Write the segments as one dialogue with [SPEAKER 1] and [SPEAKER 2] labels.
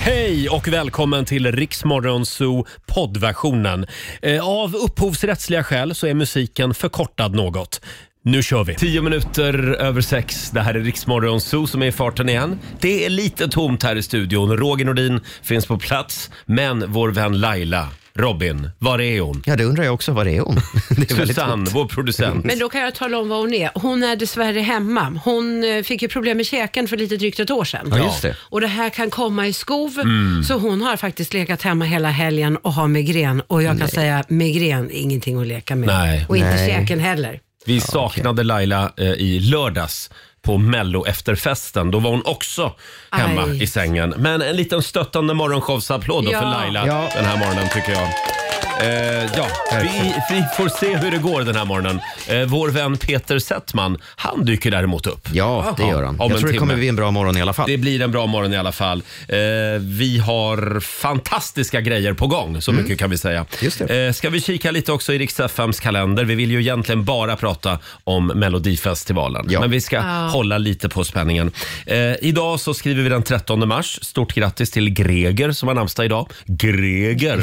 [SPEAKER 1] Hej och välkommen till Riksmorgonzoo poddversionen. Eh, Av upphovsrättsliga skäl så är musiken förkortad något. Nu kör vi! Tio minuter över sex. Det här är Riksmorgonzoo som är i farten igen. Det är lite tomt här i studion. Roger Nordin finns på plats, men vår vän Laila, Robin, var är hon?
[SPEAKER 2] Ja, det undrar jag också. Vad det är hon? Det är väldigt
[SPEAKER 1] Susanne,
[SPEAKER 2] ont.
[SPEAKER 1] vår producent.
[SPEAKER 3] Men då kan jag tala om vad hon är. Hon är dessvärre hemma. Hon eh, fick ju problem med käken för lite drygt ett år sedan.
[SPEAKER 2] Ja, just det.
[SPEAKER 3] Och det här kan komma i skov.
[SPEAKER 1] Mm.
[SPEAKER 3] Så hon har faktiskt legat hemma hela helgen och har migrän. Och jag kan säga migrän, ingenting att leka med.
[SPEAKER 1] Nej.
[SPEAKER 3] Och inte
[SPEAKER 2] Nej.
[SPEAKER 3] käken heller.
[SPEAKER 2] Ah,
[SPEAKER 1] Vi saknade Laila eh, i lördags på mello efterfesten. Då var hon också hemma
[SPEAKER 3] Aj.
[SPEAKER 1] i sängen. Men en liten stöttande morgonshowsapplåd då
[SPEAKER 3] Ja.
[SPEAKER 1] för Laila
[SPEAKER 2] Ja.
[SPEAKER 1] den här morgonen tycker jag. Eh, ja, vi, vi får se hur det går den här morgonen. Eh, vår vän Peter Settman, han dyker däremot upp.
[SPEAKER 2] Ja, det gör han.
[SPEAKER 1] Om en
[SPEAKER 2] Jag tror det
[SPEAKER 1] timme.
[SPEAKER 2] kommer bli en bra morgon i alla fall.
[SPEAKER 1] Det blir en bra morgon i alla fall. Eh, vi har fantastiska grejer på gång, så mycket kan vi säga.
[SPEAKER 2] Mm. Just det.
[SPEAKER 1] Eh, ska vi kika lite också i riks FMs kalender? Vi vill ju egentligen bara prata om Melodifestivalen,
[SPEAKER 2] Ja.
[SPEAKER 1] men vi ska hålla lite på spänningen. Eh, idag så skriver vi den 13 mars. Stort grattis till Greger som har namnsdag idag. Greger!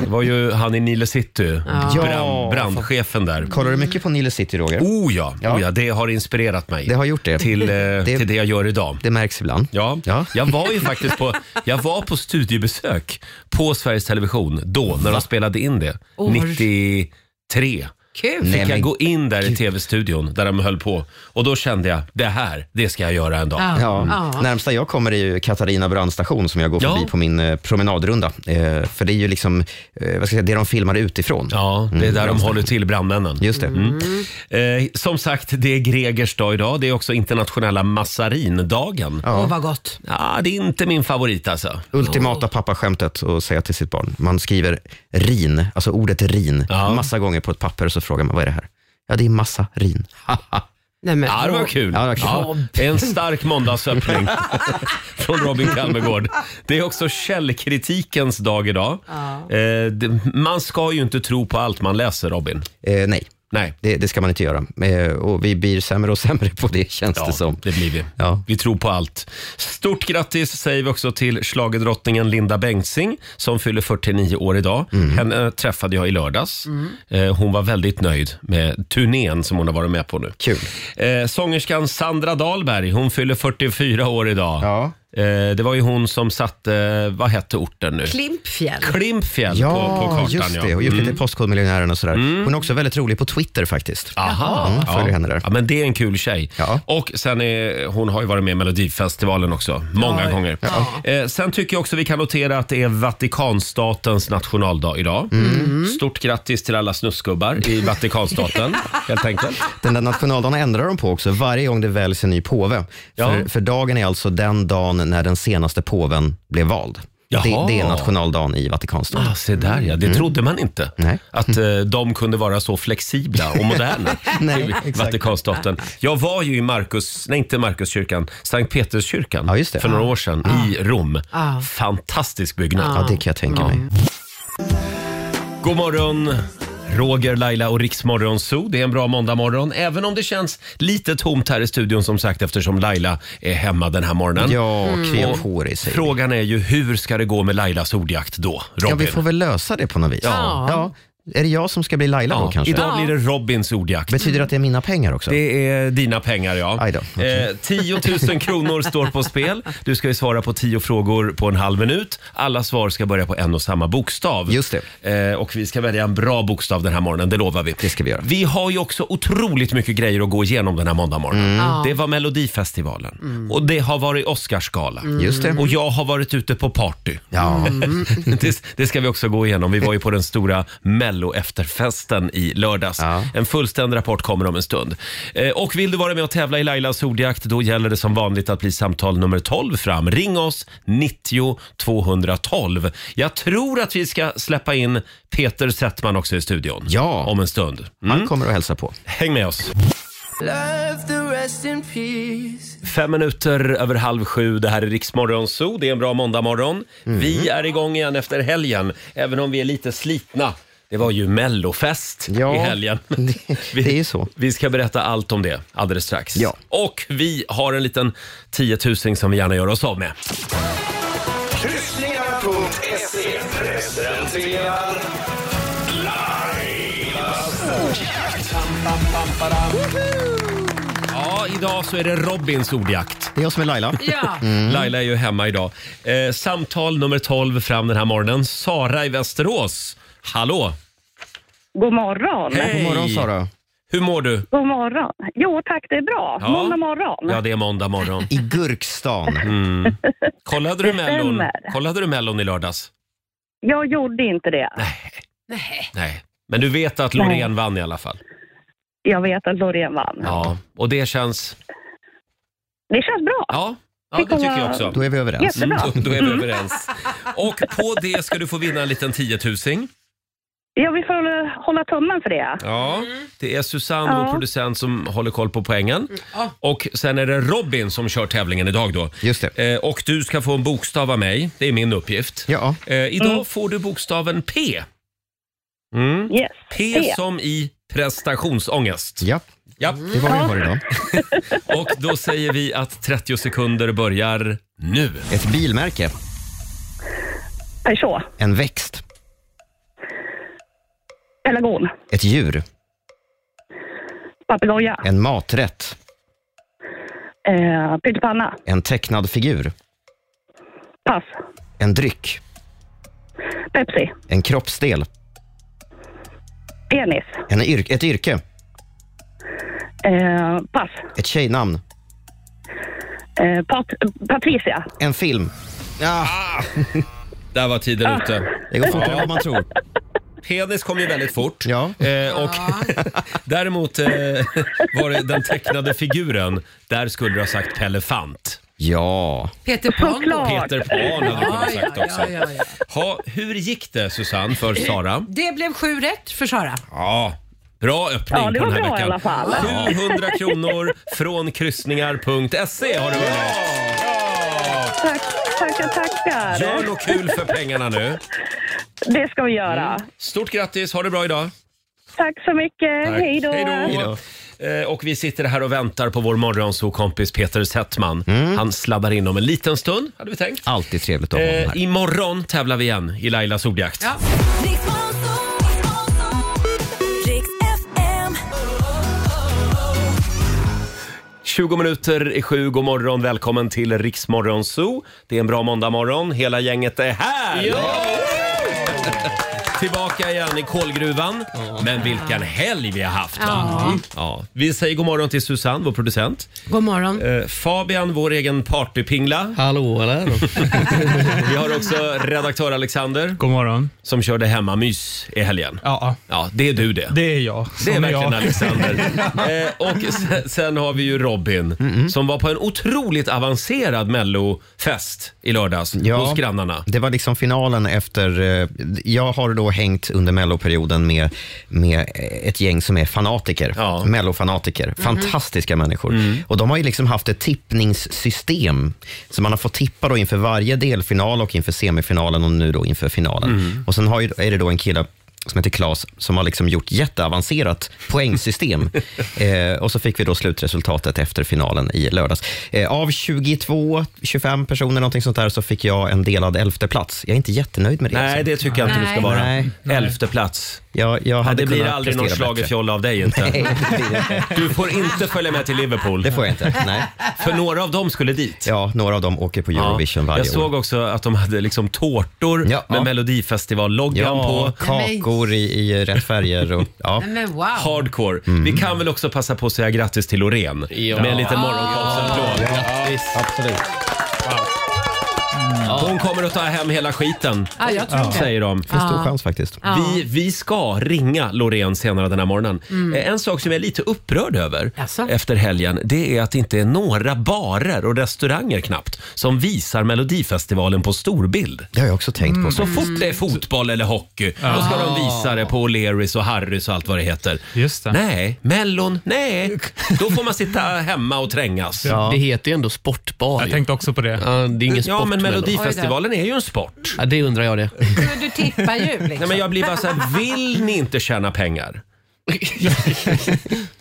[SPEAKER 1] Det var ju han i Nile City, brand,
[SPEAKER 2] Ja.
[SPEAKER 1] brandchefen där.
[SPEAKER 2] Kollar du mycket på Nile City, Roger?
[SPEAKER 1] Oh ja,
[SPEAKER 2] Ja.
[SPEAKER 1] oh ja, det har inspirerat mig
[SPEAKER 2] Det har gjort det.
[SPEAKER 1] Till, eh, till det jag gör idag.
[SPEAKER 2] Det märks ibland.
[SPEAKER 1] Ja,
[SPEAKER 2] Ja.
[SPEAKER 1] jag var ju faktiskt på, jag var på studiebesök på Sveriges Television då när de spelade in det.
[SPEAKER 3] Åh, vad-
[SPEAKER 1] 93
[SPEAKER 3] Kul!
[SPEAKER 2] Nej,
[SPEAKER 1] fick jag
[SPEAKER 2] men
[SPEAKER 1] gå in där i tv-studion där de höll på och då kände jag det här, det ska jag göra en dag.
[SPEAKER 3] Ja.
[SPEAKER 2] Ja,
[SPEAKER 3] Ja.
[SPEAKER 2] Närmsta jag kommer är ju Katarina brandstation som jag går
[SPEAKER 1] Mm. Ja.
[SPEAKER 2] förbi på min eh, promenadrunda. Eh, för det är ju liksom eh, vad ska jag säga, det de filmar utifrån.
[SPEAKER 1] Ja, Mm. det är där de håller till, brandmännen.
[SPEAKER 2] Just det.
[SPEAKER 1] Eh, som sagt, det är Gregers dag idag. Det är också internationella massarindagen. Ja.
[SPEAKER 3] Åh, vad gott.
[SPEAKER 1] det är inte min favorit alltså.
[SPEAKER 2] Ultimata pappaskämtet att säga till sitt barn. Man skriver rin, alltså ordet rin,
[SPEAKER 1] Ja.
[SPEAKER 2] massa gånger på ett papper och så frågar man vad är det här? Ja, det är massa rin.
[SPEAKER 3] Nej, men,
[SPEAKER 1] Ja, det var kul.
[SPEAKER 2] Ja, det var kul.
[SPEAKER 1] en stark måndagsöppning från Robin Kalmegård. Det är också källkritikens dag idag. Eh, det- man ska ju inte tro på allt man läser, Robin.
[SPEAKER 2] Eh, nej,
[SPEAKER 1] Nej.
[SPEAKER 2] det, det ska man inte göra. Eh, och vi blir sämre och sämre på det känns det
[SPEAKER 1] Ja,
[SPEAKER 2] som.
[SPEAKER 1] det blir vi.
[SPEAKER 2] Ja.
[SPEAKER 1] Vi tror på allt. Stort grattis säger vi också till schlagerdrottningen Linda Bengtzing som fyller 49 år idag.
[SPEAKER 2] Mm.
[SPEAKER 1] Henne träffade jag i lördags. Eh, Hon var väldigt nöjd med turnén som hon har varit med på nu.
[SPEAKER 2] Kul.
[SPEAKER 1] Eh, sångerskan Sandra Dahlberg, hon fyller 44 år idag.
[SPEAKER 2] Ja.
[SPEAKER 1] Eh, det var ju hon som satte, vad hette orten nu?
[SPEAKER 3] Klimpfjäll.
[SPEAKER 1] Klimpfjäll på, på kartan. Mm.
[SPEAKER 2] just det. Och gjort lite Postkodmiljonären och sådär. Hon är också väldigt rolig på Twitter faktiskt.
[SPEAKER 1] Aha,
[SPEAKER 2] Mm, följer
[SPEAKER 1] Ah, ja.
[SPEAKER 2] henne där.
[SPEAKER 1] Ja, men det är en kul tjej.
[SPEAKER 2] Ja.
[SPEAKER 1] Och sen är, hon har ju varit med i Melodifestivalen också, många
[SPEAKER 3] Ja.
[SPEAKER 1] gånger. Eh, sen tycker jag också vi kan notera att det är Vatikanstatens nationaldag idag.
[SPEAKER 2] Mm.
[SPEAKER 3] Mm.
[SPEAKER 1] Stort grattis till alla snusgubbar i Vatikanstaten, helt enkelt.
[SPEAKER 2] Den där nationaldagen ändrar de på också varje gång det väljs en ny påve.
[SPEAKER 1] Ja.
[SPEAKER 2] För, för dagen är alltså den dagen när den senaste påven blev vald. Det,
[SPEAKER 1] Jaha.
[SPEAKER 2] det är nationaldagen i Vatikanstaten.
[SPEAKER 1] Ah, se där ja, det trodde man inte.
[SPEAKER 2] Mm. Nej.
[SPEAKER 1] Att eh, de kunde vara så flexibla och moderna
[SPEAKER 2] Nej,
[SPEAKER 1] i
[SPEAKER 2] exakt.
[SPEAKER 1] Vatikanstaten. Jag var ju i Markus, nej inte Markuskyrkan, Sankt Peterskyrkan
[SPEAKER 2] Ja, just det.
[SPEAKER 1] för några år sedan i Rom.
[SPEAKER 3] Ah.
[SPEAKER 1] Fantastisk byggnad.
[SPEAKER 2] Ja, det kan jag tänka mig.
[SPEAKER 1] God morgon, Roger, Laila och Riksmorgon Zoo. Det är en bra måndagmorgon, även om det känns lite tomt här i studion som sagt eftersom Laila är hemma den här morgonen.
[SPEAKER 2] Ja,
[SPEAKER 1] Mm.
[SPEAKER 2] kreoforis. säger vi.
[SPEAKER 1] Frågan är ju hur ska det gå med Lailas ordjakt då, Robin?
[SPEAKER 2] Ja, vi får väl lösa det på något vis.
[SPEAKER 3] Ja.
[SPEAKER 2] Är det jag som ska bli Laila då
[SPEAKER 1] Ja,
[SPEAKER 2] kanske?
[SPEAKER 1] Idag blir det Robins ordjakt.
[SPEAKER 2] Betyder det att det är mina pengar också?
[SPEAKER 1] Det är dina pengar ja.
[SPEAKER 2] Aj då, okej.
[SPEAKER 1] eh, 10 000 kronor står på spel. Du ska ju svara på 10 frågor på en halv minut. Alla svar ska börja på en och samma bokstav.
[SPEAKER 2] Just
[SPEAKER 1] det. Eh, och vi ska välja en bra bokstav den här morgonen, det lovar vi.
[SPEAKER 2] Det ska vi göra.
[SPEAKER 1] Vi har ju också otroligt mycket grejer att gå igenom den här måndagmorgonen. Det var Melodifestivalen och det har varit Oscarsgala.
[SPEAKER 2] Mm. Just det.
[SPEAKER 1] Och jag har varit ute på party.
[SPEAKER 2] Ja.
[SPEAKER 1] Mm. det, det ska vi också gå igenom. Vi var ju på den stora Mello-efterfesten i lördags.
[SPEAKER 2] Ja.
[SPEAKER 1] En fullständig rapport kommer om en stund. Eh, och vill du vara med och tävla i Lailas ordjakt, då gäller det som vanligt att bli samtal nummer 12 fram. Ring oss, 90 212. Jag tror att vi ska släppa in Peter Settman också i studion.
[SPEAKER 2] Ja.
[SPEAKER 1] Om en stund.
[SPEAKER 2] Han kommer och hälsa på.
[SPEAKER 1] Häng med oss.
[SPEAKER 4] Love the rest in peace.
[SPEAKER 1] Fem minuter över halv sju. Det här är Riksmorgon Zoo. Det är en bra måndagmorgon.
[SPEAKER 2] Mhm.
[SPEAKER 1] Vi är igång igen efter helgen, även om vi är lite slitna. Det var ju mellofest
[SPEAKER 2] Ja,
[SPEAKER 1] i helgen.
[SPEAKER 2] det- det är ju så.
[SPEAKER 1] Vi ska berätta allt om det alldeles strax.
[SPEAKER 2] Ja.
[SPEAKER 1] Och vi har en liten tiotusing som vi gärna gör oss av med.
[SPEAKER 5] Kryssningar.se presenterar
[SPEAKER 1] Ja, idag så är det Robins ordjakt.
[SPEAKER 2] Det är jag som är Laila.
[SPEAKER 3] Ja,
[SPEAKER 1] Laila är ju hemma idag. Eh, samtal nummer 12 fram den här morgonen. Sara i Västerås. Hallå!
[SPEAKER 6] God morgon.
[SPEAKER 2] God morgon Sara.
[SPEAKER 1] Hur mår du?
[SPEAKER 6] God morgon. Jo tack, det är bra.
[SPEAKER 1] Ja.
[SPEAKER 6] Måndag morgon.
[SPEAKER 1] Ja, det är måndag morgon. Mm.
[SPEAKER 2] I Gurkstan.
[SPEAKER 1] Kollade du,
[SPEAKER 6] Det
[SPEAKER 1] mellon,
[SPEAKER 6] stämmer.
[SPEAKER 1] kollade du Mellon i lördags?
[SPEAKER 6] Jag gjorde inte det.
[SPEAKER 1] Nej. Men du vet att Loreen vann i alla fall?
[SPEAKER 6] Jag vet att Loreen vann.
[SPEAKER 1] Ja. Och det känns...
[SPEAKER 6] Det känns bra.
[SPEAKER 1] Ja, ja det
[SPEAKER 6] Fick hon
[SPEAKER 1] tycker jag
[SPEAKER 6] vara-
[SPEAKER 1] också. Mm.
[SPEAKER 2] Då är vi överens.
[SPEAKER 6] Jättebra.
[SPEAKER 1] Då, då är vi överens. Och på det ska du få vinna en liten tiotusing.
[SPEAKER 6] Ja, vi får hålla- hålla tummen för det.
[SPEAKER 1] Ja, det är Susanne, vår
[SPEAKER 6] Ja.
[SPEAKER 1] producent, som håller koll på poängen. Och sen är det Robin som kör tävlingen idag då.
[SPEAKER 2] Just det.
[SPEAKER 1] Eh, och du ska få en bokstav av mig. Det är min uppgift.
[SPEAKER 2] Ja.
[SPEAKER 1] Eh, idag får du bokstaven P. Mm.
[SPEAKER 6] Yes.
[SPEAKER 1] P, som i prestationsångest.
[SPEAKER 2] Ja,
[SPEAKER 1] Ja.
[SPEAKER 2] det var det vi har idag.
[SPEAKER 1] Och då säger vi att 30 sekunder börjar nu.
[SPEAKER 2] Ett bilmärke.
[SPEAKER 6] Peugeot.
[SPEAKER 2] En växt.
[SPEAKER 6] Pelargon.
[SPEAKER 2] Ett djur.
[SPEAKER 6] Papegoja.
[SPEAKER 2] En maträtt.
[SPEAKER 6] Eh, Pyttipanna.
[SPEAKER 2] En tecknad figur.
[SPEAKER 6] Pass.
[SPEAKER 2] En dryck.
[SPEAKER 6] Pepsi.
[SPEAKER 2] En kroppsdel.
[SPEAKER 6] Penis.
[SPEAKER 2] En yr- ett yrke.
[SPEAKER 6] Eh, pass.
[SPEAKER 2] Ett tjejnamn.
[SPEAKER 6] Eh, Pat Patricia.
[SPEAKER 2] En film. Ah,
[SPEAKER 1] Där var tiden ute.
[SPEAKER 2] det går fortare än vad man tror.
[SPEAKER 1] Penis kom ju väldigt fort.
[SPEAKER 2] Ja.
[SPEAKER 1] Eh, och däremot eh, var det den tecknade figuren. Där skulle du ha sagt Pellefant.
[SPEAKER 2] Ja.
[SPEAKER 3] Peter Pan.
[SPEAKER 6] Såklart.
[SPEAKER 1] Peter Pan hade du
[SPEAKER 3] Ja,
[SPEAKER 1] kunnat
[SPEAKER 3] ja,
[SPEAKER 1] sagt också.
[SPEAKER 3] ja, ja, ja.
[SPEAKER 1] Ha, hur gick det Susanne för Sara?
[SPEAKER 3] Det blev sju rätt för Sara.
[SPEAKER 1] Ja, bra öppning
[SPEAKER 6] Ja, det
[SPEAKER 1] på
[SPEAKER 6] var
[SPEAKER 1] den här
[SPEAKER 6] bra i
[SPEAKER 1] veckan.
[SPEAKER 6] alla fall.
[SPEAKER 1] 700 kronor från kryssningar.se har du vunnit.
[SPEAKER 6] Tack, tackar, tackar.
[SPEAKER 1] Gör något kul för pengarna nu.
[SPEAKER 6] Det ska vi göra.
[SPEAKER 1] Stort grattis, ha det bra idag.
[SPEAKER 6] Tack så mycket.
[SPEAKER 1] Tack.
[SPEAKER 6] Hej då.
[SPEAKER 1] Hej då. Eh, Och vi sitter här och väntar på vår morgonsokompis Peter Settman. Han sladdar in om en liten stund, hade vi tänkt.
[SPEAKER 2] Alltid trevligt att ha honom
[SPEAKER 1] Eh,
[SPEAKER 2] här.
[SPEAKER 1] imorgon tävlar vi igen i Lailas ordjakt.
[SPEAKER 3] Ja.
[SPEAKER 7] Mix Monsoon, Mix Monsoon, Rix FM.
[SPEAKER 1] 20 minuter i sju, god morgon, välkommen till Riksmorgon Zoo. Det är en bra måndagmorgon, hela gänget är här! Tillbaka igen i kolgruvan. Men vilken helg vi har haft! Va? Ja. Vi säger god morgon till Susanne, vår producent.
[SPEAKER 3] God morgon.
[SPEAKER 1] Eh, Fabian, vår egen partypingla.
[SPEAKER 8] Hallå eller?
[SPEAKER 1] Vi har också redaktör Alexander
[SPEAKER 8] God morgon.
[SPEAKER 1] som körde hemmamys i helgen.
[SPEAKER 8] Ja, ja,
[SPEAKER 1] Ja, det är du det.
[SPEAKER 8] det är jag.
[SPEAKER 1] Det är
[SPEAKER 8] Som
[SPEAKER 1] verkligen
[SPEAKER 8] jag.
[SPEAKER 1] Alexander. eh, och sen, sen har vi ju Robin som var på en otroligt avancerad mellofest i lördags
[SPEAKER 2] Ja.
[SPEAKER 1] hos grannarna.
[SPEAKER 2] Det var liksom finalen efter... eh, Jag har då hängt under melloperioden med, med ett gäng som är fanatiker.
[SPEAKER 1] Ja.
[SPEAKER 2] Mellofanatiker.
[SPEAKER 1] Mhm.
[SPEAKER 2] Fantastiska människor.
[SPEAKER 1] Mm.
[SPEAKER 2] Och de har ju liksom haft ett tippningssystem. Så man har fått tippa då inför varje delfinal och inför semifinalen och nu då inför finalen.
[SPEAKER 1] Mm.
[SPEAKER 2] Och sen har ju, är det då en kille som heter Claes, som har liksom gjort jätteavancerat poängsystem. eh, och så fick vi då slutresultatet efter finalen i lördags. Eh, av 22-25 personer någonting sånt där, så fick jag en delad elfte plats. Jag är inte jättenöjd med det.
[SPEAKER 1] Nej,
[SPEAKER 2] alltså.
[SPEAKER 1] det tycker jag inte du ska
[SPEAKER 3] Nej.
[SPEAKER 1] vara.
[SPEAKER 2] Nej.
[SPEAKER 1] Elfte plats.
[SPEAKER 2] jag, jag
[SPEAKER 1] Ja,
[SPEAKER 2] hade
[SPEAKER 1] det blir
[SPEAKER 2] kunnat
[SPEAKER 1] aldrig någon
[SPEAKER 2] prestera bättre.
[SPEAKER 1] schlagerfjolla av dig inte.
[SPEAKER 2] Nej, det blir det inte.
[SPEAKER 1] Du får inte följa med till Liverpool.
[SPEAKER 2] Det får jag inte. Nej.
[SPEAKER 1] För några av dem skulle dit.
[SPEAKER 2] Ja, några av dem åker på Eurovision varje
[SPEAKER 1] Jag såg
[SPEAKER 2] år.
[SPEAKER 1] också att de hade liksom tårtor
[SPEAKER 2] Ja.
[SPEAKER 1] med Melodifestivalloggan
[SPEAKER 2] Ja,
[SPEAKER 1] på.
[SPEAKER 2] kakor i, i rätt färger. Och, ja.
[SPEAKER 3] Nej, Men wow.
[SPEAKER 1] Hardcore. Vi
[SPEAKER 2] Mm.
[SPEAKER 1] kan väl också passa på att säga grattis till Loreen med en liten morgonkaosapplåd.
[SPEAKER 2] Absolut.
[SPEAKER 1] Hon kommer att ta hem hela skiten,
[SPEAKER 3] Ja, jag tror det.
[SPEAKER 1] säger de.
[SPEAKER 2] Det är stor chans faktiskt.
[SPEAKER 1] Vi, vi ska ringa Loreen senare den här morgonen. Eh, En sak som jag är lite upprörd över
[SPEAKER 3] Mm. Jaså?
[SPEAKER 1] efter helgen, det är att det inte är några barer och restauranger knappt som visar Melodifestivalen på storbild.
[SPEAKER 2] Det har jag också tänkt på.
[SPEAKER 1] Så fort det är fotboll eller hockey, då ska de visa det på O'Learys och Harrys och allt vad det heter.
[SPEAKER 8] Just det.
[SPEAKER 1] Nej, Mellon, nej. Då får man sitta hemma och trängas.
[SPEAKER 2] Ja.
[SPEAKER 9] Det heter ju ändå sportbar.
[SPEAKER 8] Jag
[SPEAKER 9] ju.
[SPEAKER 8] tänkte också på det.
[SPEAKER 9] Ja, det är ingen
[SPEAKER 1] Ja,
[SPEAKER 9] sport.
[SPEAKER 1] men
[SPEAKER 9] men-
[SPEAKER 1] Melodifestivalen är ju en sport.
[SPEAKER 9] Ja, det undrar jag det.
[SPEAKER 3] Du, du tippar ju liksom.
[SPEAKER 1] Nej, men jag blir bara så här, vill ni inte tjäna pengar?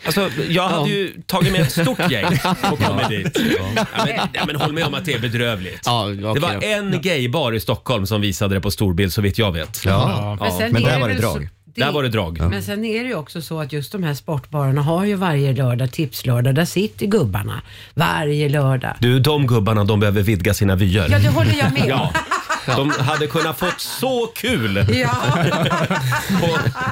[SPEAKER 1] Alltså, jag hade ju tagit med ett stort gäng och kommit dit. Ja, men, nej, men håll med om att det är bedrövligt.
[SPEAKER 8] Ja, okej
[SPEAKER 1] det var
[SPEAKER 8] då.
[SPEAKER 1] en gaybar i Stockholm som visade det på storbild så vitt jag vet.
[SPEAKER 2] Ja.
[SPEAKER 1] Ja.
[SPEAKER 3] sen
[SPEAKER 2] men
[SPEAKER 3] är
[SPEAKER 2] där var det
[SPEAKER 3] väl så-
[SPEAKER 2] drag.
[SPEAKER 1] Där var det drag.
[SPEAKER 3] Men sen är det ju också så att just de här sportbarerna har ju varje lördag tipslördag. Där sitter gubbarna varje lördag.
[SPEAKER 1] Du, de gubbarna de behöver vidga sina vyer.
[SPEAKER 3] Ja, det håller jag med om.
[SPEAKER 1] Ja. De hade kunnat fått så kul
[SPEAKER 3] Ja.
[SPEAKER 1] på,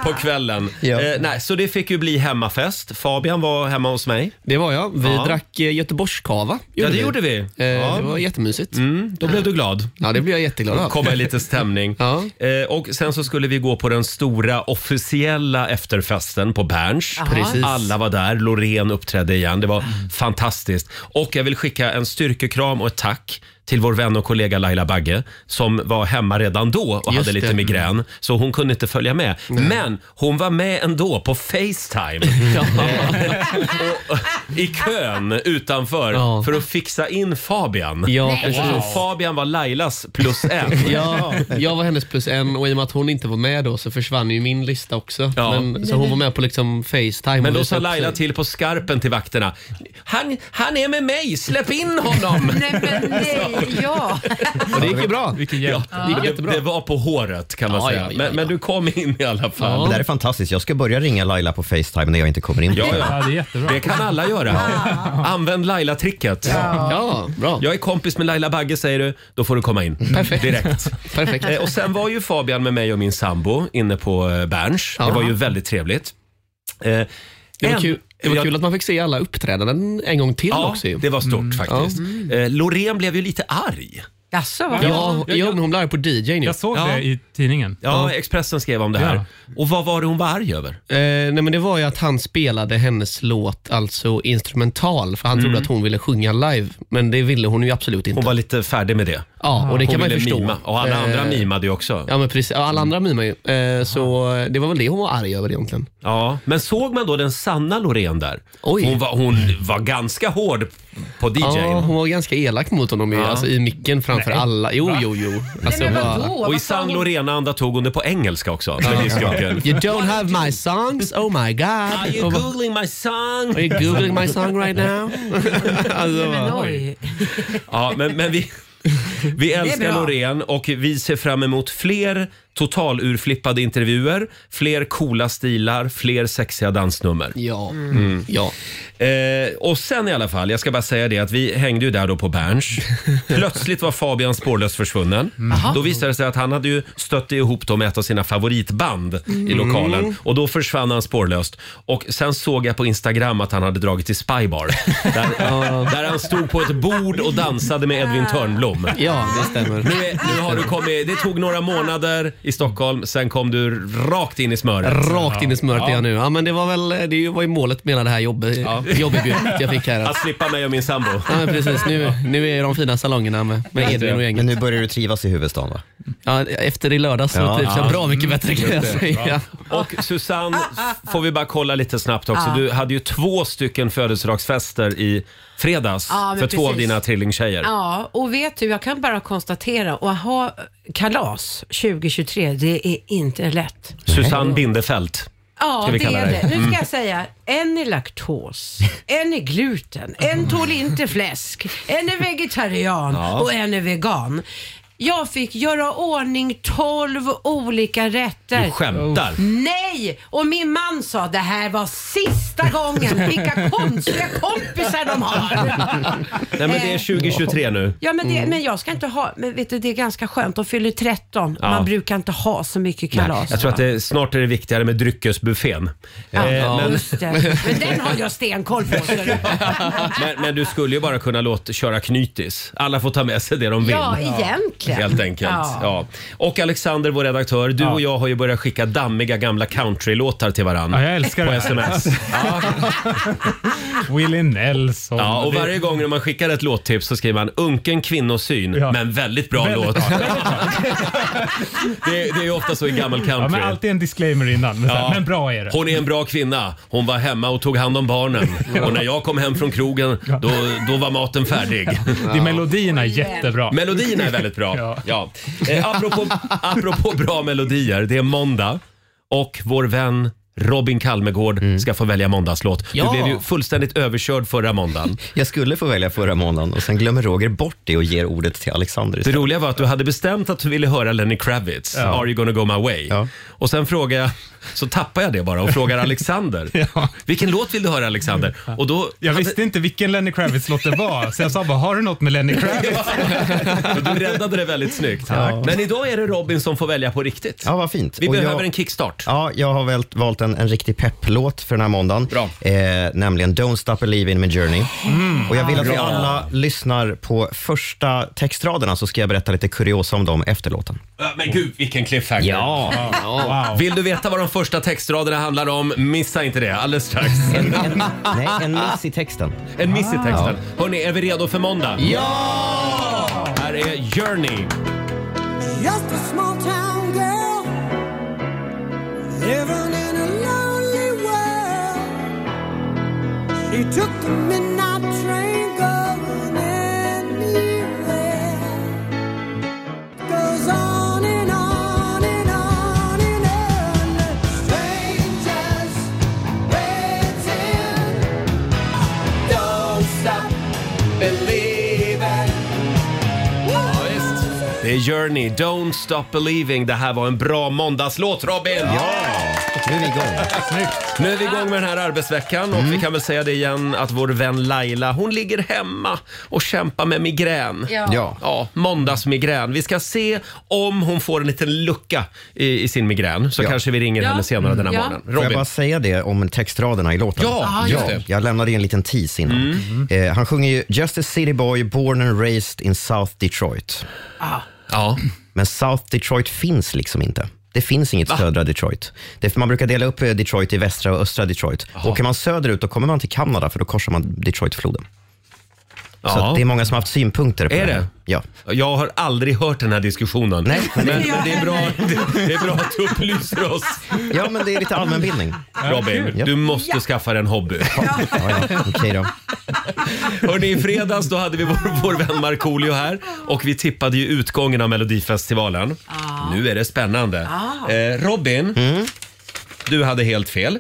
[SPEAKER 1] på kvällen.
[SPEAKER 2] Ja.
[SPEAKER 1] Eh, nej, så det fick ju bli hemmafest. Fabian var hemma hos mig.
[SPEAKER 8] Det var jag. Vi
[SPEAKER 1] Ja.
[SPEAKER 8] drack eh, göteborgskava.
[SPEAKER 1] Ja, det gjorde vi.
[SPEAKER 8] Eh, Det var jättemysigt.
[SPEAKER 1] Mm, då blev du glad.
[SPEAKER 8] Ja, det blev jag jätteglad av.
[SPEAKER 1] komma i lite stämning.
[SPEAKER 8] Ja.
[SPEAKER 1] Eh, och sen så skulle vi gå på den stora officiella efterfesten på Berns.
[SPEAKER 8] Precis. Mm.
[SPEAKER 1] Alla var där, Loreen uppträdde igen. Det var fantastiskt. Och jag vill skicka en styrkekram och ett tack till vår vän och kollega Laila Bagge som var hemma redan då och
[SPEAKER 8] Just
[SPEAKER 1] hade lite
[SPEAKER 8] det.
[SPEAKER 1] migrän så hon kunde inte följa med. Men hon var med ändå på Facetime
[SPEAKER 8] Eh,
[SPEAKER 1] och, i kön utanför
[SPEAKER 8] Ja.
[SPEAKER 1] för att fixa in Fabian.
[SPEAKER 8] Ja,
[SPEAKER 1] Eftersom
[SPEAKER 8] precis.
[SPEAKER 1] Fabian var Lailas plus en.
[SPEAKER 8] Ja, jag var hennes plus en och i och med att hon inte var med då så försvann ju min lista också.
[SPEAKER 1] Ja.
[SPEAKER 8] Men, så hon var med på liksom Facetime.
[SPEAKER 1] Men
[SPEAKER 8] och
[SPEAKER 1] då
[SPEAKER 8] visade
[SPEAKER 1] sa
[SPEAKER 8] upp
[SPEAKER 1] Laila
[SPEAKER 8] sig.
[SPEAKER 1] till på skarpen till vakterna. Han, han är med mig, släpp in honom!
[SPEAKER 3] Nej, men nej, ja.
[SPEAKER 8] Och det gick ju bra.
[SPEAKER 9] Vilken hjälp.
[SPEAKER 1] Ja, det,
[SPEAKER 8] jättebra.
[SPEAKER 1] det var på håret kan man
[SPEAKER 8] Ja,
[SPEAKER 1] säga.
[SPEAKER 8] ja, ja,
[SPEAKER 1] men,
[SPEAKER 8] ja.
[SPEAKER 1] men du kom in i alla fall.
[SPEAKER 2] Det där är fantastiskt. Jag ska börja ringa Laila på Facetime när jag inte kommer in på
[SPEAKER 1] Ja,
[SPEAKER 2] kvällen.
[SPEAKER 9] Ja,
[SPEAKER 1] ja.
[SPEAKER 9] det är jättebra.
[SPEAKER 1] Det kan alla göra. Använd Laila-tricket.
[SPEAKER 8] Ja, bra.
[SPEAKER 1] Jag är kompis med Laila Bagge säger du, då får du komma in.
[SPEAKER 8] Mm. Perfekt.
[SPEAKER 1] Direkt.
[SPEAKER 8] Perfekt.
[SPEAKER 1] Eh, Och sen var ju Fabian med mig och min sambo inne på eh, Berns. Det
[SPEAKER 8] Ja.
[SPEAKER 1] var ju väldigt trevligt. Eh,
[SPEAKER 8] Det var,
[SPEAKER 1] en-
[SPEAKER 8] kul, det var
[SPEAKER 1] jag-
[SPEAKER 8] kul att man fick se alla uppträdanden en gång till
[SPEAKER 1] Ja,
[SPEAKER 8] också. ju. Mm.
[SPEAKER 1] det var stort faktiskt. Eh, Loreen blev ju lite arg.
[SPEAKER 3] Jaså, vad
[SPEAKER 8] Ja, ja, men hon blev arg på DJ nu.
[SPEAKER 9] Jag såg
[SPEAKER 1] Ja.
[SPEAKER 9] det i tidningen.
[SPEAKER 1] Ja, Expressen skrev om det här. Och vad var det hon var arg över?
[SPEAKER 8] Eh, nej, men det var ju att han spelade hennes låt, alltså instrumental, för han trodde att hon ville sjunga live. Men det ville hon ju absolut inte.
[SPEAKER 1] Mm. Hon var lite färdig med det.
[SPEAKER 8] ja, och det
[SPEAKER 1] Hon
[SPEAKER 8] kan man ju
[SPEAKER 1] ville
[SPEAKER 8] förstå.
[SPEAKER 1] mima. Mm. Och alla andra
[SPEAKER 8] Eh,
[SPEAKER 1] mimade ju också. Ja.
[SPEAKER 8] Ja, men precis. Ja, Alla andra mimar ju. Eh, så eh, det var väl det hon var arg över egentligen.
[SPEAKER 1] Men såg man då den sanna Loreen där?
[SPEAKER 8] Oj.
[SPEAKER 1] Hon var, hon var ganska hård på DJn.
[SPEAKER 8] Ja, hon var ganska elak mot honom ju,
[SPEAKER 1] Ja.
[SPEAKER 8] alltså, i micken framför alla. Jo, jo, jo. Alltså,
[SPEAKER 3] men
[SPEAKER 8] bara,
[SPEAKER 3] vadå?
[SPEAKER 1] Och i
[SPEAKER 3] Vad
[SPEAKER 1] sann
[SPEAKER 3] fan hon-
[SPEAKER 1] Loreen-anda tog hon det på engelska också. Med discjockeyn.
[SPEAKER 8] You don't have my songs, oh my god.
[SPEAKER 1] Are you
[SPEAKER 8] Och bara,
[SPEAKER 1] googling my song?
[SPEAKER 8] Are you googling my song right now? alltså,
[SPEAKER 3] Men
[SPEAKER 8] bara,
[SPEAKER 3] oj.
[SPEAKER 1] Ja, men, men vi, vi älskar
[SPEAKER 3] bra.
[SPEAKER 1] Loreen och vi ser fram emot fler totalurflippade intervjuer, fler coola stilar, fler sexiga dansnummer.
[SPEAKER 8] ja.
[SPEAKER 1] Mm.
[SPEAKER 8] ja.
[SPEAKER 1] Eh, och sen i alla fall, jag ska bara säga det att vi hängde ju där då på Berns. Plötsligt var Fabian spårlöst försvunnen.
[SPEAKER 8] Mm.
[SPEAKER 1] Då visade det sig att han hade ju stött ihop då med ett av sina favoritband
[SPEAKER 8] Mm.
[SPEAKER 1] i lokalen och då försvann han spårlöst. Och sen såg jag på Instagram att han hade dragit till Spybar. Där, där han stod på ett bord och dansade med Edvin Törnblom.
[SPEAKER 8] Ja, det stämmer.
[SPEAKER 1] Nu, är, nu har du kommit, det tog några månader i Stockholm, sen kom du rakt in i smöret.
[SPEAKER 8] Rakt in i smöret är jag nu. Ja, men det var väl det var ju målet med hela det här jobbet, jobberbjudet jag fick här.
[SPEAKER 1] Att slippa mig och min sambo.
[SPEAKER 8] Ja, men precis. Nu, nu är de fina salongerna med, med Edvin och
[SPEAKER 2] Men
[SPEAKER 8] gänget.
[SPEAKER 2] nu börjar du trivas i huvudstaden va?
[SPEAKER 8] Ja, efter i lördags så
[SPEAKER 2] Ja.
[SPEAKER 8] trivs jag bra
[SPEAKER 1] Mm.
[SPEAKER 8] mycket bättre kan jag säga.
[SPEAKER 1] Och Susanne, får vi bara kolla lite snabbt också. Du hade ju två stycken födelsedagsfester i fredags
[SPEAKER 3] Ja,
[SPEAKER 1] för
[SPEAKER 3] men
[SPEAKER 1] två av
[SPEAKER 3] precis.
[SPEAKER 1] dina trillingtjejer.
[SPEAKER 3] Ja, och vet du, jag kan bara konstatera att ha kalas 2023, det är inte lätt.
[SPEAKER 1] Susanne Bindefält.
[SPEAKER 3] Ja,
[SPEAKER 1] Ska vi
[SPEAKER 3] det
[SPEAKER 1] kalla
[SPEAKER 3] är
[SPEAKER 1] dig? Mm.
[SPEAKER 3] det. Nu ska jag säga, en är laktos, en är gluten, en tål inte fläsk, en är vegetarian och en är vegan. Jag fick göra ordning 12 olika rätter.
[SPEAKER 1] Du skämtar.
[SPEAKER 3] Mm. Nej! Och min man sa det här var sista gången. Vilka konstiga kompisar de har.
[SPEAKER 1] Nej, men det är 2023 nu.
[SPEAKER 3] Mm. Ja, men, det, men jag ska inte ha, men vet du, det är ganska skönt. De fyller 13.
[SPEAKER 1] Ja.
[SPEAKER 3] Man brukar inte ha så mycket kalas.
[SPEAKER 1] Jag tror
[SPEAKER 3] va?
[SPEAKER 1] att det, snart är det viktigare med dryckesbuffén.
[SPEAKER 3] Ja,
[SPEAKER 1] Eh, men,
[SPEAKER 3] just det. Men den har jag stenkoll på. ser du.
[SPEAKER 1] men, men du skulle ju bara kunna låta köra knytis. Alla får ta med sig det de vill.
[SPEAKER 3] Ja, egentligen.
[SPEAKER 1] Helt enkelt. Ja.
[SPEAKER 3] Ja.
[SPEAKER 1] Och Alexander, vår redaktör, du och jag har ju börjat skicka dammiga gamla countrylåtar till varandra.
[SPEAKER 9] Ja, jag älskar
[SPEAKER 1] på
[SPEAKER 9] det.
[SPEAKER 1] sms. Ja.
[SPEAKER 9] Willie Nelson.
[SPEAKER 1] Ja, och
[SPEAKER 9] Det-
[SPEAKER 1] varje gång när man skickar ett låttips så skriver man unken kvinnosyn,
[SPEAKER 9] Ja.
[SPEAKER 1] men väldigt bra
[SPEAKER 9] Väldigt
[SPEAKER 1] låt.
[SPEAKER 9] bra.
[SPEAKER 1] det, det är ju ofta så i gammal
[SPEAKER 9] Ja,
[SPEAKER 1] country.
[SPEAKER 9] men alltid en disclaimer innan. Men, så här,
[SPEAKER 1] Ja.
[SPEAKER 9] men bra är det.
[SPEAKER 1] Hon är en bra kvinna. Hon var hemma och tog hand om barnen. Och när jag kom hem från krogen, då, då var maten färdig.
[SPEAKER 9] Det är melodierna är jättebra.
[SPEAKER 1] Melodierna är väldigt bra. Ja.
[SPEAKER 9] Ja.
[SPEAKER 1] Eh, apropå, apropå bra melodier, det är måndag och vår vän Robin Kalmegård ska få välja måndagslåt.
[SPEAKER 8] Ja.
[SPEAKER 1] Du blev ju fullständigt överkörd förra måndagen.
[SPEAKER 2] Jag skulle få välja förra månaden och sen glömmer Roger bort det och ger ordet till Alexander
[SPEAKER 1] Det
[SPEAKER 2] istället.
[SPEAKER 1] roliga var att du hade bestämt att du ville höra Lenny Kravitz, Are you gonna go my way?
[SPEAKER 2] Ja.
[SPEAKER 1] Och sen frågade jag, så tappade jag det bara och frågar Alexander.
[SPEAKER 9] Ja.
[SPEAKER 1] Vilken låt vill du höra Alexander? Och då
[SPEAKER 9] Jag visste inte vilken Lenny Kravitz-låt det var, så jag sa bara, har du något med Lenny Kravitz?
[SPEAKER 1] Och du räddade det väldigt snyggt. Men idag är det Robin som får välja på riktigt.
[SPEAKER 2] Ja, vad fint.
[SPEAKER 1] Vi
[SPEAKER 2] Och
[SPEAKER 1] behöver
[SPEAKER 2] jag-
[SPEAKER 1] en kickstart.
[SPEAKER 2] Ja, jag har väl valt en, en riktig pepplåt för den här måndagen.
[SPEAKER 1] Bra. Mm.
[SPEAKER 2] Eh, nämligen Don't Stop Believin' med Journey. Och jag vill att vi alla lyssnar på första textraderna så ska jag berätta lite kuriosa om dem efter låten.
[SPEAKER 1] Men gud, vilken cliffhanger.
[SPEAKER 9] Wow.
[SPEAKER 1] Vill du veta vad de första textraderna handlar om? Missa inte det alldeles strax.
[SPEAKER 2] En, en, nej, en miss i texten.
[SPEAKER 1] En miss i texten. Hörni, är vi redo för måndag?
[SPEAKER 2] Ah. Ja!
[SPEAKER 1] Här är Journey.
[SPEAKER 7] Just a small town girl living in a lonely world. She took the midnight train going anywhere. Goes on and on and on and on. Strangers waiting. Don't stop believing.
[SPEAKER 1] Det är Journey, Don't Stop Believing. Det här var en bra måndagslåt, Robin!
[SPEAKER 2] Nu är vi igång.
[SPEAKER 1] Nu är vi igång med den här arbetsveckan och
[SPEAKER 2] Mm.
[SPEAKER 1] vi kan väl säga det igen att vår vän Laila, hon ligger hemma och kämpar med migrän.
[SPEAKER 2] Ja.
[SPEAKER 1] Ja, måndagsmigrän. Vi ska se om hon får en liten lucka i, i sin migrän. Så
[SPEAKER 2] Ja.
[SPEAKER 1] kanske vi ringer
[SPEAKER 3] Ja. Mm,
[SPEAKER 1] henne senare den här
[SPEAKER 3] Ja.
[SPEAKER 1] morgonen.
[SPEAKER 2] Får jag
[SPEAKER 1] Robin.
[SPEAKER 2] bara säga det om textraderna i låten?
[SPEAKER 1] Ja, Ah, just det. Mm.
[SPEAKER 2] Jag lämnade in en liten tease innan. Eh, han sjunger ju “Just a city boy born and raised in South Detroit”.
[SPEAKER 1] Ja.
[SPEAKER 2] Men South Detroit finns liksom inte. Det finns inget södra Detroit. Det är för man brukar dela upp eh, Detroit i västra och östra Detroit. Åker man söderut då kommer man till Kanada för då korsar man Detroitfloden. Så
[SPEAKER 1] Ja.
[SPEAKER 2] att det är många som har haft synpunkter på
[SPEAKER 1] Är
[SPEAKER 2] det. här.
[SPEAKER 1] det?
[SPEAKER 2] Ja.
[SPEAKER 1] Jag har aldrig hört den här diskussionen.
[SPEAKER 2] Nej,
[SPEAKER 1] Men,
[SPEAKER 2] men det,
[SPEAKER 1] men det, är bra, det, det är bra att du upplyser oss.
[SPEAKER 2] ja, men det är lite allmänbildning.
[SPEAKER 1] Robin,
[SPEAKER 2] Ja.
[SPEAKER 1] du måste skaffa dig en hobby.
[SPEAKER 2] Ja, ja, okej då.
[SPEAKER 1] Hörni, i fredags då hade vi vår, vår vän Markoolio här och vi tippade ju utgången av Melodifestivalen. Nu är det spännande. Eh, Robin, du hade helt fel. Eh,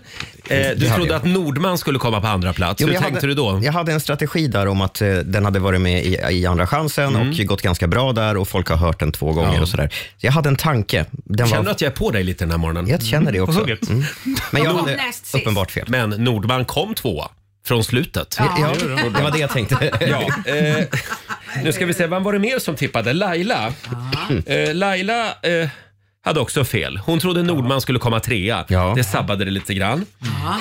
[SPEAKER 1] du
[SPEAKER 2] Mm. hade
[SPEAKER 1] trodde
[SPEAKER 2] jag.
[SPEAKER 1] att Nordman skulle komma på andra plats.
[SPEAKER 2] Jo, men
[SPEAKER 1] Hur
[SPEAKER 2] jag
[SPEAKER 1] tänkte
[SPEAKER 2] hade,
[SPEAKER 1] du då?
[SPEAKER 2] Jag hade en strategi där om att eh, den hade varit med i, i Andra chansen och
[SPEAKER 1] Mm.
[SPEAKER 2] gått ganska bra där och folk har hört den två gånger och sådär. Så jag hade en tanke. Den
[SPEAKER 1] Känner du
[SPEAKER 2] var,
[SPEAKER 1] att jag är på dig lite den här morgonen?
[SPEAKER 2] jag känner det också.
[SPEAKER 9] hugget.
[SPEAKER 2] Mm. Men jag
[SPEAKER 3] Hon
[SPEAKER 2] hade
[SPEAKER 3] näst sist.
[SPEAKER 2] uppenbart fel.
[SPEAKER 1] Men Nordman kom tvåa från slutet.
[SPEAKER 2] Ja, det var det jag tänkte.
[SPEAKER 1] Eh, nu ska vi se, vem var det mer som tippade? Laila.
[SPEAKER 2] Ah.
[SPEAKER 1] Eh, Laila eh, hade också fel. Hon trodde Nordman skulle komma trea.
[SPEAKER 2] Ja.
[SPEAKER 1] Det sabbade det lite grann.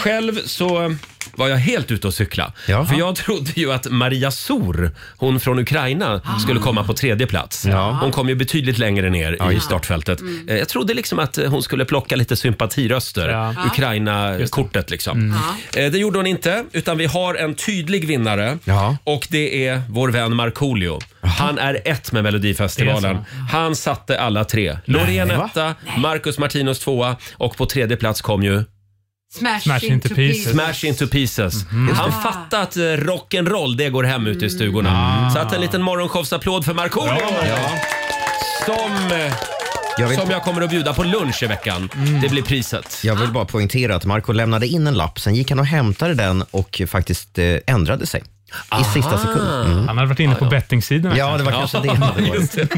[SPEAKER 1] Själv så var jag helt ute och cykla.
[SPEAKER 2] Ja.
[SPEAKER 1] För jag trodde ju att Maria Sor, hon från Ukraina, skulle komma på tredje plats.
[SPEAKER 2] Ah. Ja.
[SPEAKER 1] Hon kom ju betydligt längre ner i startfältet.
[SPEAKER 2] Mm.
[SPEAKER 1] Eh, Jag trodde liksom att eh, hon skulle plocka lite sympatiröster.
[SPEAKER 9] Ja.
[SPEAKER 1] Ukraina-kortet liksom. Eh, Det gjorde hon inte, utan vi har en tydlig vinnare.
[SPEAKER 2] Mm. Ja.
[SPEAKER 1] Och det är vår vän Markoolio. Han är ett med Melodifestivalen.
[SPEAKER 9] Det är
[SPEAKER 1] Han satte alla tre. Loreen
[SPEAKER 2] va?
[SPEAKER 1] etta, Marcus Martinus tvåa och på tredje plats kom ju
[SPEAKER 3] Smash,
[SPEAKER 9] Smash
[SPEAKER 3] into
[SPEAKER 9] into
[SPEAKER 3] pieces.
[SPEAKER 9] pieces.
[SPEAKER 1] Smash into pieces.
[SPEAKER 2] Mhm.
[SPEAKER 1] Han fattade att eh, rock'n'roll, det går hem
[SPEAKER 2] Mm.
[SPEAKER 1] ute i stugorna.
[SPEAKER 2] Ah.
[SPEAKER 1] Så att en liten morgonshowsapplåd för Markoolio! Som, eh,
[SPEAKER 2] Jag vill-
[SPEAKER 1] som jag kommer att bjuda på lunch i veckan.
[SPEAKER 2] Mm.
[SPEAKER 1] Det blir priset.
[SPEAKER 2] Jag vill bara poängtera att Marco lämnade in en lapp, sen gick han och hämtade den och faktiskt eh, ändrade sig i sista sekund. Mm.
[SPEAKER 9] Han hade varit inne på bettingsidan.
[SPEAKER 2] Ja, det var kanske det. det var.
[SPEAKER 1] Just det.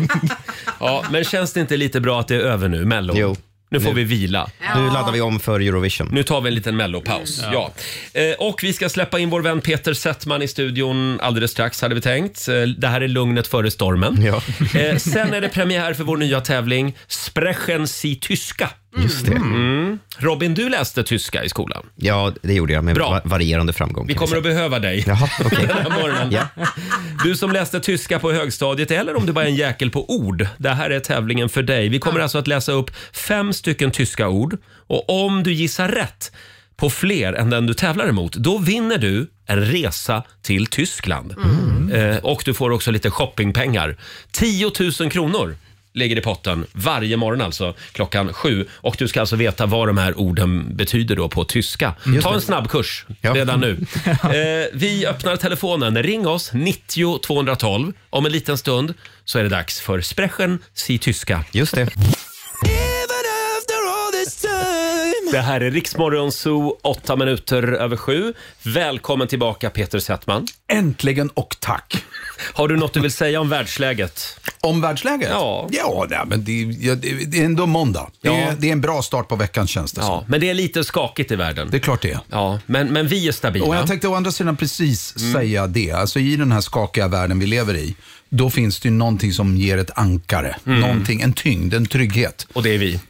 [SPEAKER 1] ja, men känns det inte lite bra att det är över nu, Mello?
[SPEAKER 2] Jo.
[SPEAKER 1] Nu får
[SPEAKER 2] Nu.
[SPEAKER 1] vi vila.
[SPEAKER 2] Nu laddar vi om för Eurovision.
[SPEAKER 1] Nu tar vi en liten mellopaus. Ja. Eh, Och vi ska släppa in vår vän Peter Settman i studion alldeles strax hade vi tänkt. Eh, Det här är lugnet före stormen.
[SPEAKER 2] Ja.
[SPEAKER 1] Eh, Sen är det premiär för vår nya tävling Sprechen Sie Tyska.
[SPEAKER 2] Just det.
[SPEAKER 1] Mm. Robin, du läste tyska i skolan.
[SPEAKER 2] Ja, det gjorde jag med
[SPEAKER 1] Bra.
[SPEAKER 2] va- varierande framgång.
[SPEAKER 1] Vi
[SPEAKER 2] kan vi
[SPEAKER 1] kommer att behöva dig.
[SPEAKER 2] säga. Jaha, okej.
[SPEAKER 1] Den här morgonen.
[SPEAKER 2] Ja.
[SPEAKER 1] Du som läste tyska på högstadiet eller om du bara är en jäkel på ord. Det här är tävlingen för dig. Vi kommer alltså att läsa upp fem stycken tyska ord och om du gissar rätt på fler än den du tävlar emot, då vinner du en resa till Tyskland. Eh, och du får också lite shoppingpengar. 10 000 kronor ligger i potten varje morgon alltså klockan sju. Och du ska alltså veta vad de här orden betyder då på tyska. Ta en snabbkurs
[SPEAKER 2] Ja.
[SPEAKER 1] redan nu. Eh, vi öppnar telefonen. Ring oss, 90 212. Om en liten stund så är det dags för Sprechen si tyska.
[SPEAKER 2] Just det.
[SPEAKER 5] Even after all this time
[SPEAKER 1] Det här är Riksmorgon Zoo, åtta minuter över sju. Välkommen tillbaka Peter Settman.
[SPEAKER 10] Äntligen och tack.
[SPEAKER 1] Har du något du vill säga om världsläget?
[SPEAKER 10] Om världsläget?
[SPEAKER 1] Ja.
[SPEAKER 10] Ja, nej, men det, ja, det, det är ändå måndag. Det,
[SPEAKER 1] Ja.
[SPEAKER 10] är, det är en bra start på veckan känns det
[SPEAKER 1] Ja, men det är lite skakigt i världen.
[SPEAKER 10] Det är klart det är.
[SPEAKER 1] Ja, men, men vi är stabila.
[SPEAKER 10] Och jag tänkte å andra sidan precis
[SPEAKER 1] Mm.
[SPEAKER 10] säga det. Alltså i den här skakiga världen vi lever i, då finns det ju någonting som ger ett ankare.
[SPEAKER 1] Mm.
[SPEAKER 10] Någonting, en tyngd, en trygghet.
[SPEAKER 1] Och det är vi.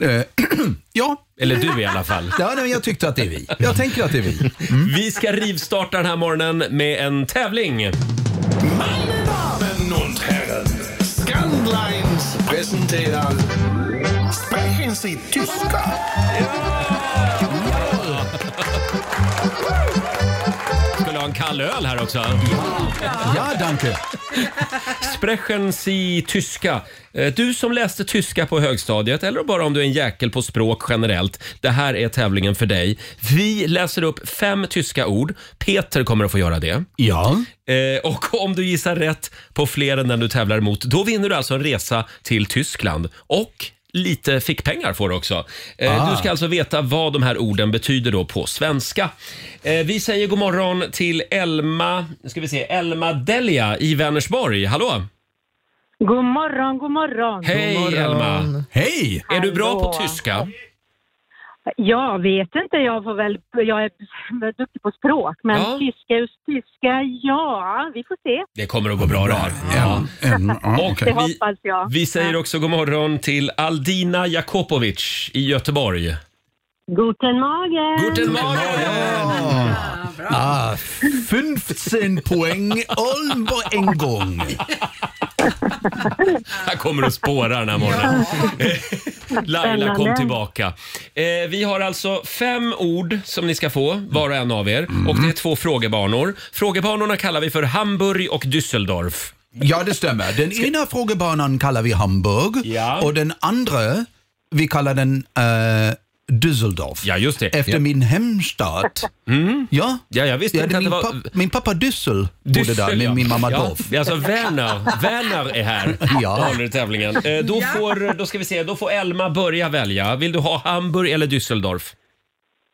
[SPEAKER 10] ja.
[SPEAKER 1] Eller du i alla fall.
[SPEAKER 10] Ja, nej, men jag tyckte att det är vi. Jag tänker att det är vi.
[SPEAKER 1] Vi ska rivstarta den här morgonen med en tävling.
[SPEAKER 5] Damen und Herren, Scandlines präsentieren. Sprechen Sie Tyska?
[SPEAKER 1] Skulle ha en kall öl här också.
[SPEAKER 10] Ja, danke.
[SPEAKER 1] Sprechen Sie tyska. Eh, Du som läste tyska på högstadiet eller bara om du är en jäkel på språk generellt. Det här är tävlingen för dig. Vi läser upp fem tyska ord. Peter kommer att få göra det.
[SPEAKER 10] Ja.
[SPEAKER 1] Eh, och om du gissar rätt på fler än den du tävlar mot, då vinner du alltså en resa till Tyskland. Och lite fickpengar får du också. Eh,
[SPEAKER 5] Ah.
[SPEAKER 1] du ska alltså veta vad de här orden betyder då på svenska. Eh, vi säger god morgon till Elma, nu ska vi se, Elma Delia i Vänersborg. Hallå!
[SPEAKER 6] God morgon, god morgon.
[SPEAKER 1] Hej Elma!
[SPEAKER 10] Hej!
[SPEAKER 1] Är du bra
[SPEAKER 6] Hallå.
[SPEAKER 1] på tyska?
[SPEAKER 6] Jag vet inte, jag, får väl, jag är duktig på språk, men
[SPEAKER 1] Ja.
[SPEAKER 6] tyska just tyska, ja, vi får se.
[SPEAKER 1] Det kommer att gå bra det här. Ja. Och
[SPEAKER 6] Det
[SPEAKER 1] vi,
[SPEAKER 6] hoppas jag.
[SPEAKER 1] vi säger också god morgon till Aldina Jakopovic i Göteborg.
[SPEAKER 6] Guten Morgen!
[SPEAKER 1] Guten Morgen!
[SPEAKER 10] Ah, 15 poäng all på en gång.
[SPEAKER 1] Här kommer du spåra den här morgonen. Laila kom
[SPEAKER 6] Spännande.
[SPEAKER 1] tillbaka. Eh, vi har alltså fem ord som ni ska få, var och en av er.
[SPEAKER 10] Mm.
[SPEAKER 1] Och det är två frågebanor. Frågebanorna kallar vi för Hamburg och Düsseldorf.
[SPEAKER 10] Ja, det stämmer. Den ena frågebanan kallar vi Hamburg och den andra, vi kallar den eh, Düsseldorf.
[SPEAKER 1] Ja, just det.
[SPEAKER 10] Efter
[SPEAKER 1] Ja. Mm.
[SPEAKER 10] min hemstad. Ja.
[SPEAKER 1] Ja, jag visste
[SPEAKER 10] Ja,
[SPEAKER 1] inte
[SPEAKER 10] det
[SPEAKER 1] att det
[SPEAKER 10] min,
[SPEAKER 1] var...
[SPEAKER 10] pappa, min pappa Düssel bodde där, men min mamma
[SPEAKER 1] ja.
[SPEAKER 10] Dorf.
[SPEAKER 1] Det är alltså Werner. Werner är här
[SPEAKER 10] Ja.
[SPEAKER 1] och håller i tävlingen. Eh, då, får, då ska vi se, då får Elma börja välja. Vill du ha Hamburg eller Düsseldorf?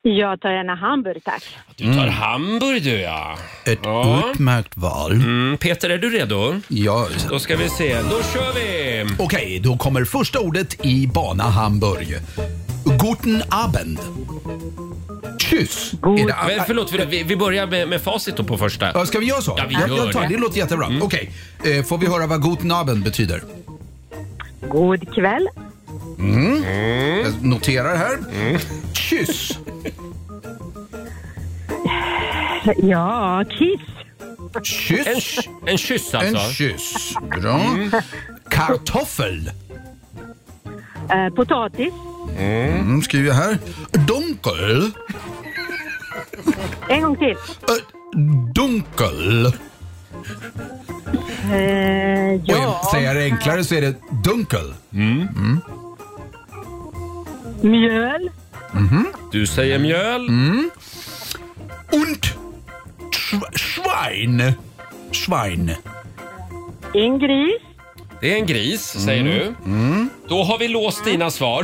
[SPEAKER 1] Mm.
[SPEAKER 6] Jag tar gärna hamburg, tack.
[SPEAKER 1] Du tar Hamburg du ja. Mm.
[SPEAKER 10] Ett utmärkt val.
[SPEAKER 1] Peter, är du redo?
[SPEAKER 10] Ja.
[SPEAKER 1] Då ska vi se, då kör vi!
[SPEAKER 10] Okej, då kommer första ordet i bana Hamburg. Guten Abend. Tschüss. Är det-
[SPEAKER 1] Men förlåt, vi- vi, vi börjar med, med facit då på första.
[SPEAKER 10] Ja, Ska vi göra så?
[SPEAKER 1] Ja, vi
[SPEAKER 10] jag,
[SPEAKER 1] gör
[SPEAKER 10] jag tar,
[SPEAKER 1] det. Mm.
[SPEAKER 10] det. låter jättebra. Okej, eh, får vi höra vad Guten Abend betyder?
[SPEAKER 6] God kväll.
[SPEAKER 10] Mm. Jag noterar här. Kyss.
[SPEAKER 6] Ja, kiss.
[SPEAKER 10] Kyss. En,
[SPEAKER 1] en kyss
[SPEAKER 10] En
[SPEAKER 1] alltså.
[SPEAKER 10] kyss. Bra.
[SPEAKER 6] Mm.
[SPEAKER 10] Kartoffel.
[SPEAKER 6] Eh, potatis.
[SPEAKER 10] Mm, skriver jag här. Dunkel.
[SPEAKER 6] En gång till.
[SPEAKER 10] Dunkel.
[SPEAKER 6] Eh,
[SPEAKER 10] Och jag-
[SPEAKER 6] ja,
[SPEAKER 10] säger jag det enklare så är det dunkel. Mm.
[SPEAKER 6] mjöl.
[SPEAKER 1] Du säger mjöl.
[SPEAKER 10] Mm. Und sch- Schwein. Schwein.
[SPEAKER 6] En gris.
[SPEAKER 1] Det är en gris, säger
[SPEAKER 10] Mm.
[SPEAKER 1] du. Då har vi låst dina svar.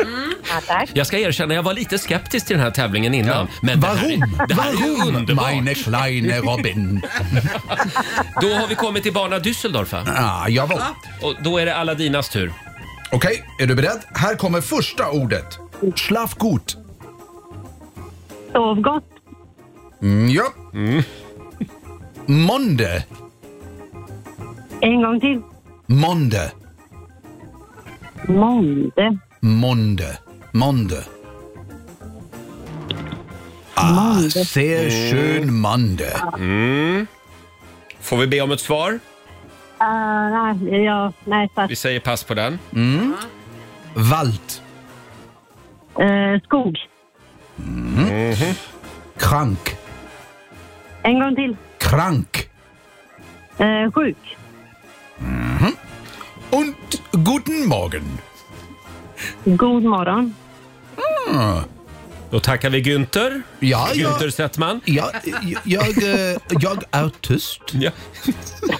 [SPEAKER 6] Mm. Ja, tack.
[SPEAKER 1] Jag ska erkänna, jag var lite skeptisk till den här tävlingen innan. Men det här, är- det här är ju
[SPEAKER 10] Warum?
[SPEAKER 1] underbart.
[SPEAKER 10] Meine kleine Robin.
[SPEAKER 1] Då har vi kommit till bana Düsseldorf. va?
[SPEAKER 10] Ah, jawohl.
[SPEAKER 1] Och då är det Aladinas tur.
[SPEAKER 10] Okej, är du beredd? Här kommer första ordet. Schlaf gut.
[SPEAKER 6] Sov gott.
[SPEAKER 10] Mm, ja. Monde.
[SPEAKER 6] En gång till.
[SPEAKER 10] Monde.
[SPEAKER 6] Månde.
[SPEAKER 10] Monde. Monde. Ah, sehr schön Monde.
[SPEAKER 1] Mm. Får vi be om ett svar?
[SPEAKER 6] Uh, nej, ja, nej, tack.
[SPEAKER 1] Vi säger pass på den.
[SPEAKER 10] Mm. Wald.
[SPEAKER 6] Eh, skog.
[SPEAKER 10] Krank.
[SPEAKER 6] En gång till.
[SPEAKER 10] Krank.
[SPEAKER 6] Eh, sjuk.
[SPEAKER 10] Und guten Morgen.
[SPEAKER 6] God morgon.
[SPEAKER 10] Ah.
[SPEAKER 1] Då tackar vi Günther.
[SPEAKER 10] Ja, ja.
[SPEAKER 1] Günther Settman.
[SPEAKER 10] Ja, jag, eh, jag är tyst.
[SPEAKER 1] Ja.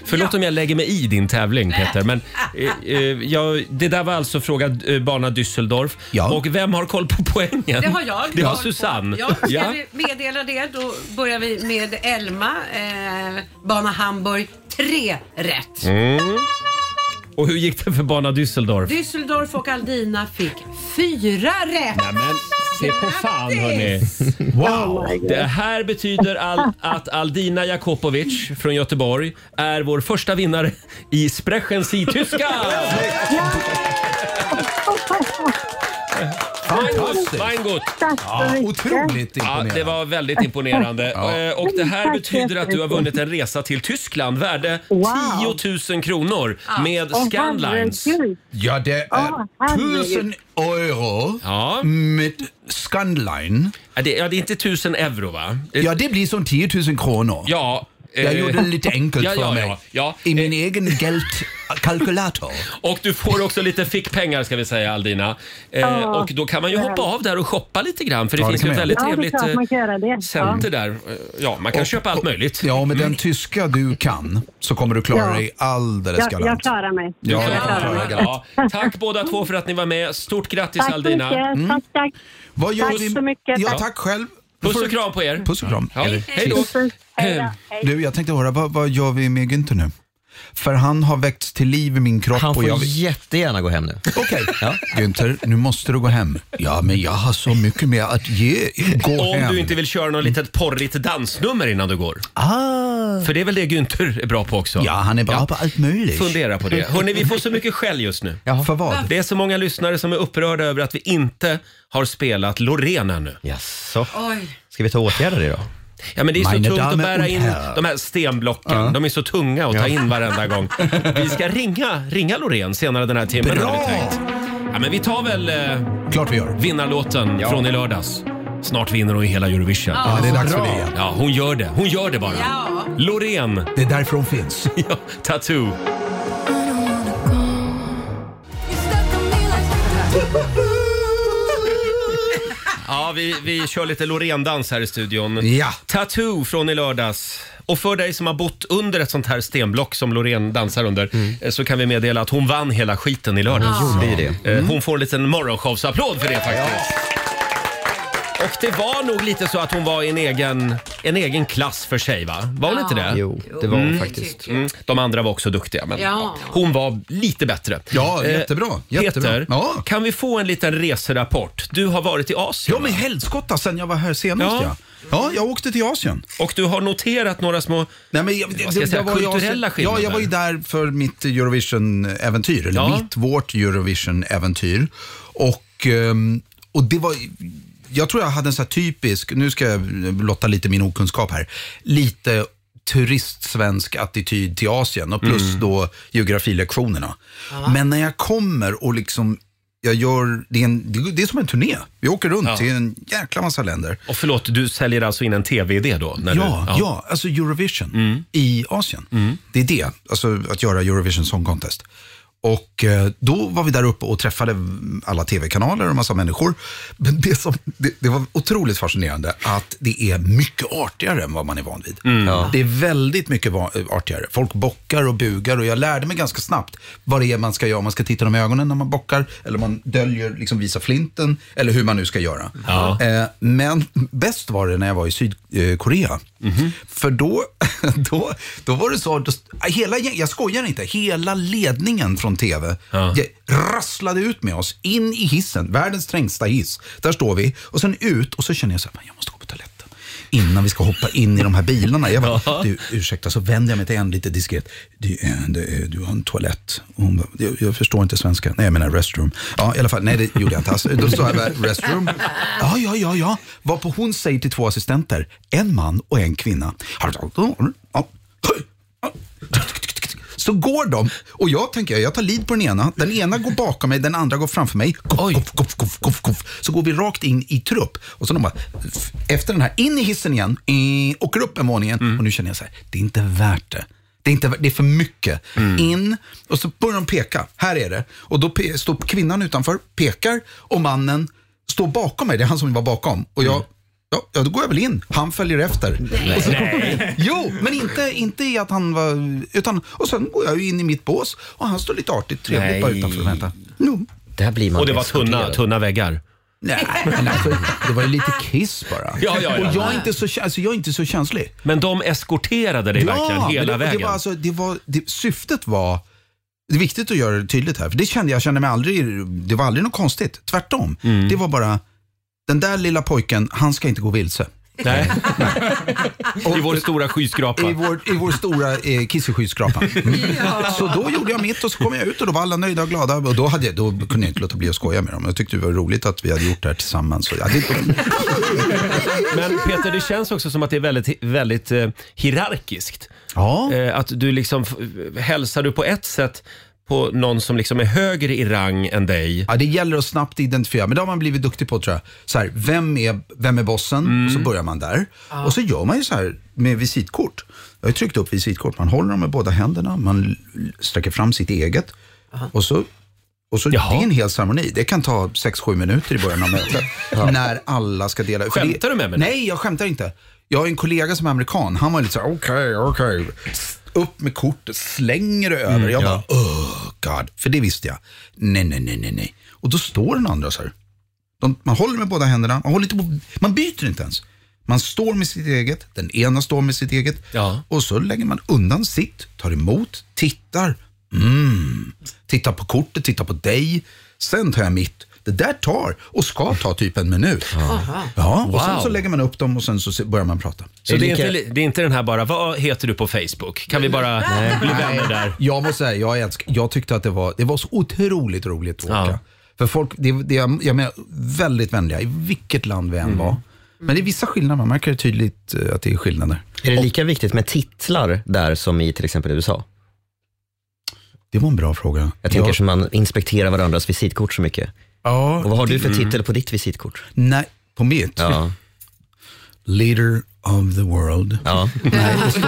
[SPEAKER 1] Förlåt om jag lägger mig i din tävling Peter, men eh, eh, ja, det där var alltså fråga eh, bana Düsseldorf. Och vem har koll på poängen?
[SPEAKER 3] Det har jag.
[SPEAKER 1] Det var
[SPEAKER 3] Jag-
[SPEAKER 1] Susanne.
[SPEAKER 3] Ja, ska vi meddela det? Då börjar vi med Elma, eh, Bana Hamburg. Tre rätt.
[SPEAKER 1] Mm. Och hur gick det för bana Düsseldorf?
[SPEAKER 3] Düsseldorf och Aldina fick fyra rätt.
[SPEAKER 1] Nämen, se på fan hörni.
[SPEAKER 7] Wow.
[SPEAKER 1] Det här betyder all, att Aldina Jakopovic från Göteborg är vår första vinnare i Sprechen Sie Tyska! Fantastiskt! Weingut!
[SPEAKER 7] Tack så
[SPEAKER 10] Ah,
[SPEAKER 7] Ja, mycket. otroligt
[SPEAKER 1] Ja, det var väldigt imponerande. Eh, Och det här
[SPEAKER 7] Tack
[SPEAKER 1] betyder att du har vunnit en resa till Tyskland värde 10 000 kronor med
[SPEAKER 7] Åh,
[SPEAKER 1] Scandlines.
[SPEAKER 7] herregud.
[SPEAKER 10] Ja, det är
[SPEAKER 7] Åh, herregud.
[SPEAKER 10] tusen euro med Scandline.
[SPEAKER 1] Ja, det, ja, det är inte 1000 euro va?
[SPEAKER 10] Ja, det blir som 10 000 kronor.
[SPEAKER 1] Ja.
[SPEAKER 10] Jag
[SPEAKER 1] eh,
[SPEAKER 10] gjorde det lite enkelt
[SPEAKER 1] ja,
[SPEAKER 10] för
[SPEAKER 1] ja,
[SPEAKER 10] mig.
[SPEAKER 1] Ja, ja. eh.
[SPEAKER 10] I min egen geldkalkylator.
[SPEAKER 1] Och du får också lite fickpengar ska vi säga Aldina. Eh,
[SPEAKER 6] Ja.
[SPEAKER 1] och då kan man ju hoppa av där och shoppa lite grann för det
[SPEAKER 10] Ja, det
[SPEAKER 1] finns
[SPEAKER 10] kan
[SPEAKER 1] ju ett
[SPEAKER 10] man
[SPEAKER 1] väldigt
[SPEAKER 10] göra.
[SPEAKER 6] Ja, det är
[SPEAKER 1] trevligt
[SPEAKER 6] klart
[SPEAKER 1] eh,
[SPEAKER 6] man kan göra det. Ja.
[SPEAKER 1] center där. Eh, Ja, man kan köpa allt möjligt. Mm.
[SPEAKER 10] Ja, och med den tyska du kan så kommer du klara
[SPEAKER 6] Ja.
[SPEAKER 10] dig alldeles
[SPEAKER 6] Jag,
[SPEAKER 10] galant.
[SPEAKER 6] jag klarar mig.
[SPEAKER 10] Ja,
[SPEAKER 6] jag
[SPEAKER 10] jag
[SPEAKER 6] klarar mig.
[SPEAKER 10] klarar
[SPEAKER 1] Ja, tack båda två för att ni var med. Stort grattis
[SPEAKER 6] Tack så
[SPEAKER 1] Aldina.
[SPEAKER 6] mycket.
[SPEAKER 10] Mm.
[SPEAKER 6] Tack, tack.
[SPEAKER 10] Vad gör
[SPEAKER 6] tack
[SPEAKER 10] vi-
[SPEAKER 6] så mycket.
[SPEAKER 10] Ja, tack själv.
[SPEAKER 1] Puss och kram på er.
[SPEAKER 10] Puss och kram.
[SPEAKER 1] Ja. Hej då.
[SPEAKER 10] Tyst.
[SPEAKER 6] Hej då.
[SPEAKER 10] Du, jag tänkte höra, vad, vad gör vi med Günther nu? För han har väckts till liv i min kropp
[SPEAKER 2] Han
[SPEAKER 10] och
[SPEAKER 2] får
[SPEAKER 10] jag...
[SPEAKER 2] jättegärna gå hem nu.
[SPEAKER 10] Okej. Günther, nu måste du gå hem. Ja, men jag har så mycket mer att ge. Gå
[SPEAKER 1] Om
[SPEAKER 10] hem.
[SPEAKER 1] du inte vill köra något litet porrigt dansnummer innan du går. För det är väl det Günther är bra på också?
[SPEAKER 10] Ja, han är bra på allt möjligt.
[SPEAKER 1] Fundera på det. Hörrni, vi får så mycket skäll just nu.
[SPEAKER 10] För vad?
[SPEAKER 1] Det är så många lyssnare som är upprörda över att vi inte har spelat Loreen ännu.
[SPEAKER 2] Jaså?
[SPEAKER 3] Oj.
[SPEAKER 2] Ska vi ta och åtgärda det då?
[SPEAKER 1] Ja, men det är så
[SPEAKER 2] Meine
[SPEAKER 1] tungt att
[SPEAKER 2] Damen
[SPEAKER 1] bära
[SPEAKER 2] und
[SPEAKER 1] in
[SPEAKER 2] Herren.
[SPEAKER 1] de här stenblocken. De är så tunga att ta in varenda gång. Vi ska ringa, ringa Loreen senare den här timmen
[SPEAKER 10] Bra!
[SPEAKER 1] har vi tänkt. Ja, men vi tar väl eh,
[SPEAKER 10] Klart vi gör.
[SPEAKER 1] vinnarlåten från i lördags. Snart vinner hon ju hela Eurovision.
[SPEAKER 10] Ja, det är dags för det igen.
[SPEAKER 1] Ja, hon gör det. Hon gör det bara.
[SPEAKER 3] Ja.
[SPEAKER 1] Loreen.
[SPEAKER 10] Det är därför hon finns.
[SPEAKER 1] Ja, Tattoo. Ja, vi, vi kör lite Loreen-dans här i studion.
[SPEAKER 10] Ja.
[SPEAKER 1] Tattoo från i lördags. Och för dig som har bott under ett sånt här stenblock som Loreen dansar under eh, så kan vi meddela att hon vann hela skiten i lördags.
[SPEAKER 2] Mm. Ja. Gjorde ju det. Mm.
[SPEAKER 1] Eh, Hon får en liten morgonshowsapplåd för det faktiskt. Och det var nog lite så att hon var i en egen, en egen klass för sig va? Var hon
[SPEAKER 3] Ja.
[SPEAKER 1] inte det?
[SPEAKER 2] Jo, det var
[SPEAKER 1] Mm.
[SPEAKER 2] hon faktiskt.
[SPEAKER 1] Mm. De andra var också duktiga men
[SPEAKER 3] Ja.
[SPEAKER 1] hon var lite bättre.
[SPEAKER 10] Ja,
[SPEAKER 1] Eh,
[SPEAKER 10] jättebra. jättebra.
[SPEAKER 1] Peter,
[SPEAKER 10] Ja.
[SPEAKER 1] kan vi få en liten reserapport? Du har varit i Asien
[SPEAKER 10] ja, men helskotta sen jag var här senast
[SPEAKER 1] Ja.
[SPEAKER 10] ja. ja. jag åkte till Asien.
[SPEAKER 1] och du har noterat några små
[SPEAKER 10] Nej, men jag, det,
[SPEAKER 1] Vad ska jag säga,
[SPEAKER 10] var i
[SPEAKER 1] kulturella
[SPEAKER 10] Asien.
[SPEAKER 1] skillnader.
[SPEAKER 10] Ja, jag var ju där för mitt Eurovision-äventyr. Eller
[SPEAKER 1] Ja.
[SPEAKER 10] mitt, vårt Eurovision-äventyr. Och, ehm, och det var... Jag tror jag hade en så här typisk, nu ska jag blotta lite min okunskap här, lite turistsvensk attityd till Asien och plus
[SPEAKER 1] Mm.
[SPEAKER 10] då geografilektionerna. Men när jag kommer och liksom, jag gör, det är, en, det- det är som en turné. Vi åker runt till en jäkla massa länder.
[SPEAKER 1] Och förlåt, du säljer alltså in en tv-idé då? När
[SPEAKER 10] Ja,
[SPEAKER 1] du, Mm.
[SPEAKER 10] ja. alltså Eurovision i Asien. Det är det, alltså att göra Eurovision Song Contest. Och eh, då var vi där uppe och träffade alla tv-kanaler och massa människor. Men det, som, det, det var otroligt fascinerande att det är mycket artigare än vad man är van vid.
[SPEAKER 1] Mm.
[SPEAKER 10] Det är väldigt mycket va- artigare. Folk bockar och bugar och jag lärde mig ganska snabbt vad det är man ska göra. Man ska titta dem i ögonen när man bockar eller man döljer, liksom visar flinten eller hur man nu ska göra.
[SPEAKER 1] Ja.
[SPEAKER 10] Eh, Men bäst var det när jag var i Sydkorea.
[SPEAKER 1] Mhm.
[SPEAKER 10] För då, då, då var det så, då, hela, gäng- jag skojar inte, hela ledningen från TV
[SPEAKER 1] Ja.
[SPEAKER 10] ge- rasslade ut med oss in i hissen, världens trängsta hiss. Där står vi och sen ut och så känner jag så här, "Men jag måste gå på toaletten innan vi ska hoppa in i de här bilarna. Jag bara, du, ursäkta, så vänder jag mig till en lite diskret. Du, eh, du, eh, du har en toalett. Och Hon bara, jag, jag förstår inte svenska. Nej, jag menar restroom. Ja, i alla fall, nej det gjorde jag inte alls. Då sa jag bara, restroom. Ja, ja, ja, ja. Varpå hon säger till två assistenter, en man och en kvinna. Ja. Så går de och jag tänker, jag tar lid på den ena. Den ena går bakom mig, den andra går framför mig. Koff, koff, koff, koff, koff, koff. Så går vi rakt in i trupp. Och så de bara, f- efter den här, in i hissen igen, eh, åker upp en våning igen. Och nu känner jag så här, det är inte värt det. Det är, inte, värt- det är för mycket. In och så börjar de peka. Här är det. Och då pe- står kvinnan utanför, pekar och mannen står bakom mig, det är han som var bakom. Och jag, ja, ja, då går jag väl in. Han följer efter.
[SPEAKER 7] Nej.
[SPEAKER 10] Och så-
[SPEAKER 7] Nej.
[SPEAKER 10] Jo, men inte, inte i att han var... Utan, och sen går jag ju in i mitt bås och han står lite artigt trevligt bara utanför och väntar. No.
[SPEAKER 2] Där blir
[SPEAKER 1] man Och det var tunna- exkluderad. tunna väggar.
[SPEAKER 10] Nej, men alltså, det var ju lite kiss bara.
[SPEAKER 1] Ja, ja, ja.
[SPEAKER 10] Och jag är, inte så, kä- alltså, jag är inte så känslig.
[SPEAKER 1] Men de eskorterade dig verkligen
[SPEAKER 10] men
[SPEAKER 1] hela
[SPEAKER 10] det,
[SPEAKER 1] vägen.
[SPEAKER 10] Det var alltså, det var, det, syftet var, det är viktigt att göra det tydligt här, för det kände jag, kände mig aldrig, det var aldrig något konstigt, tvärtom. Det var bara, den där lilla pojken, han ska inte gå vilse.
[SPEAKER 1] Nej. I vår stora skyskrapa.
[SPEAKER 10] I vår, i vår stora eh, kisseskyyskrapa. Så då gjorde jag mitt och så kom jag ut och då var alla nöjda och glada. Och då, hade jag, då kunde jag inte låta bli att skoja med dem. Jag tyckte det var roligt att vi hade gjort det här tillsammans. Så jag hade,
[SPEAKER 1] Men Peter, det känns också som att det är väldigt, väldigt eh, hierarkiskt. Eh, att du liksom, f- hälsar du på ett sätt på någon som liksom är högre i rang än dig.
[SPEAKER 10] Ja, det gäller att snabbt identifiera, men det har man blivit duktig på tror jag. Så här, vem, är, vem är bossen? Och så börjar man där. Och så gör man ju så här med visitkort. Jag har ju tryckt upp visitkort. Man håller dem med båda händerna, man l- sträcker fram sitt eget. Och så, och så det är en hel ceremoni. Det kan ta 6-7 minuter i början av mötet. När alla ska dela. för det-
[SPEAKER 1] Skämtar du med mig nu?
[SPEAKER 10] Nej, jag skämtar inte. Jag har en kollega som är amerikan. Han var lite så här, okej, okej. Upp med kortet, slänger det över.
[SPEAKER 1] Mm,
[SPEAKER 10] jag
[SPEAKER 1] ja.
[SPEAKER 10] bara, oh god. För det visste jag. Nej, nej, nej, nej, nej. Och då står den andra så här. De, man håller med båda händerna, man, håller inte på, man byter inte ens. Man står med sitt eget, den ena står med sitt eget. Och så lägger man undan sitt, tar emot, tittar. Mm. Tittar på kortet, tittar på dig. Sen tar jag mitt. Det där tar, och ska ta typ en minut.
[SPEAKER 1] Aha.
[SPEAKER 10] Ja, och sen
[SPEAKER 1] Wow.
[SPEAKER 10] så lägger man upp dem och sen så se- börjar man prata.
[SPEAKER 1] Så det är, inte, li- det är inte den här bara, vad heter du på Facebook? Kan vi bara bli vänner där?
[SPEAKER 10] Jag måste säga, jag, älsk, jag tyckte att det var, det var så otroligt roligt att åka. För folk, det, det, jag menar, väldigt vänliga i vilket land vi än
[SPEAKER 1] Mm.
[SPEAKER 10] var. Men det är vissa skillnader, man märker det tydligt eh, att det är skillnader.
[SPEAKER 2] Är det lika viktigt med titlar där som i till exempel USA?
[SPEAKER 10] Det var en bra fråga.
[SPEAKER 2] Jag tänker
[SPEAKER 10] Ja.
[SPEAKER 2] som man inspekterar varandras visitkort så mycket.
[SPEAKER 10] Ja,
[SPEAKER 2] Och vad har du för
[SPEAKER 10] det-
[SPEAKER 2] titel på ditt visitkort?
[SPEAKER 10] Nej, på mitt?
[SPEAKER 2] Ja.
[SPEAKER 10] Leader of the world.
[SPEAKER 2] Ja.
[SPEAKER 10] Nej, det står,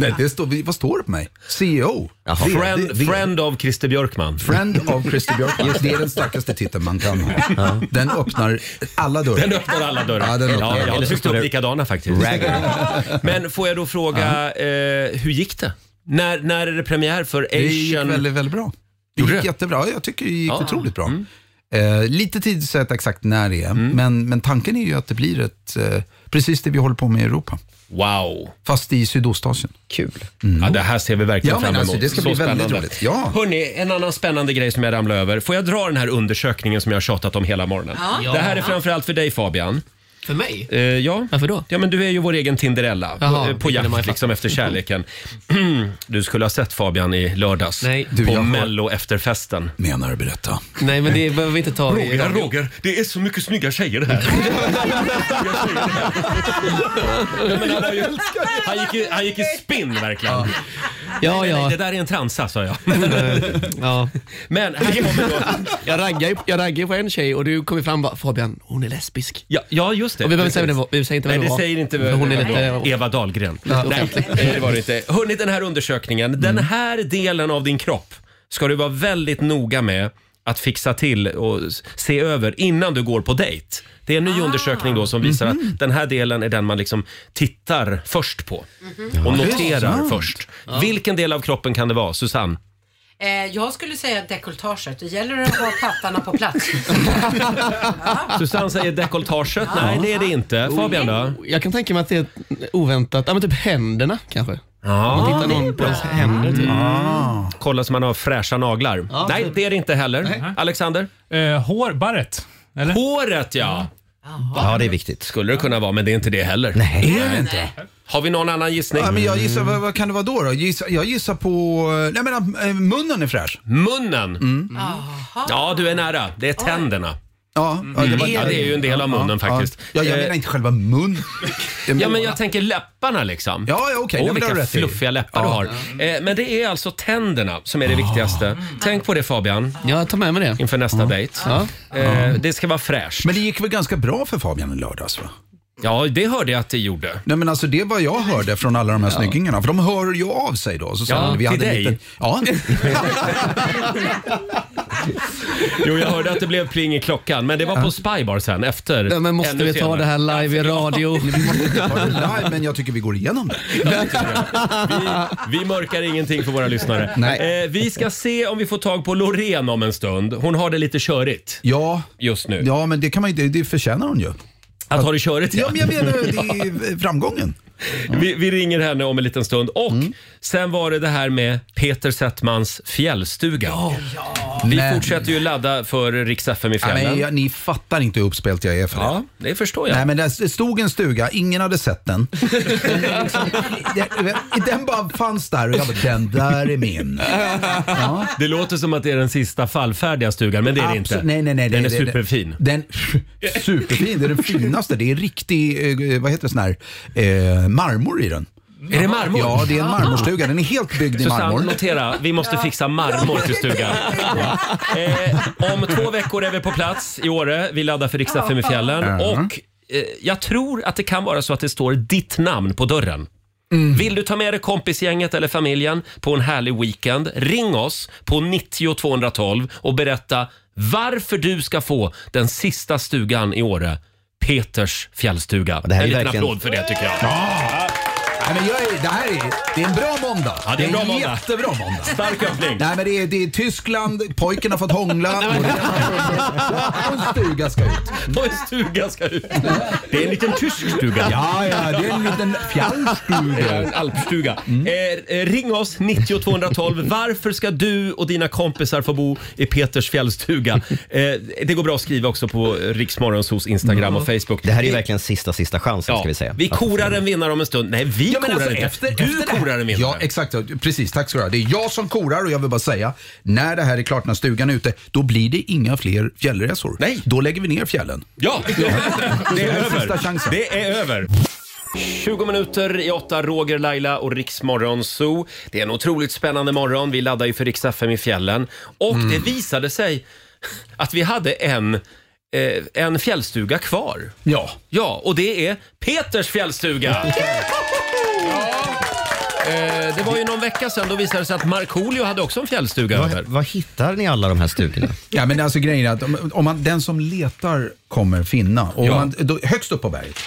[SPEAKER 10] nej, det står, vad står det på mig? E CEO? VD,
[SPEAKER 1] Friend, friend of Christer Björkman.
[SPEAKER 10] Friend of Christer Björkman. Det är den starkaste titeln man kan ha. Den öppnar alla dörrar.
[SPEAKER 1] Den öppnar alla dörrar.
[SPEAKER 10] Ja, den öppnar.
[SPEAKER 1] jag har
[SPEAKER 10] Eller så
[SPEAKER 1] tryckt
[SPEAKER 10] står
[SPEAKER 1] upp
[SPEAKER 10] det-
[SPEAKER 1] likadana faktiskt. Men får jag då fråga, eh, hur gick det? När, när är det premiär för Asian?
[SPEAKER 10] Det gick väldigt, väldigt bra. Det gick jättebra. Ja, Jag tycker det gick
[SPEAKER 1] Ja. Mm.
[SPEAKER 10] otroligt bra. Eh, lite tid att säga att exakt när det är, men, men tanken är ju att det blir ett, eh, precis det vi håller på med i Europa.
[SPEAKER 1] Wow.
[SPEAKER 10] Fast i Sydostasien.
[SPEAKER 2] Kul.
[SPEAKER 1] Ja, det här ser vi verkligen
[SPEAKER 10] Mm. Ja,
[SPEAKER 1] fram
[SPEAKER 10] men
[SPEAKER 1] emot.
[SPEAKER 10] alltså, det ska bli väldigt roligt. Ja.
[SPEAKER 1] Hörrni, en annan spännande grej som jag ramlade över. Får jag dra den här undersökningen som jag har tjatat om hela morgonen?
[SPEAKER 8] Ja.
[SPEAKER 1] Det här är
[SPEAKER 8] Ja.
[SPEAKER 1] framförallt för dig Fabian.
[SPEAKER 8] För mig?
[SPEAKER 1] Eh, ja. Varför då? Ja, men du är ju vår egen Tinderella.
[SPEAKER 8] Jaha,
[SPEAKER 1] eh, på jakt liksom efter kärleken. du skulle ha sett Fabian i lördags. Nej.
[SPEAKER 10] Du,
[SPEAKER 1] på
[SPEAKER 10] jag har-
[SPEAKER 1] Mello-efterfesten.
[SPEAKER 10] Menar du berätta?
[SPEAKER 8] Nej, men det behöver vi inte ta i
[SPEAKER 1] Roger,
[SPEAKER 8] radio.
[SPEAKER 1] Roger, det är så mycket snygga tjejer här. Ja, men han, var ju, han, gick i, han gick i spinn verkligen. Ja.
[SPEAKER 8] Ja,
[SPEAKER 1] nej, nej,
[SPEAKER 8] ja.
[SPEAKER 1] det där är en transa sa jag.
[SPEAKER 8] ja.
[SPEAKER 1] Men här kommer då...
[SPEAKER 8] Jag raggar ju- jag raggar ju på en tjej och du kommer fram och bara Fabian, hon är lesbisk.
[SPEAKER 1] Ja, ja just det.
[SPEAKER 8] Och vi behöver inte säga
[SPEAKER 1] Precis.
[SPEAKER 8] vem det var- vi säger inte
[SPEAKER 1] Nej,
[SPEAKER 8] vem det
[SPEAKER 1] det
[SPEAKER 8] var.
[SPEAKER 1] säger inte
[SPEAKER 8] För hon är
[SPEAKER 1] vem det
[SPEAKER 8] lite-
[SPEAKER 1] var. Eva Dahlgren.
[SPEAKER 8] Ja. Mm.
[SPEAKER 1] Nej, det var det inte. Hörrni, den här undersökningen. Den här delen av din kropp ska du vara väldigt noga med att fixa till och s- se över innan du går på dejt. Det är en
[SPEAKER 8] Ah.
[SPEAKER 1] ny undersökning då som visar
[SPEAKER 8] Mm-hmm.
[SPEAKER 1] att den här delen är den man liksom tittar först på och
[SPEAKER 8] Mm-hmm.
[SPEAKER 10] Ja, det är
[SPEAKER 1] noterar
[SPEAKER 10] sant.
[SPEAKER 1] först. Vilken del av kroppen kan det vara, Susanne?
[SPEAKER 3] Eh, jag skulle säga dekolletaget. Det gäller att ha pattarna på plats.
[SPEAKER 1] Susanne säger dekolletaget. Nej, det är det inte. Fabian då?
[SPEAKER 8] Jag kan tänka mig att det är ett oväntat, ja men typ händerna kanske.
[SPEAKER 1] Ja.
[SPEAKER 8] Man tittar någon på ens händer typ.
[SPEAKER 1] Mm. Kolla så man har fräscha naglar. Nej, det är det inte heller. Alexander?
[SPEAKER 11] Eh, hår, barret. Eller?
[SPEAKER 1] Håret ja!
[SPEAKER 2] Ja, det är viktigt.
[SPEAKER 1] Skulle det kunna vara, men det är inte det heller.
[SPEAKER 2] Nej.
[SPEAKER 10] Är det inte?
[SPEAKER 1] Har vi någon annan gissning?
[SPEAKER 10] Ja, men jag gissar, vad, vad kan det vara då? då? Gissa, jag gissar på, eh, nej men eh, munnen är fräsch.
[SPEAKER 1] Munnen! Mm. Ja, du är nära. Det är tänderna.
[SPEAKER 10] Ja, ja,
[SPEAKER 1] Mm. Ja, det är ju en del av munnen faktiskt.
[SPEAKER 10] Ja, jag menar inte själva mun.
[SPEAKER 1] Ja, men jag tänker läpparna liksom.
[SPEAKER 10] Ja, ja, okej.
[SPEAKER 1] Åh,
[SPEAKER 10] Ja, men det har du
[SPEAKER 1] vilka
[SPEAKER 10] rätt i.
[SPEAKER 1] fluffiga läppar du har. Eh, Men det är alltså tänderna som är det viktigaste. Tänk på det Fabian,
[SPEAKER 8] Ja, jag tar med mig det.
[SPEAKER 1] inför nästa dejt.
[SPEAKER 8] Ja.
[SPEAKER 1] Eh, Det ska vara fräscht.
[SPEAKER 10] Men det gick väl ganska bra för Fabian i lördags va?
[SPEAKER 1] Ja, det hörde jag att det gjorde.
[SPEAKER 10] Nej men alltså det var jag hörde från alla de här snyggingarna. För de hör ju av sig då. Så sa
[SPEAKER 1] Ja,
[SPEAKER 10] de, vi
[SPEAKER 1] till
[SPEAKER 10] hade en
[SPEAKER 1] dig.
[SPEAKER 10] Liten, ja.
[SPEAKER 1] Jo, jag hörde att det blev pling i klockan, men det var på Spybar sen efter.
[SPEAKER 8] Ja, men måste
[SPEAKER 1] ännu
[SPEAKER 8] vi ta
[SPEAKER 1] senare.
[SPEAKER 8] det här live i radio?
[SPEAKER 10] Vi måste inte ta det live, men jag tycker vi går igenom det.
[SPEAKER 1] Vi, vi mörkar ingenting för våra lyssnare.
[SPEAKER 10] Nej.
[SPEAKER 1] Eh, vi ska se om vi får tag på Loreen om en stund. Hon har det lite körigt.
[SPEAKER 10] Ja.
[SPEAKER 1] Just nu.
[SPEAKER 10] Ja, men det, kan man, ju- det, det förtjänar hon ju.
[SPEAKER 1] Att ha det körigt, ja.
[SPEAKER 10] Ja, men jag menar, det är framgången.
[SPEAKER 1] Vi, vi ringer henne om en liten stund. Och
[SPEAKER 10] Mm.
[SPEAKER 1] sen var det det här med Peter Settmans fjällstuga. Vi
[SPEAKER 10] Men-
[SPEAKER 1] fortsätter ju ladda för Rix FM i
[SPEAKER 10] Ja,
[SPEAKER 1] fjällen.
[SPEAKER 10] men jag, ni fattar inte hur uppspelt jag är för
[SPEAKER 1] Ja, det förstår jag.
[SPEAKER 10] Nej, men det stod en stuga, ingen hade sett den. liksom, den, den bara fanns där och jag bara, den där är min.
[SPEAKER 1] Det låter som att det är den sista fallfärdiga stugan, men det är det
[SPEAKER 10] Absolut-
[SPEAKER 1] inte.
[SPEAKER 10] Nej, nej, nej,
[SPEAKER 1] den
[SPEAKER 10] det-
[SPEAKER 1] är
[SPEAKER 10] det-
[SPEAKER 1] superfin.
[SPEAKER 10] Den, superfin, det är den finaste. Det är riktig, eh, vad heter det, sån här, eh, marmor i den.
[SPEAKER 1] Är det marmor?
[SPEAKER 10] Mm. Ja, det är en marmorstuga. Den är helt byggd i
[SPEAKER 1] Susanne,
[SPEAKER 10] marmor.
[SPEAKER 1] notera. Vi måste fixa marmor till stugan. Eh, om två veckor är vi på plats i Åre. Vi laddar för riksdag i fjällen.
[SPEAKER 10] Ja.
[SPEAKER 1] Och eh, jag tror att det kan vara så att det står ditt namn på dörren. Vill du ta med dig kompisgänget eller familjen på en härlig weekend? Ring oss på 90 212 och berätta varför du ska få den sista stugan i Åre. Peters fjällstuga.
[SPEAKER 10] här
[SPEAKER 1] en
[SPEAKER 10] är
[SPEAKER 1] liten
[SPEAKER 10] verkligen-
[SPEAKER 1] applåd för det tycker jag.
[SPEAKER 10] Nej, men jag är, det här är, det är en bra måndag.
[SPEAKER 1] Ja, det är en bra
[SPEAKER 10] en
[SPEAKER 1] måndag.
[SPEAKER 10] jättebra måndag.
[SPEAKER 1] Stark öppning.
[SPEAKER 10] Nej, men det är, det är Tyskland, pojken har fått hångla. Och en stuga ska ut.
[SPEAKER 1] Vad en stuga ska ut? Det är en liten tysk stuga.
[SPEAKER 10] Ja, ja, det är en liten
[SPEAKER 1] Det är
[SPEAKER 10] fjällstuga.
[SPEAKER 1] en alpstuga. Eh, eh, ring oss, 90 212. Varför ska du och dina kompisar få bo i Peters fjällstuga? Eh, det går bra att skriva också på Riksmorgonsos Instagram och Facebook.
[SPEAKER 2] Det här är ju verkligen sista, sista chansen
[SPEAKER 1] Ja,
[SPEAKER 2] ska vi säga.
[SPEAKER 1] vi korar en vinnare om en stund. Nej, vi
[SPEAKER 10] Ja, men
[SPEAKER 1] korar
[SPEAKER 10] alltså,
[SPEAKER 1] inte.
[SPEAKER 10] efter-
[SPEAKER 1] du
[SPEAKER 10] efter det här-
[SPEAKER 1] korar en vinnare.
[SPEAKER 10] Ja, exakt. ja. Precis, tack ska du ha. Det är jag som korar och jag vill bara säga, när det här är klart, när stugan är ute, då blir det inga fler fjällresor. Nej. Då lägger vi ner fjällen.
[SPEAKER 1] Ja, det är
[SPEAKER 10] här är
[SPEAKER 1] över.
[SPEAKER 10] sista chansen.
[SPEAKER 1] Det är över. 20 minuter i åtta, Roger, Laila och Riksmorgon Zoo. Det är en otroligt spännande morgon. Vi laddar ju för Rix FM i fjällen. Och
[SPEAKER 10] Mm.
[SPEAKER 1] det visade sig att vi hade en, eh, en fjällstuga kvar.
[SPEAKER 10] Ja.
[SPEAKER 1] Ja, och det är Peters fjällstuga. Ja. Eh, Det var ju någon vecka sedan då visade det sig att Markoolio hade också en fjällstuga över.
[SPEAKER 2] Vad hittar ni alla de här stugorna?
[SPEAKER 10] Ja, men alltså grejen är att om, om man, den som letar kommer finna. Och om
[SPEAKER 1] Ja.
[SPEAKER 10] man, då, högst upp på berget,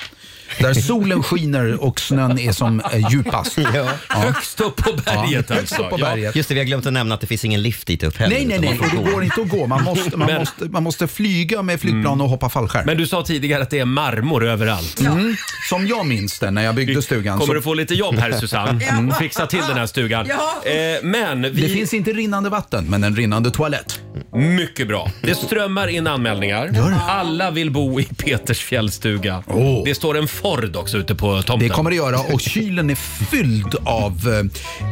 [SPEAKER 10] där solen skiner och snön är som eh, djupast. Ja.
[SPEAKER 1] Högst upp på berget
[SPEAKER 10] Ja, högst
[SPEAKER 1] alltså.
[SPEAKER 10] upp på
[SPEAKER 1] Ja.
[SPEAKER 10] berget.
[SPEAKER 2] Just det, vi har glömt att nämna att det finns ingen lift dit upp heller.
[SPEAKER 10] Nej, nej,
[SPEAKER 2] utan
[SPEAKER 10] nej.
[SPEAKER 2] man får
[SPEAKER 10] Och
[SPEAKER 2] gå.
[SPEAKER 10] det går inte att gå. Man måste, man
[SPEAKER 1] Men-
[SPEAKER 10] måste, man måste flyga med flygplan och hoppa fallskärm.
[SPEAKER 1] Men du sa tidigare att det är marmor överallt.
[SPEAKER 10] Mm. Som jag minns det när jag byggde stugan.
[SPEAKER 1] kommer
[SPEAKER 10] Så,
[SPEAKER 1] du få lite jobb här Susanne. Mm. Fixa till den här stugan.
[SPEAKER 3] Ja.
[SPEAKER 1] Eh, men vi...
[SPEAKER 10] Det finns inte rinnande vatten, men en rinnande toalett.
[SPEAKER 1] Mycket bra. Det strömmar in anmälningar. Alla vill bo i Peters fjällstuga.
[SPEAKER 10] Åh.
[SPEAKER 1] Det står en Ford också ute på tomten.
[SPEAKER 10] Det kommer det göra och kylen är fylld av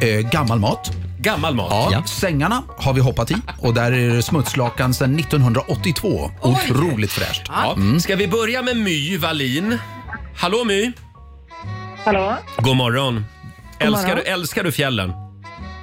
[SPEAKER 10] eh, eh, gammal mat.
[SPEAKER 1] Gammal mat.
[SPEAKER 10] Ja, Sängarna har vi hoppat i och där är det smutslakan sedan 1982. Otroligt fräscht.
[SPEAKER 6] Ah.
[SPEAKER 1] Ja. Ska vi börja med My Wallin? Hallå My!
[SPEAKER 6] Hallå?
[SPEAKER 1] God morgon. Älskar,
[SPEAKER 6] morgon.
[SPEAKER 1] du, älskar du fjällen?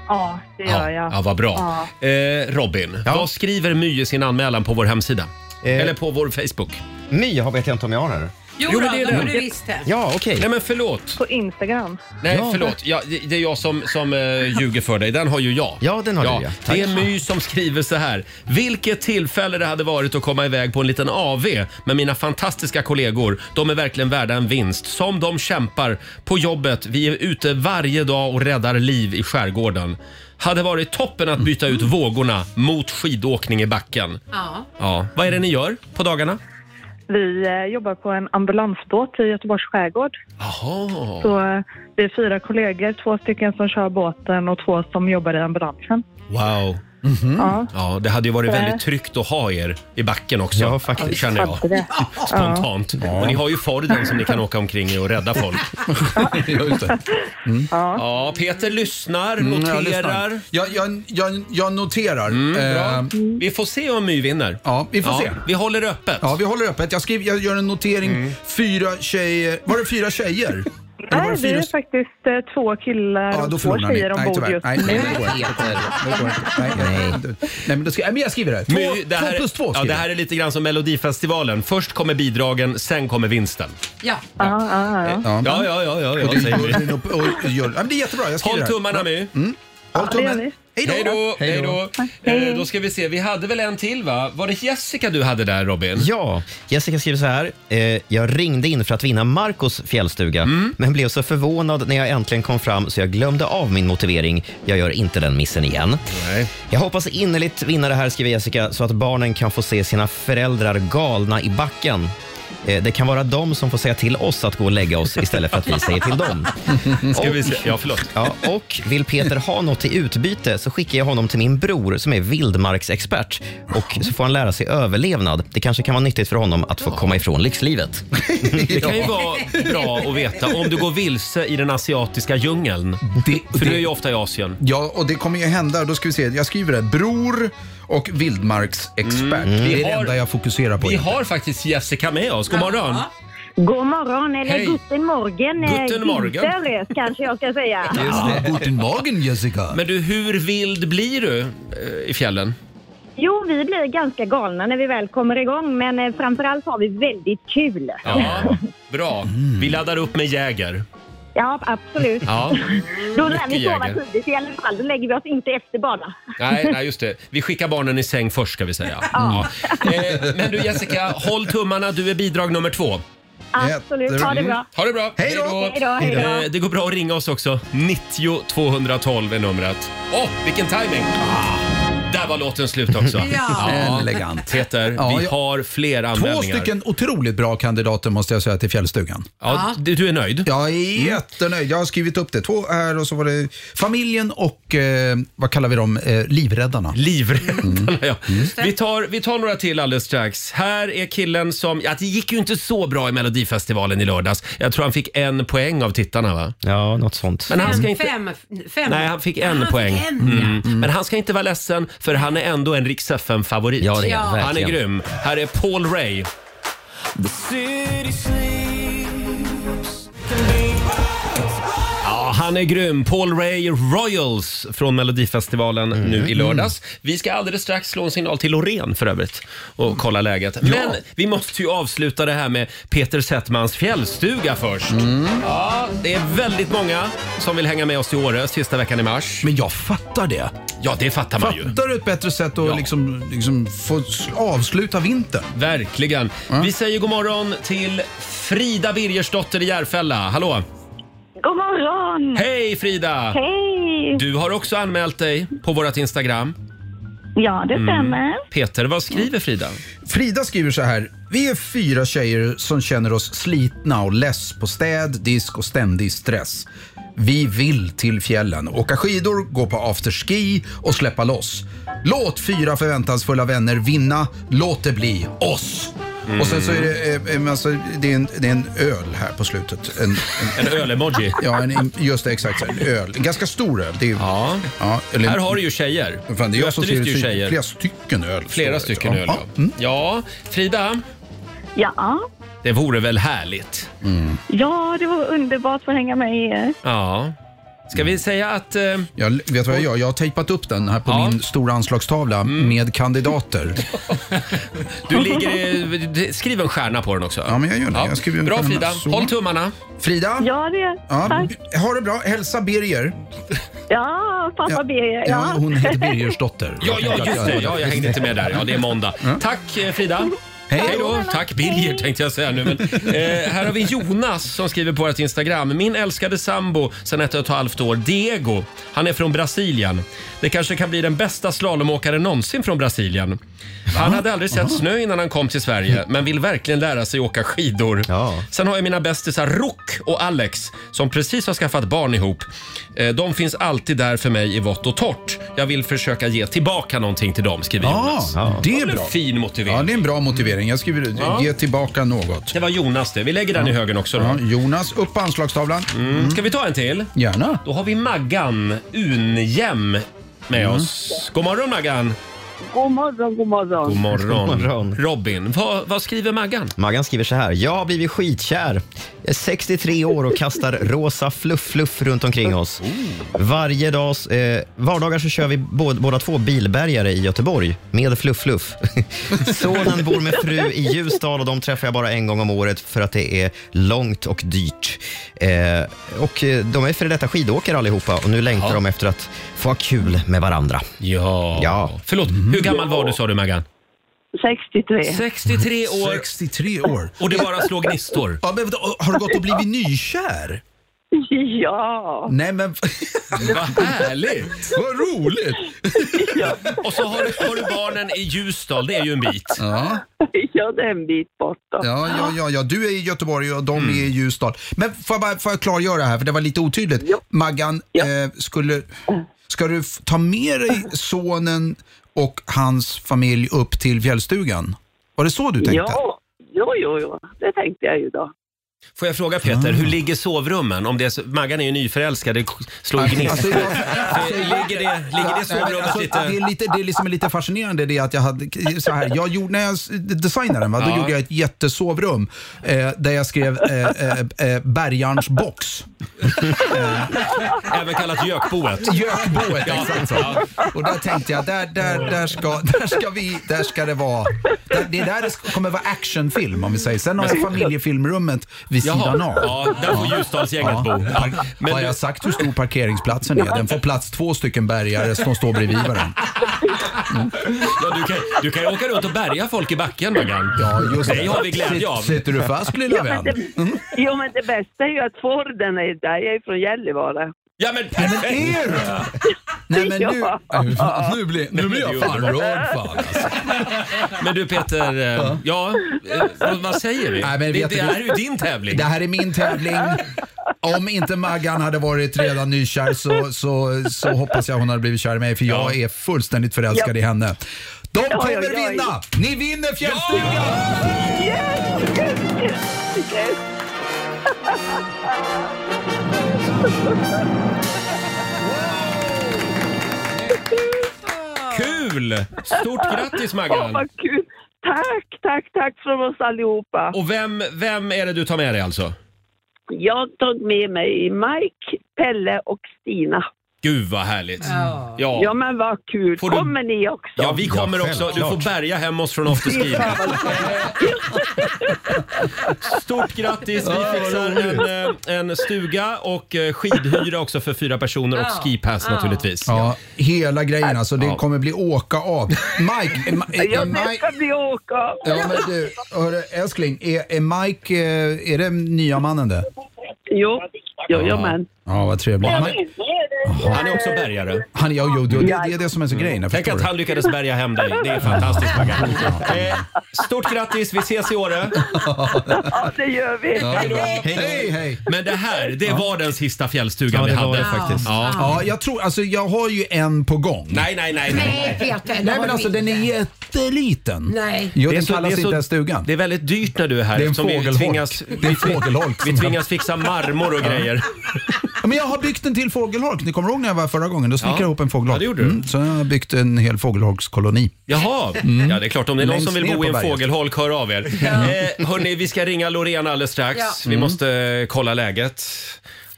[SPEAKER 6] Ja, det gör jag.
[SPEAKER 1] ja vad bra. Eh, Robin, vad skriver My i sin anmälan på vår hemsida?
[SPEAKER 10] Eh.
[SPEAKER 1] Eller på vår Facebook?
[SPEAKER 2] My har- vet jag inte om jag har här.
[SPEAKER 3] Jo,
[SPEAKER 1] Jo,
[SPEAKER 3] jo
[SPEAKER 1] men det
[SPEAKER 3] det
[SPEAKER 1] är
[SPEAKER 3] då,
[SPEAKER 1] det.
[SPEAKER 3] du visst det.
[SPEAKER 2] Ja, okej.
[SPEAKER 1] Nej men förlåt.
[SPEAKER 6] På Instagram.
[SPEAKER 1] Nej,
[SPEAKER 2] Ja.
[SPEAKER 1] förlåt. Ja, det- det är jag som, som eh, ljuger för dig. Den har ju jag.
[SPEAKER 2] Ja, den har du, ja. Tack.
[SPEAKER 1] Det är My som skriver så här. Vilket tillfälle det hade varit att komma iväg på en liten AV med mina fantastiska kollegor. De är verkligen värda en vinst. Som de kämpar på jobbet. Vi är ute varje dag och räddar liv i skärgården. Hade varit toppen att byta ut vågorna mot skidåkning i backen.
[SPEAKER 3] Ja.
[SPEAKER 1] Ja. Vad är det ni gör på dagarna?
[SPEAKER 6] Vi eh, jobbar på en ambulansbåt i Göteborgs skärgård.
[SPEAKER 1] Jaha.
[SPEAKER 6] Så eh, det är fyra kollegor, två stycken som kör båten och två som jobbar i ambulansen.
[SPEAKER 1] Wow.
[SPEAKER 10] Mhm.
[SPEAKER 6] Ja,
[SPEAKER 1] Ja, det hade ju varit väldigt tryggt att ha er i backen också.
[SPEAKER 2] Ja, faktiskt.
[SPEAKER 1] Känner jag.
[SPEAKER 6] hade det.
[SPEAKER 1] Spontant. Och ni har ju Forden som ni kan åka omkring i och rädda folk.
[SPEAKER 10] Just det.
[SPEAKER 1] Ja, Peter lyssnar,
[SPEAKER 10] Mm, jag
[SPEAKER 1] noterar. Mm,
[SPEAKER 10] lyssnar. Jag, jag, jag, jag noterar. Eh,
[SPEAKER 1] Bra. Vi får se om My vinner.
[SPEAKER 10] ja, vi får se.
[SPEAKER 1] Vi håller öppet.
[SPEAKER 10] Ja, vi håller öppet. Jag, skriver, jag gör en notering.
[SPEAKER 1] Mm.
[SPEAKER 10] Fyra tjejer. Var det fyra tjejer? Eller var
[SPEAKER 6] Nej,
[SPEAKER 10] det
[SPEAKER 6] vi
[SPEAKER 10] fyra...
[SPEAKER 6] är faktiskt eh, två killar
[SPEAKER 10] Ja, då
[SPEAKER 6] och två
[SPEAKER 10] förlorar ni.
[SPEAKER 6] tjejer
[SPEAKER 10] Nej,
[SPEAKER 6] ombord
[SPEAKER 10] tyvärr.
[SPEAKER 6] just
[SPEAKER 10] Nej, nej,
[SPEAKER 6] nu.
[SPEAKER 10] det går inte. Det går inte. Nej, nej. Nej, men, då ska, nej, men jag skriver det. Två,
[SPEAKER 1] My, det här,
[SPEAKER 10] två plus två
[SPEAKER 1] ja, det
[SPEAKER 10] skriver
[SPEAKER 1] här är lite grann som Melodifestivalen. Först kommer bidragen, sen kommer vinsten.
[SPEAKER 3] Ja.
[SPEAKER 6] Ja, ja,
[SPEAKER 10] Eh,
[SPEAKER 6] ja.
[SPEAKER 1] Ja, ja, ja. ja, ja,
[SPEAKER 10] jag. Och det,
[SPEAKER 1] säger
[SPEAKER 10] gör,
[SPEAKER 1] vi.
[SPEAKER 10] den upp- och gör, ja, men det är jättebra. Jag skriver
[SPEAKER 1] Håll
[SPEAKER 10] det här.
[SPEAKER 1] tummarna My.
[SPEAKER 10] Håll
[SPEAKER 6] det gör
[SPEAKER 10] tummen. Mm. Hej då!
[SPEAKER 1] Hej då! Hej då. Eh, då ska vi se, vi hade väl en till va? Var det Jessica du hade där Robin?
[SPEAKER 2] Ja, Jessica skriver så här. Eh, jag ringde in för att vinna Marcos fjällstuga, men blev så förvånad när jag äntligen kom fram så jag glömde av min motivering. Jag gör inte den missen igen. Jag hoppas innerligt vinna det här, skriver Jessica, så att barnen kan få se sina föräldrar galna i backen. Eh, Det kan vara de som får säga till oss att gå och lägga oss istället för att vi säger till dem.
[SPEAKER 1] Ska vi se? Ja, förlåt.
[SPEAKER 2] Ja, och vill Peter ha något i utbyte så skickar jag honom till min bror som är vildmarksexpert och så får han lära sig överlevnad. Det kanske kan vara nyttigt för honom att få komma ifrån lyxlivet.
[SPEAKER 1] Det kan ju vara bra att veta om du går vilse i den asiatiska djungeln. för du är ju ofta i Asien.
[SPEAKER 10] Ja, och det kommer ju hända. Då ska vi se. Jag skriver det. Bror och vildmarksexpert.
[SPEAKER 1] Mm.
[SPEAKER 10] Det är
[SPEAKER 1] Vi
[SPEAKER 10] det
[SPEAKER 1] har-
[SPEAKER 10] enda jag fokuserar på.
[SPEAKER 1] Vi har faktiskt Jessica med oss. God morgon!
[SPEAKER 6] God morgon, eller
[SPEAKER 1] Hej.
[SPEAKER 6] guten morgen. eh,
[SPEAKER 1] Guten morgen.
[SPEAKER 6] Winter, kanske jag ska säga.
[SPEAKER 10] Guten Morgen Jessica!
[SPEAKER 1] Men du, hur vild blir du eh, i fjällen?
[SPEAKER 6] Jo, vi blir ganska galna när vi väl kommer igång, men eh, framförallt har vi väldigt kul.
[SPEAKER 1] Ja, bra. Vi laddar upp med Jäger.
[SPEAKER 6] Ja, absolut.
[SPEAKER 1] Ja.
[SPEAKER 6] Då lär vi
[SPEAKER 1] Mycket
[SPEAKER 6] sova
[SPEAKER 1] jägare.
[SPEAKER 6] tidigt i alla fall. Då lägger vi oss inte efter bara.
[SPEAKER 1] Nej, nej, just det. Vi skickar barnen i säng först ska vi säga. Ja. Eh, men du Jessica, håll tummarna. Du är bidrag nummer två.
[SPEAKER 6] Absolut, ha det bra.
[SPEAKER 1] Ha det bra.
[SPEAKER 6] Hej då. Hej då, hej då.
[SPEAKER 1] Eh, Det går bra att ringa oss också. 90 212 är numret. Åh, vilken timing! Ah, där var låten slut också.
[SPEAKER 10] Ja. Elegant.
[SPEAKER 1] Peter,
[SPEAKER 10] Ja,
[SPEAKER 1] vi
[SPEAKER 10] jag-
[SPEAKER 1] har fler anmälningar.
[SPEAKER 10] Två stycken otroligt bra kandidater måste jag säga till fjällstugan.
[SPEAKER 1] Ja, du, är nöjd?
[SPEAKER 10] Jag är jättenöjd. Jag har skrivit upp det. Två här och så var det familjen och, eh, vad kallar vi dem, eh, livräddarna.
[SPEAKER 1] Livräddarna,
[SPEAKER 10] Mm.
[SPEAKER 1] ja. Vi tar, vi tar några till alldeles strax. Här är killen som... Ja, det gick ju inte så bra i Melodifestivalen i lördags. Jag tror han fick en poäng av tittarna, va?
[SPEAKER 2] Ja, något sånt.
[SPEAKER 1] Men han ska inte...
[SPEAKER 3] Fem, fem.
[SPEAKER 1] Nej, han fick en
[SPEAKER 3] Ah, han
[SPEAKER 1] poäng.
[SPEAKER 3] fick en,
[SPEAKER 1] mm. Men han ska inte vara ledsen, för han är ändå en riks favorit
[SPEAKER 2] Ja, det är han,
[SPEAKER 1] Han är
[SPEAKER 2] verkligen.
[SPEAKER 1] grym. Här är Paul Ray. Ja, han är grym. Paul Ray Royals från Melodifestivalen nu i lördags. Vi ska alldeles strax slå en signal till Loreen för övrigt och kolla läget. Men vi måste ju avsluta det här med Peter Settmans fjällstuga först. Ja, det är väldigt många som vill hänga med oss i Åre sista veckan i mars.
[SPEAKER 10] Men jag fattar det.
[SPEAKER 1] Ja, det fattar man ju.
[SPEAKER 10] Fattar du ett bättre sätt att liksom, liksom få s- avsluta vintern?
[SPEAKER 1] Verkligen. Vi säger god morgon till Frida Birgersdotter i Järfälla. Hallå!
[SPEAKER 6] God morgon!
[SPEAKER 1] Hej Frida!
[SPEAKER 6] Hej!
[SPEAKER 1] Du har också anmält dig på vårt Instagram.
[SPEAKER 6] Ja, det
[SPEAKER 1] Mm.
[SPEAKER 6] stämmer.
[SPEAKER 1] Peter, vad skriver Frida?
[SPEAKER 10] Frida skriver så här. Vi är fyra tjejer som känner oss slitna och less på städ, disk och ständig stress. Vi vill till fjällen, åka skidor, gå på afterski och släppa loss. Låt fyra förväntansfulla vänner vinna. Låt det bli oss. Och sen så är det, eh, eh, alltså, det, är en, det är en öl här på slutet. En,
[SPEAKER 1] En öl-emoji.
[SPEAKER 10] Ja, en, just det. Exakt. så, En öl. En ganska stor öl. Det är, ja. eller-
[SPEAKER 1] Här har du ju tjejer.
[SPEAKER 10] Fan, det är
[SPEAKER 1] Du
[SPEAKER 10] jag som ser
[SPEAKER 1] efterlyste ju
[SPEAKER 10] ut-
[SPEAKER 1] tjejer.
[SPEAKER 10] Flera stycken öl.
[SPEAKER 1] Flera
[SPEAKER 10] står det.
[SPEAKER 1] stycken
[SPEAKER 10] Mm.
[SPEAKER 1] öl, ja. Ja, Frida.
[SPEAKER 6] Ja.
[SPEAKER 1] Det vore väl härligt?
[SPEAKER 6] ja, det var underbart att få hänga med er.
[SPEAKER 1] Ja. Ska vi säga att... Eh,
[SPEAKER 10] Jag, vet du vad jag gör? Jag har tejpat upp den här på min stora anslagstavla
[SPEAKER 1] Mm.
[SPEAKER 10] med kandidater.
[SPEAKER 1] du ligger i, Skriv en stjärna på den också.
[SPEAKER 10] Ja, men jag gör det. Jag skriver en
[SPEAKER 1] Bra
[SPEAKER 10] stjärna.
[SPEAKER 1] Frida.
[SPEAKER 10] Så.
[SPEAKER 1] Håll tummarna.
[SPEAKER 10] Frida?
[SPEAKER 6] Ja, det...
[SPEAKER 10] Ja,
[SPEAKER 6] Tack.
[SPEAKER 10] ha det bra. Hälsa Birger.
[SPEAKER 6] Ja, pappa Birger.
[SPEAKER 10] Ja,
[SPEAKER 6] Ja.
[SPEAKER 10] hon heter Birgers dotter.
[SPEAKER 1] Ja, ja just det. Ja, jag hängde inte med där. Ja, det är måndag. Tack eh, Frida.
[SPEAKER 10] Hej.
[SPEAKER 1] Hej då. Tack Birger tänkte jag säga nu. Men, eh, här har vi Jonas som skriver på vårt Instagram. Min älskade sambo sedan ett och ett halvt år, Diego. Han är från Brasilien. Det kanske kan bli den bästa slalomåkaren någonsin från Brasilien. Han hade aldrig sett snö innan han kom till Sverige, men vill verkligen lära sig åka skidor. Sen har jag mina bästisar Rock och Alex som precis har skaffat barn ihop. Eh, De finns alltid där för mig i vått och torrt. Jag vill försöka ge tillbaka någonting till dem, skriver
[SPEAKER 10] Ja,
[SPEAKER 1] Jonas.
[SPEAKER 10] ja. det är
[SPEAKER 1] var väl
[SPEAKER 10] bra.
[SPEAKER 1] en fin motivering.
[SPEAKER 10] Ja, det är en bra motivering. Jag skriver
[SPEAKER 1] Ja.
[SPEAKER 10] Ge tillbaka något.
[SPEAKER 1] Det var Jonas det. Vi lägger den i högen också då.
[SPEAKER 10] Ja, Jonas, upp på anslagstavlan.
[SPEAKER 1] Mm. Ska vi ta en till?
[SPEAKER 10] Gärna. Mm.
[SPEAKER 1] Då har vi Maggan Unjem med oss. God morgon Maggan!
[SPEAKER 12] God morgon, god morgon.
[SPEAKER 1] God morgon. Robin, vad, vad skriver Maggan?
[SPEAKER 2] Maggan skriver så här. Jag har blivit skitkär. Jag är 63 år och kastar rosa fluff-fluff runt omkring oss. Varje dag, eh, vardagar så kör vi bå- båda två bilbärgare i Göteborg med fluff-fluff. Sonen bor med fru i Ljusdal och de träffar jag bara en gång om året för att det är långt och dyrt. Eh, och eh, de är före detta skidåkare allihopa och nu längtar de efter att få ha kul med varandra.
[SPEAKER 1] Ja.
[SPEAKER 2] ja.
[SPEAKER 1] Förlåt, hur gammal var du sa du Maggan?
[SPEAKER 12] 63.
[SPEAKER 1] 63 år.
[SPEAKER 10] 63 år.
[SPEAKER 1] Och det bara slår gnistor.
[SPEAKER 10] Ja, men, har du gått och blivit nykär?
[SPEAKER 12] Ja.
[SPEAKER 10] Nej men...
[SPEAKER 1] Vad härligt!
[SPEAKER 10] Vad roligt!
[SPEAKER 1] Och så har du, har du barnen i Ljusdal, det är ju en bit.
[SPEAKER 10] Ja.
[SPEAKER 12] Ja, det är en bit borta.
[SPEAKER 10] Ja, ja, ja, ja. Du är i Göteborg och de är i Ljusdal. Men får jag, bara, får jag klargöra här, för det var lite otydligt. Maggan, eh, skulle, ska du f- ta med dig sonen och hans familj upp till fjällstugan? Var det så du tänkte?
[SPEAKER 12] Ja, jo, jo, jo. Det tänkte jag ju då.
[SPEAKER 1] Får jag fråga Peter, hur ligger sovrummen? Om det är, så- Maggan är ju nyförälskad, det slår ju
[SPEAKER 10] Alltså,
[SPEAKER 1] gnistor.
[SPEAKER 10] jag-
[SPEAKER 1] Eh, Ligger det, ligger det
[SPEAKER 10] Nej, men
[SPEAKER 1] sovrummet
[SPEAKER 10] alltså, Det är,
[SPEAKER 1] lite...
[SPEAKER 10] lite, det är liksom lite fascinerande det att jag hade så här, jag gjorde, när jag s- designade den, va, då
[SPEAKER 1] Ja.
[SPEAKER 10] gjorde jag ett jättesovrum eh, där jag skrev eh, eh, eh, Bergarns box.
[SPEAKER 1] Även kallat gökboet.
[SPEAKER 10] Gökboet,
[SPEAKER 1] Ja.
[SPEAKER 10] exakt så.
[SPEAKER 1] Ja.
[SPEAKER 10] Och där tänkte jag, där, där, där, ska, där ska vi, där ska det vara, där, det är där det ska- kommer vara actionfilm om vi säger. Sen har jag familjefilmrummet vid
[SPEAKER 1] Jaha.
[SPEAKER 10] sidan av.
[SPEAKER 1] Ja, där får Ljusdalsgänget bo. Ja. Men
[SPEAKER 10] har
[SPEAKER 1] du-
[SPEAKER 10] jag sagt hur stor parkeringsplatsen är? Den får plats två stycken bärgare som står bredvid varandra.
[SPEAKER 1] Ja, du, kan, du kan ju åka runt och bärga folk i backen Maggan.
[SPEAKER 10] Ja, just det.
[SPEAKER 1] det har vi glädje av.
[SPEAKER 10] Sitter du fast lilla
[SPEAKER 12] Ja, men
[SPEAKER 10] vän?
[SPEAKER 12] det, jo, men det bästa är ju att Forden är där. Jag är från Gällivare.
[SPEAKER 1] Ja, men perfekt!
[SPEAKER 10] är Nej, men nu, nu, blir, nu blir jag fan alltså. rörd. Fan.
[SPEAKER 1] Men du Peter, eh, ja, eh, vad- vad säger vi?
[SPEAKER 10] Nej, men
[SPEAKER 1] det
[SPEAKER 10] vet
[SPEAKER 1] det
[SPEAKER 10] du-
[SPEAKER 1] här är ju din tävling.
[SPEAKER 10] Det här är min tävling. Om inte Maggan hade varit redan nykär så, så, så hoppas jag hon hade blivit kär i mig för jag är fullständigt förälskad i henne. De
[SPEAKER 7] Ja,
[SPEAKER 10] kommer
[SPEAKER 7] ja, ja.
[SPEAKER 10] vinna! Ni vinner fjällstugan!
[SPEAKER 1] Kul! Stort grattis
[SPEAKER 12] Åh,
[SPEAKER 1] Maggan!
[SPEAKER 12] vad kul. Tack, tack, tack från oss allihopa.
[SPEAKER 1] Och vem, vem är det du tar med dig alltså?
[SPEAKER 12] Jag tog med mig Mike, Pelle och Stina.
[SPEAKER 1] Gud vad härligt. Ja,
[SPEAKER 12] Ja,
[SPEAKER 1] ja,
[SPEAKER 12] men vad kul.
[SPEAKER 1] Får du-
[SPEAKER 12] Kommer ni också?
[SPEAKER 1] vi kommer också. Du får bärga hem oss från afterski. Stort grattis! Vi fixar en, eh, en stuga och eh, skidhyra också för fyra personer
[SPEAKER 10] Ja,
[SPEAKER 1] och skipass
[SPEAKER 10] ja.
[SPEAKER 1] naturligtvis.
[SPEAKER 10] Ja, hela grejen alltså. Det
[SPEAKER 1] Ja.
[SPEAKER 10] kommer bli åka av. Mike, är, Ma- är, är,
[SPEAKER 12] Jag
[SPEAKER 10] Mike
[SPEAKER 12] ska bli åka.
[SPEAKER 10] ja, men du, hörru, älskling, är, är Mike, eh, är det nya mannen det?
[SPEAKER 12] Jo, jajamän.
[SPEAKER 10] Ja, vad trevligt. Mike,
[SPEAKER 1] Han är också bärgare.
[SPEAKER 10] han, ja, jo, jo, det, det är det som är så grejen. jag
[SPEAKER 1] Tänk
[SPEAKER 10] förstår
[SPEAKER 1] att
[SPEAKER 10] det.
[SPEAKER 1] han lyckades bärga hem dig. Det är fantastiskt Maggan. Eh, Stort grattis, vi ses i Åre.
[SPEAKER 12] Ja, det gör vi.
[SPEAKER 10] Hej, hej.
[SPEAKER 1] Men det här, det var den sista fjällstugan
[SPEAKER 2] Ja,
[SPEAKER 1] vi
[SPEAKER 2] det
[SPEAKER 1] hade.
[SPEAKER 2] var det faktiskt.
[SPEAKER 1] Ja.
[SPEAKER 10] Ja, jag tror, alltså jag har ju en på gång.
[SPEAKER 1] Nej, nej, nej. nej.
[SPEAKER 3] Peter, det
[SPEAKER 10] Nej,
[SPEAKER 3] har
[SPEAKER 10] men
[SPEAKER 3] du
[SPEAKER 10] alltså
[SPEAKER 3] inte.
[SPEAKER 10] den är jätteliten.
[SPEAKER 3] Nej.
[SPEAKER 10] Jo,
[SPEAKER 1] Det är
[SPEAKER 10] den
[SPEAKER 1] så-
[SPEAKER 10] kallas
[SPEAKER 1] det är så-
[SPEAKER 10] inte ens stugan.
[SPEAKER 1] Det är väldigt dyrt när du är här.
[SPEAKER 10] Det är en
[SPEAKER 1] eftersom vi
[SPEAKER 10] fågelholk.
[SPEAKER 1] tvingas,
[SPEAKER 10] Det är en fågelholk
[SPEAKER 1] Vi
[SPEAKER 10] som-
[SPEAKER 1] tvingas fixa marmor och grejer.
[SPEAKER 10] Ja, men jag har byggt en till fågelholk. Ni kommer ihåg när jag var förra gången? Då snickrade
[SPEAKER 1] Ja.
[SPEAKER 10] jag ihop en fågelholk.
[SPEAKER 1] Ja,
[SPEAKER 10] Mm,
[SPEAKER 1] det gjorde du.
[SPEAKER 10] så jag har byggt en hel fågelholkskoloni.
[SPEAKER 1] Jaha, ja det är klart om det är någon
[SPEAKER 10] Mm. Längst
[SPEAKER 1] som vill
[SPEAKER 10] ner
[SPEAKER 1] bo
[SPEAKER 10] på
[SPEAKER 1] i en
[SPEAKER 10] berget.
[SPEAKER 1] fågelholk, hör av er. Eh, hörni, vi ska ringa Lorena alldeles strax.
[SPEAKER 3] Ja.
[SPEAKER 10] Mm.
[SPEAKER 1] Vi måste eh, kolla läget.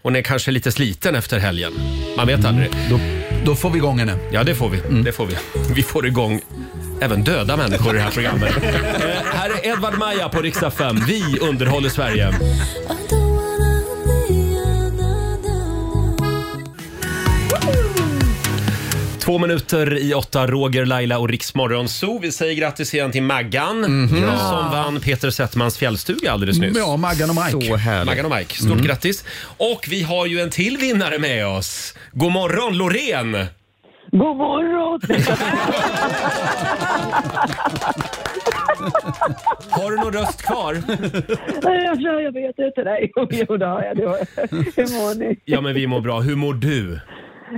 [SPEAKER 1] Hon är kanske lite sliten efter helgen. Man vet aldrig.
[SPEAKER 10] Då, då får vi igång henne.
[SPEAKER 1] Ja, det får vi. Det får vi. Vi får igång även döda människor i det här programmet. eh, här är Edvard Maja på riksdag 5. Vi underhåller Sverige. Två minuter i åtta, Roger, Laila och Riksmorgon. Så vi säger grattis igen till Maggan som vann Peter Settmans fjällstuga alldeles nyss.
[SPEAKER 10] Ja, Maggan och Mike.
[SPEAKER 2] Så härligt.
[SPEAKER 1] Maggan och Mike, stort grattis. Och vi har ju en till vinnare med oss. God morgon Loreen!
[SPEAKER 12] God morgon!
[SPEAKER 1] Har du någon röst kvar?
[SPEAKER 12] Jag tror jag vet inte dig. Jo, det har jag. det har jag. Hur mår ni?
[SPEAKER 1] Ja men vi mår bra. Hur mår du?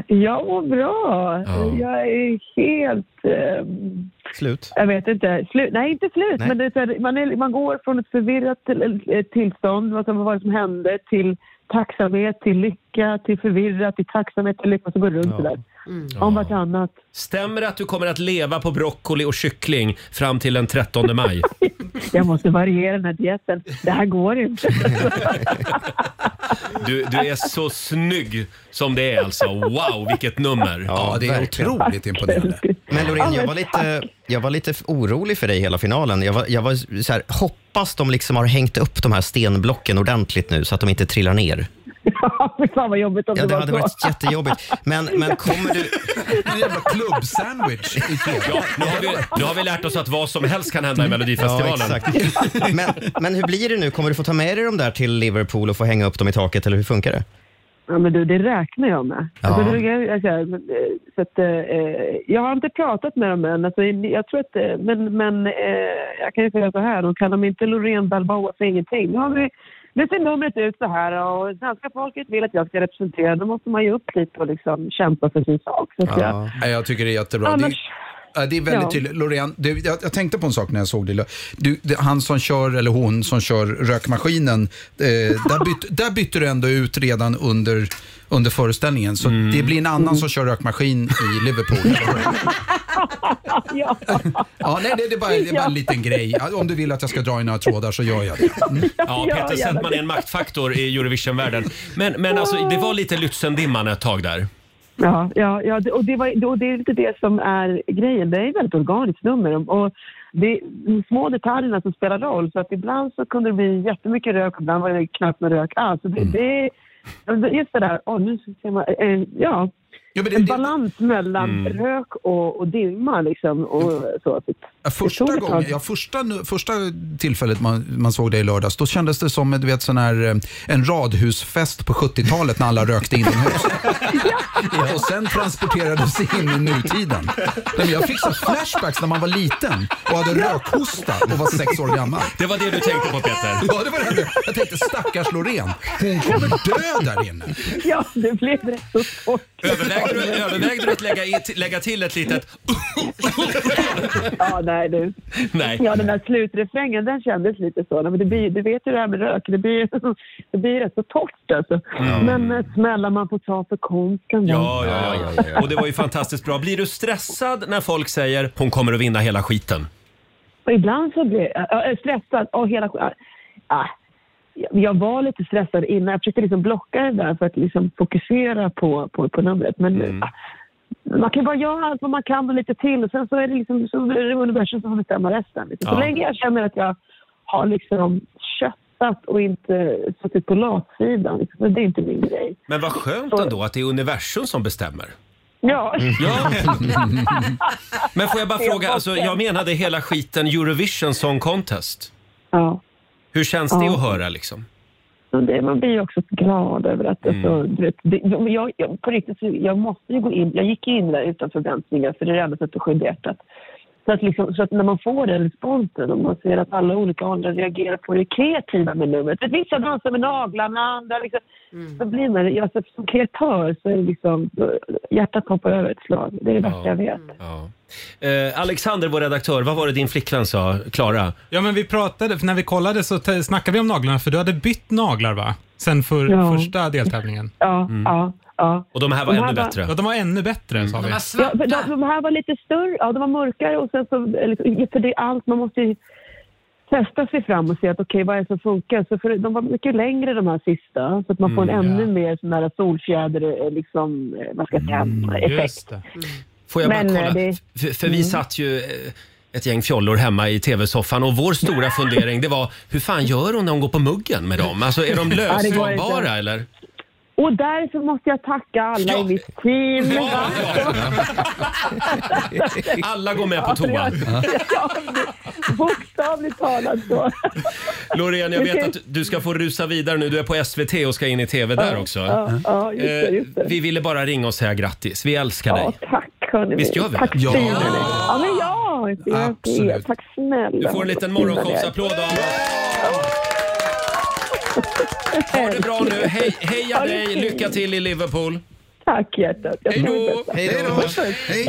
[SPEAKER 12] Jag mår bra.
[SPEAKER 1] Ja.
[SPEAKER 12] Jag är helt... ehm,
[SPEAKER 2] Slut.
[SPEAKER 12] jag vet inte. Slut. Nej, inte slut.
[SPEAKER 2] Nej.
[SPEAKER 12] Men det är så här, man, är, man går från ett förvirrat till, ett tillstånd, vad som, vad var det som hände, till tacksamhet, till lycka, till förvirrat, till tacksamhet, till lycka. Och så går det runt
[SPEAKER 2] Ja.
[SPEAKER 12] sådär. om vartannat.
[SPEAKER 1] Stämmer det att du kommer att leva på broccoli och kyckling fram till den 13 maj?
[SPEAKER 12] Jag måste variera den här dieten. Det här går inte.
[SPEAKER 1] Du, du är så snygg som det är alltså. Wow, vilket nummer!
[SPEAKER 2] Ja, det är verkligen. otroligt imponerande. Men Loreen, jag var lite, jag var lite orolig för dig hela finalen. Jag var, jag var så här, hoppas de liksom har hängt upp de här stenblocken ordentligt nu så att de inte trillar ner.
[SPEAKER 12] Fy fan vad jobbigt om
[SPEAKER 2] Ja,
[SPEAKER 12] det
[SPEAKER 2] det
[SPEAKER 12] var
[SPEAKER 2] hade
[SPEAKER 12] så.
[SPEAKER 2] varit jättejobbigt. Men, men kommer du...
[SPEAKER 10] En jävla klubbsandwich.
[SPEAKER 1] Ja, nu, har vi, nu har vi lärt oss att vad som helst kan hända i Melodifestivalen.
[SPEAKER 2] Ja, exakt. Men, men hur blir det nu? Kommer du få ta med dig de där till Liverpool och få hänga upp dem i taket, eller hur funkar det?
[SPEAKER 12] Ja, men du, det räknar jag med.
[SPEAKER 2] Ja.
[SPEAKER 12] Alltså, det, är- alltså, eh, så att, eh, jag har inte pratat med dem än. Alltså, jag tror att, eh, men men eh, jag kan ju säga så här, de kallar mig inte Loreen Balboa för ingenting. Nu, har vi, nu ser numret ut så här och svenska folket vill att jag ska representera. Då måste man ju upp dit och liksom kämpa för sin sak. Så att jag,
[SPEAKER 10] Nej, Jag tycker det är jättebra. Det är-
[SPEAKER 12] Annars-
[SPEAKER 10] ja, det är väldigt
[SPEAKER 12] Ja.
[SPEAKER 10] tydligt. Loreen, du, jag, jag tänkte på en sak när jag såg dig. Du, det, han som kör, eller hon som kör rökmaskinen, eh, där, byt, där bytte du ändå ut redan under, under föreställningen. Så det blir en annan som kör rökmaskin i Liverpool.
[SPEAKER 12] ja.
[SPEAKER 10] ja, nej, det, det, är bara, det är bara en liten grej. Ja, Om du vill att jag ska dra i några trådar så gör jag det.
[SPEAKER 1] Ja, Peter Settman är en maktfaktor i Eurovision-världen. Men, men alltså, det var lite Lützendimman ett tag där.
[SPEAKER 12] Ja, ja, ja det- och, det var, och det är lite det som är grejen. Det är ett väldigt organiskt nummer. Och det är de små detaljerna som spelar roll. Så att ibland så kunde det bli jättemycket rök och ibland var det knappt med rök alls. Så Det,
[SPEAKER 10] Mm.
[SPEAKER 12] det, är- just det där, åh, nu ser man, eh, ja. en balans mellan
[SPEAKER 10] Mm.
[SPEAKER 12] rök och, och dimma liksom. Och, så.
[SPEAKER 10] Ja, Första,
[SPEAKER 12] ett
[SPEAKER 10] gången,
[SPEAKER 12] tag.
[SPEAKER 10] ja, första, nu- första tillfället man, man såg dig i lördags, då kändes det som du vet, sån här, eh, en radhusfest på 70-talet när alla rökte inomhus. ja. Och sen transporterades in i nutiden. Nej, men jag fick så flashbacks när man var liten och hade rökhosta och var sex år gammal.
[SPEAKER 1] Det var det du tänkte på Peter?
[SPEAKER 10] Ja, det var det. jag tänkte. Jag tänkte stackars Loreen, hon kommer dö där inne.
[SPEAKER 12] Ja, det blev rätt så svårt.
[SPEAKER 1] Övervägde du, övervägde du att lägga, i, lägga till ett litet...
[SPEAKER 12] Ja, nej du.
[SPEAKER 1] Nej.
[SPEAKER 12] Ja, den där slutrefrängen den kändes lite så. Nej, Men det blir, du vet ju det här med rök, det blir, det blir rätt så torrt alltså.
[SPEAKER 1] Mm.
[SPEAKER 12] Men eh, smällar man får ta för konsten. va?
[SPEAKER 1] Ja, ja, ja, ja. Och det var ju fantastiskt bra. Blir du stressad när folk säger hon kommer att vinna hela skiten?
[SPEAKER 12] Och ibland så blir jag äh, stressad. Och hela, sk- äh, jag var lite stressad innan. Jag försökte liksom blocka det där för att liksom fokusera på, på, på numret. Men äh, man kan bara göra allt vad man kan och lite till. Och sen så är det liksom så är det universum som får bestämma resten. Liksom.
[SPEAKER 1] Ja.
[SPEAKER 12] Så länge jag känner att jag har liksom köttat och inte suttit på latsidan. Liksom. Men Det är inte min grej.
[SPEAKER 1] Men vad skönt ändå att det är universum som bestämmer.
[SPEAKER 12] Ja.
[SPEAKER 1] Ja. Men får jag bara fråga, alltså, jag menade hela skiten Eurovision Song Contest.
[SPEAKER 12] Ja.
[SPEAKER 1] Hur känns det
[SPEAKER 12] Ja.
[SPEAKER 1] att höra liksom?
[SPEAKER 12] Men det, man blir ju också glad över att...
[SPEAKER 1] Mm.
[SPEAKER 12] Alltså, du vet, det, men jag, jag, på riktigt, så- jag måste ju gå in. Jag gick ju in där utan förväntningar, för det är det enda sättet att skydda hjärtat. Så att, liksom, så att när man får den responsen och man ser att alla olika åldrar reagerar på det kreativa med numret. Att Vissa dansar med naglarna, andra liksom. Så blir man, jag, så, som kreatör så är det liksom, hjärtat hoppar över ett slag. Det är det värsta jag vet.
[SPEAKER 1] Ja. Eh, Alexander, vår redaktör, vad var det din flickvän sa? Klara?
[SPEAKER 11] Ja, men vi pratade, för när vi kollade så te- snackade vi om naglarna, för du hade bytt naglar va? Sen för
[SPEAKER 12] Ja.
[SPEAKER 11] första deltävlingen.
[SPEAKER 12] Ja,
[SPEAKER 1] Mm.
[SPEAKER 12] ja, ja.
[SPEAKER 1] Och de här var
[SPEAKER 12] De här
[SPEAKER 1] ännu
[SPEAKER 12] var-
[SPEAKER 1] bättre?
[SPEAKER 11] Ja, de var ännu bättre sa vi.
[SPEAKER 1] Mm,
[SPEAKER 12] Ja, för de, de här var lite större, ja de var mörkare och sen så, eller, för det är allt, man måste ju testa sig fram och se att okej vad är det som funkar. Så för, de var mycket längre de här sista så att man
[SPEAKER 1] Mm,
[SPEAKER 12] får en ännu mer sån där solfjäder, eh, liksom, eh, vad ska jag säga,
[SPEAKER 1] Mm,
[SPEAKER 12] effekt.
[SPEAKER 1] Får jag bara
[SPEAKER 12] Men,
[SPEAKER 1] kolla?
[SPEAKER 12] eh, det-
[SPEAKER 1] För, för vi
[SPEAKER 12] Mm.
[SPEAKER 1] satt ju eh, ett gäng fjollor hemma i tv-soffan och vår stora fundering det var hur fan gör hon när hon går på muggen med dem? Alltså är de
[SPEAKER 12] Ja, det går inte.
[SPEAKER 1] lösdragbara eller?
[SPEAKER 12] Och där så måste jag tacka alla i mitt team.
[SPEAKER 1] Alla går med på toa.
[SPEAKER 12] Ja, Bokstavligt talat så.
[SPEAKER 1] Loreen, jag vet att du ska få rusa vidare nu. Du är på SVT och ska in i tv där
[SPEAKER 12] Ja,
[SPEAKER 1] också.
[SPEAKER 12] ja, ja, just det,
[SPEAKER 1] Eh,
[SPEAKER 12] just det.
[SPEAKER 1] Vi ville bara ringa och säga grattis. Vi älskar dig.
[SPEAKER 12] Tack hörni.
[SPEAKER 1] Visst gör vi
[SPEAKER 12] Tack
[SPEAKER 1] det? Ja.
[SPEAKER 12] ja. ja men ja, det gör
[SPEAKER 1] Absolut.
[SPEAKER 12] det. Tack snälla.
[SPEAKER 1] Du får en liten
[SPEAKER 12] Vad fina ni är.
[SPEAKER 1] morgonshowsapplåd av oss. Ha det bra nu. Hej, heja
[SPEAKER 12] Ha det
[SPEAKER 1] dig.
[SPEAKER 12] fint.
[SPEAKER 1] Lycka till i Liverpool.
[SPEAKER 12] Tack hjärtat. Jag
[SPEAKER 1] Hej
[SPEAKER 12] tror det
[SPEAKER 1] då!
[SPEAKER 12] bästa.